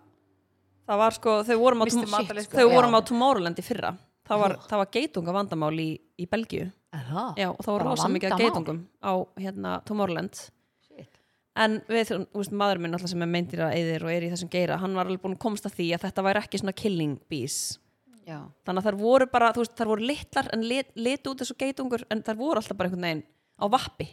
Speaker 1: það var sko, þau vorum á,
Speaker 3: Missti
Speaker 1: tom
Speaker 3: matarlyst, sko.
Speaker 1: þau
Speaker 2: Já.
Speaker 1: vorum á Tomorrowland í fyrra það var, það var geitunga vandamál í, í Belgíu
Speaker 2: það,
Speaker 1: Já, og það var
Speaker 2: Bara
Speaker 1: rosa mikið af
Speaker 2: vandamál.
Speaker 1: geitungum á hérna, Tomorrowland
Speaker 2: Shit.
Speaker 1: en við, þú veist, maður minn alltaf sem er meindýra eðir og er í þessum geira, hann var alveg búin að komast að því að þetta væri ekki svona killing bees
Speaker 2: já,
Speaker 1: þannig að þær voru bara, þú veist, þær voru litlar en lit, lit út þessu geitungur en þær voru alltaf bara einhvern veginn á vappi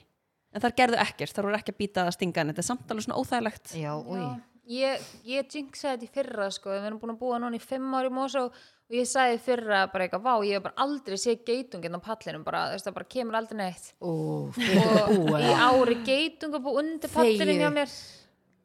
Speaker 1: en þær gerðu ekkert, þær voru ekki að býta að stinga en þetta er samt alveg svona óþægilegt
Speaker 2: já, úi
Speaker 3: Ég, ég jinxaði þetta í fyrra sko, við erum búin að búa núna í fimm ári mósa og og ég sagði í fyrra bara eitthvað, vá, ég hef bara aldrei séð geitungin á pallinum bara, þú veist, það bara kemur aldrei neitt.
Speaker 2: og
Speaker 3: Og í ári geitunga búið undir pallinum hjá
Speaker 2: Þegiðu.
Speaker 3: mér.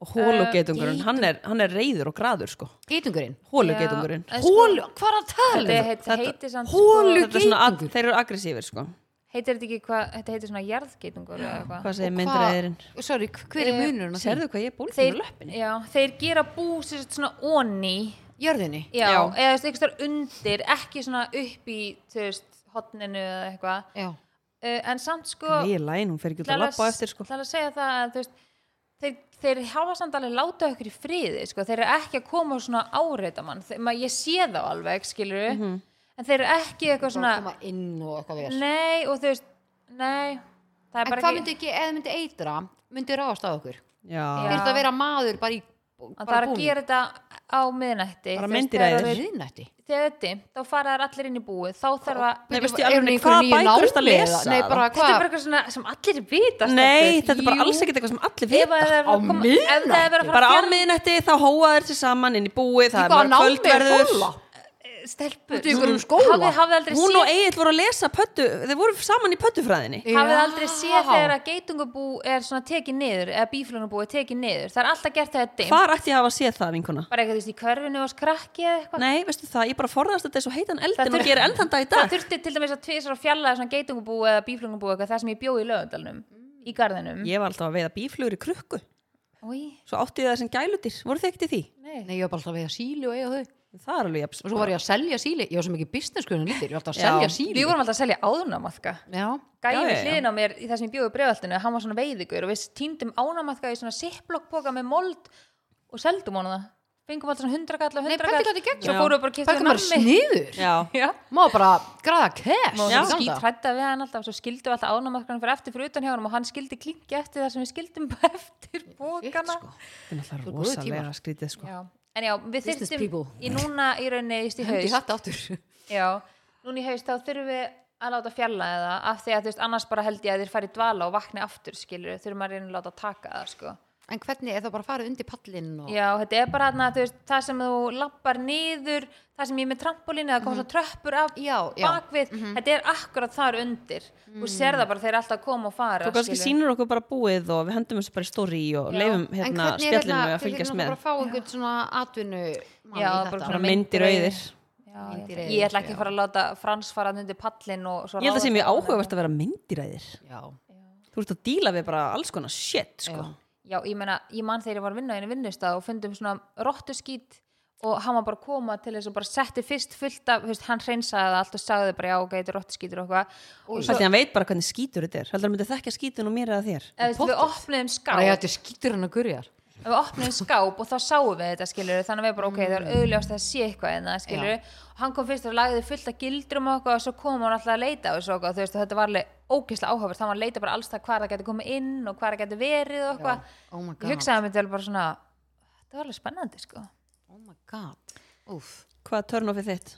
Speaker 1: og hóluggeitungurinn, hann, er- hann er reyður og graður sko,
Speaker 2: geitungurinn,
Speaker 1: hóluggeitungurinn
Speaker 3: Já, en sko,
Speaker 2: hólu, hvað er að tala
Speaker 3: Þetta
Speaker 2: um?
Speaker 3: heit- heitir samt
Speaker 2: Holu-
Speaker 3: sko,
Speaker 1: þetta er svona, að,
Speaker 2: geitungur.
Speaker 1: þeir eru aggressífir sko
Speaker 3: heitir þetta ekki hvað, þetta heitir svona jarðgeitungur eða eitthvað.
Speaker 1: hvað segir myndir eðirinn
Speaker 2: Hvað- sorry, hver er munurinn á því?
Speaker 1: sérðu hvað ég er bólfinn
Speaker 3: Þeir,
Speaker 1: á löppinni
Speaker 3: já, þeir gera bú sér svona onni
Speaker 2: jörðinni,
Speaker 3: Já,
Speaker 1: Já.
Speaker 3: eða þú veist, einhvers þar undir, ekki svona upp í, þú veist, hotninu eða eitthvað.
Speaker 2: já,
Speaker 3: Uh, en samt sko,
Speaker 1: ég er læn, hún fer ekki út að
Speaker 3: ætla
Speaker 1: labba á eftir sko
Speaker 3: ætla að segja það að, þú veist, þeir, þeir hafa samt alveg láta okkur í friði, sko, þeir eru ekki að koma og svona áreita mann, þeir, maður, ég sé þá alveg, skilur
Speaker 1: Mhm.
Speaker 3: en þeir eru ekki eitthvað
Speaker 2: svona
Speaker 3: svona,
Speaker 2: koma inn og eitthvað vel
Speaker 3: nei, og þú veist, nei, það er
Speaker 2: en
Speaker 3: bara
Speaker 2: hvað
Speaker 3: ekki,
Speaker 2: myndi ekki, eða myndi eitra myndi ráðast á okkur,
Speaker 1: já,
Speaker 3: Já.
Speaker 2: þurft að vera maður bara í,
Speaker 3: að það er
Speaker 2: bara
Speaker 3: að
Speaker 2: búin
Speaker 3: gera þetta á miðnætti,
Speaker 1: Bara
Speaker 3: þú veist,
Speaker 1: meindýraeyðir.
Speaker 3: þegar orðið-
Speaker 2: riðnætti,
Speaker 3: þegar þetta er dimmt, þá fara þær allir inn í búið, þá þarf að
Speaker 1: Nei, veistu,
Speaker 2: er hún í
Speaker 1: alveg,
Speaker 2: einhverju
Speaker 1: hvað
Speaker 2: nýju
Speaker 1: bækur ertu að
Speaker 2: námi
Speaker 1: lesa?
Speaker 2: eða- nei, bara
Speaker 3: Þetta er
Speaker 2: hvað,
Speaker 3: bara eitthvað svona sem allir vita
Speaker 1: nei,
Speaker 3: stelpur.
Speaker 1: þetta er bara
Speaker 3: Jú.
Speaker 1: alls ekkert eitthvað sem allir
Speaker 3: Ef
Speaker 1: vita
Speaker 3: það er
Speaker 2: Á
Speaker 3: að koma- ef það er verið að fara
Speaker 1: bara á
Speaker 3: að fjár-
Speaker 1: miðnætti, þá hóa þeir sér saman inn í búið, það er
Speaker 2: Hvað,
Speaker 1: bara
Speaker 2: námi er
Speaker 1: kvöldverður
Speaker 2: hóla? stelpur
Speaker 3: í
Speaker 2: ykkur um
Speaker 3: Mm. hafið, hafið aldrei
Speaker 1: Hún
Speaker 3: séð
Speaker 1: og Egil voru að lesa pöttu, þeir voru saman í pöttufræðinni.
Speaker 3: hafið aldrei séð þegar að geitungabú er svona tekið niður eða bíflunabú er tekið niður það er alltaf gert þegar þetta er dimmt.
Speaker 1: Hvar ætti ég að hafa séð það, vinkona?
Speaker 3: bara eitthvað þú veist í körfinu og skrakki eða eitthvað
Speaker 1: Nei, veistu það, ég bara forðast þetta svo heitan eld
Speaker 3: Það
Speaker 1: en maður
Speaker 3: þurfti-
Speaker 1: gerir enn þann dag í dag.
Speaker 3: það þurfti til dæmis að tvisar að fjalla svona geitungabú eða bíflungabú eitthvað það sem ég bjóði í lögundalunum í garðinum
Speaker 1: Mm. Ég var alltaf að veiða bíflugur í krukku.
Speaker 3: Új,
Speaker 1: Svo átti ég það sem gælutir. Voru þið ekkert í því?
Speaker 3: nei.
Speaker 2: Nei, ég var bara alltaf að vega síli og eiga þau
Speaker 1: Það er alveg jafn.
Speaker 2: og svo var ég að selja síli, ég var svo mikið business kunni lítir, ég var alltaf að selja síli
Speaker 3: við vorum alltaf að selja áðurnamaðka
Speaker 2: Já,
Speaker 1: Já,
Speaker 3: gæði
Speaker 1: já, já.
Speaker 3: við hliðin á mér í það sem ég bjóði í bregðaltinu hann var svona veiðigur og við týndum ánamaðka í svona sipplokkboka með mold og seldum honum það fengum alltaf svona hundrakall og
Speaker 2: Nei,
Speaker 3: hundrakall
Speaker 2: pöntugat er geggjað.
Speaker 3: svo fórum við bara að kipta
Speaker 2: það kom bara sniður
Speaker 1: Já.
Speaker 3: já
Speaker 2: Má bara græða cash
Speaker 1: Já.
Speaker 2: í gamla daga.
Speaker 3: skítrætta við hann alltaf og svo skildum við alltaf ánamaðkanum fyrir eftir fyrir utan hjá hann og hann skildi klingi eftir það sem við skildum bara eftir bókana
Speaker 2: Shit, sko.
Speaker 1: Það er
Speaker 2: Svo góðu
Speaker 1: rosalega skrítið, sko.
Speaker 3: já. en já, við
Speaker 2: Business people.
Speaker 3: þyrstum í núna í rauninni just í
Speaker 2: Hendi í
Speaker 3: haust
Speaker 2: hatt aftur
Speaker 3: já, núna í haust þá þurfum við að láta fjalla það af því að þú veist annars bara held ég að þeir fari í dvala og vakni aftur skilur þurfum að reyna að láta taka það sko
Speaker 2: En hvernig er það bara farið undir pallinn og...
Speaker 3: Já, þetta er bara þarna, þú veist, það sem þú lappar niður, það sem ég er með trampolínu, það kom svo tröppur af
Speaker 2: Já, Mhm. já. Mhm.
Speaker 3: bakvið, þetta er akkurat þar undir og sér það bara þeir alltaf koma og fara.
Speaker 1: Þú kannski
Speaker 3: skilur.
Speaker 1: sýnir okkur bara búið og við hendum þessu bara í stóri og leifum
Speaker 2: En
Speaker 1: hérna
Speaker 2: hvernig er
Speaker 1: spjallinu
Speaker 2: þetta-
Speaker 1: að fylgjast
Speaker 2: Þið
Speaker 1: með.
Speaker 2: þurfum bara að fá einhvern svona atvinnu mann
Speaker 3: Já,
Speaker 2: í
Speaker 3: bara
Speaker 2: þetta
Speaker 1: Bara
Speaker 3: svona
Speaker 1: myndir
Speaker 3: myndir
Speaker 1: auðir.
Speaker 3: Já, ég,
Speaker 2: Myndir
Speaker 3: ætla-
Speaker 2: eru,
Speaker 3: ég ætla ekki
Speaker 2: já.
Speaker 3: að fara að láta Frans fara þarna undir pallin og svo
Speaker 1: Ég held að það sé
Speaker 3: ráðast
Speaker 1: mjög
Speaker 3: á hana.
Speaker 1: áhugavert að vera myndiræðir.
Speaker 2: Já,
Speaker 1: Þú ert að díla við bara alls konar shit, sko.
Speaker 2: Já.
Speaker 3: Já, ég meina, ég man þegar ég var að vinna í einu vinnustaf og fundum svona rottu skýt og hann var bara að koma til þess að bara setti fyrst fullt af, þú veist, hann hreinsaði það allt og sagði bara já, ok, þetta er rottu skýtur og eitthvað og svo,
Speaker 1: Þannig að hann veit bara hvernig skítur þetta er. Heldur hann myndi þekkja skítun og mér eða þér.
Speaker 3: eða, þú veist, við opnuðum skáp
Speaker 2: bara ég ætti skýtur hann að gurjar
Speaker 3: Ef við opnum skáp og þá sáum við þetta skilur þannig að við bara ok, það
Speaker 2: Mm.
Speaker 3: er auðljóst að það sé eitthvað en það skilur og hann kom fyrst og lagði fullt af gildrum og okkur og svo kom hann alltaf að leita og, svo, og þú veist og þetta var alveg ógeðslega áhafur þannig að leita bara alls það hvar það getur komið inn og hvar það getur verið og eitthvað
Speaker 2: Oh my
Speaker 3: ég
Speaker 2: god,
Speaker 3: hugsaði að mér til bara svona þetta var alveg spennandi sko
Speaker 2: oh my god Úf,
Speaker 1: Hvað törn ofið þitt?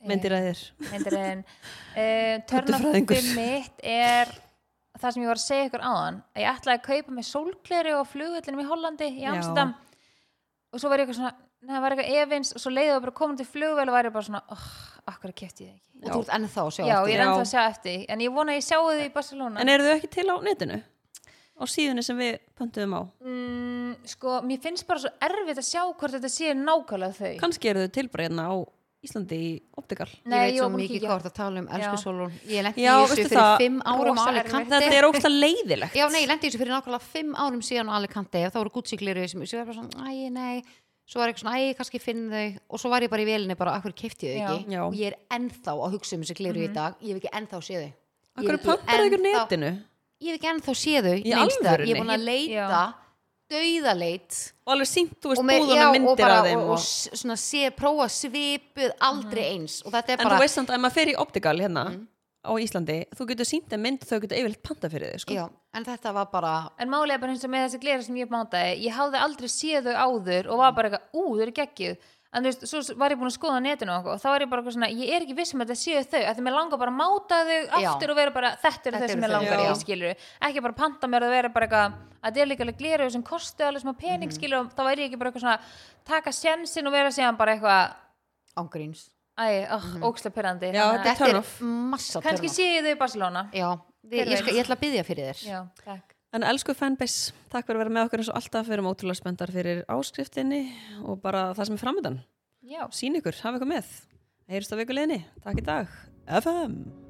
Speaker 1: Myndiræðir.
Speaker 3: myndir en uh, törnafið
Speaker 1: Pöttufræðingur.
Speaker 3: mitt er það sem ég var að segja ykkur áðan að ég ætlaði að kaupa mig sólgleri og flugullinum í Hollandi í
Speaker 1: Já.
Speaker 3: Amsterdam og svo var ég eitthvað svona neða, það var eitthvað evins og svo leiði það bara komin til flugvel og var ég bara svona, oh, akkur kefti ég það ekki
Speaker 2: og þú ert ennþá að sjá
Speaker 3: já,
Speaker 2: eftir
Speaker 1: Já.
Speaker 3: ég er ennþá að sjá eftir því, en ég vona að ég sjáu því í Barcelona
Speaker 1: En eru þau ekki til á netinu? Á síðunni sem við pöntuðum á?
Speaker 3: mm, sko, mér finnst bara svo erfitt að sjá hvort þetta sé nákvæmlega þau
Speaker 1: Kanski eru þau til bara hérna á Íslandi í optikal.
Speaker 2: Ég veit svo
Speaker 3: var búin að
Speaker 2: mikið
Speaker 3: kíkja.
Speaker 2: hvað þú ert að tala um, elsku
Speaker 3: Já.
Speaker 2: Solon Ég lendi í
Speaker 1: Já,
Speaker 2: þessu
Speaker 1: veistu
Speaker 2: fyrir
Speaker 1: það,
Speaker 2: fimm árum á
Speaker 3: rosa
Speaker 2: Alicante
Speaker 1: Þetta er ógsta leiðilegt.
Speaker 2: Já, nei, ég lendi í þessu fyrir nákvæmlega fimm árum síðan á Alicante og þá voru gútsíkliru sem sem var bara svona, æ, nei svo var ég eitthvað svona, æ, ég kannski finn þau og svo var ég bara í velinni bara, akkur kefti þau ekki
Speaker 1: Já. Mhm. Já.
Speaker 2: og ég er ennþá að hugsa um þessi kliru í dag ég hef ekki ennþá séð þau Ég
Speaker 1: Akkur
Speaker 2: hef ekki
Speaker 1: pöntar þau ekki á
Speaker 2: ennþá-
Speaker 1: netinu?
Speaker 2: Ég hef ekki ennþá séð þau
Speaker 1: Í
Speaker 2: neins staðar. Ég
Speaker 1: alvörunni?
Speaker 2: er búin að leita,
Speaker 3: Já.
Speaker 2: dauðaleit
Speaker 1: Og alveg sínt, þú veist,
Speaker 2: með- já,
Speaker 1: búðuna
Speaker 2: og
Speaker 1: myndir
Speaker 2: bara,
Speaker 1: af þeim.
Speaker 2: og,
Speaker 1: og- Mhm.
Speaker 2: og, s- svona sé, prófa svipuð aldrei eins og þetta er
Speaker 1: En þú
Speaker 2: bara Mm.
Speaker 1: veist samt að ef maður fer í optikal hérna á Íslandi, þú getur sínt að mynd þau getur yfirleitt panta fyrir þig, sko.
Speaker 2: já, en þetta var bara
Speaker 3: En málið er bara eins og með þessi glera sem ég mándaði, ég hafði aldrei séð þau áður og var bara eitthvað, ú, þau eru geggjuð. En þú veist, svo var ég búin að skoða á netinu og, eitthvað og þá er ég bara eitthvað svona, ég er ekki viss um að þetta séu þau, að því mér langar bara að máta þau aftur og vera bara, þetta eru
Speaker 2: Þetta
Speaker 3: þau
Speaker 2: eru
Speaker 3: sem mér
Speaker 2: þau,
Speaker 3: langar
Speaker 2: já.
Speaker 3: í, skilur. Ekki bara panta mér og vera bara eitthvað, að þetta er líka alveg glera sem kosti alveg smá pening, mm og þá væri ég ekki bara eitthvað svona, taka sjensin og vera síðan bara eitthvað,
Speaker 2: ángríns
Speaker 3: æ, oh, mm -hmm. ókslega pyrrandi.
Speaker 1: Já, þetta
Speaker 2: þetta
Speaker 1: Turn
Speaker 2: er
Speaker 1: off.
Speaker 2: massa
Speaker 3: Kanski
Speaker 2: törn off.
Speaker 3: sé ég þau í Barcelona.
Speaker 2: já, við,
Speaker 3: Hver
Speaker 2: ég, skal,
Speaker 3: veit?
Speaker 2: ég ætla að byggja fyrir þér
Speaker 3: Já, takk.
Speaker 1: En elsku fanbase, takk fyrir að vera með okkur eins og alltaf fyrir mótrúlega spendar fyrir áskriftinni og bara það sem er framöndan.
Speaker 3: Já.
Speaker 1: Sýn ykkur, hafa ykkur með. Heyrist á vikuleginni, takk í dag. FM.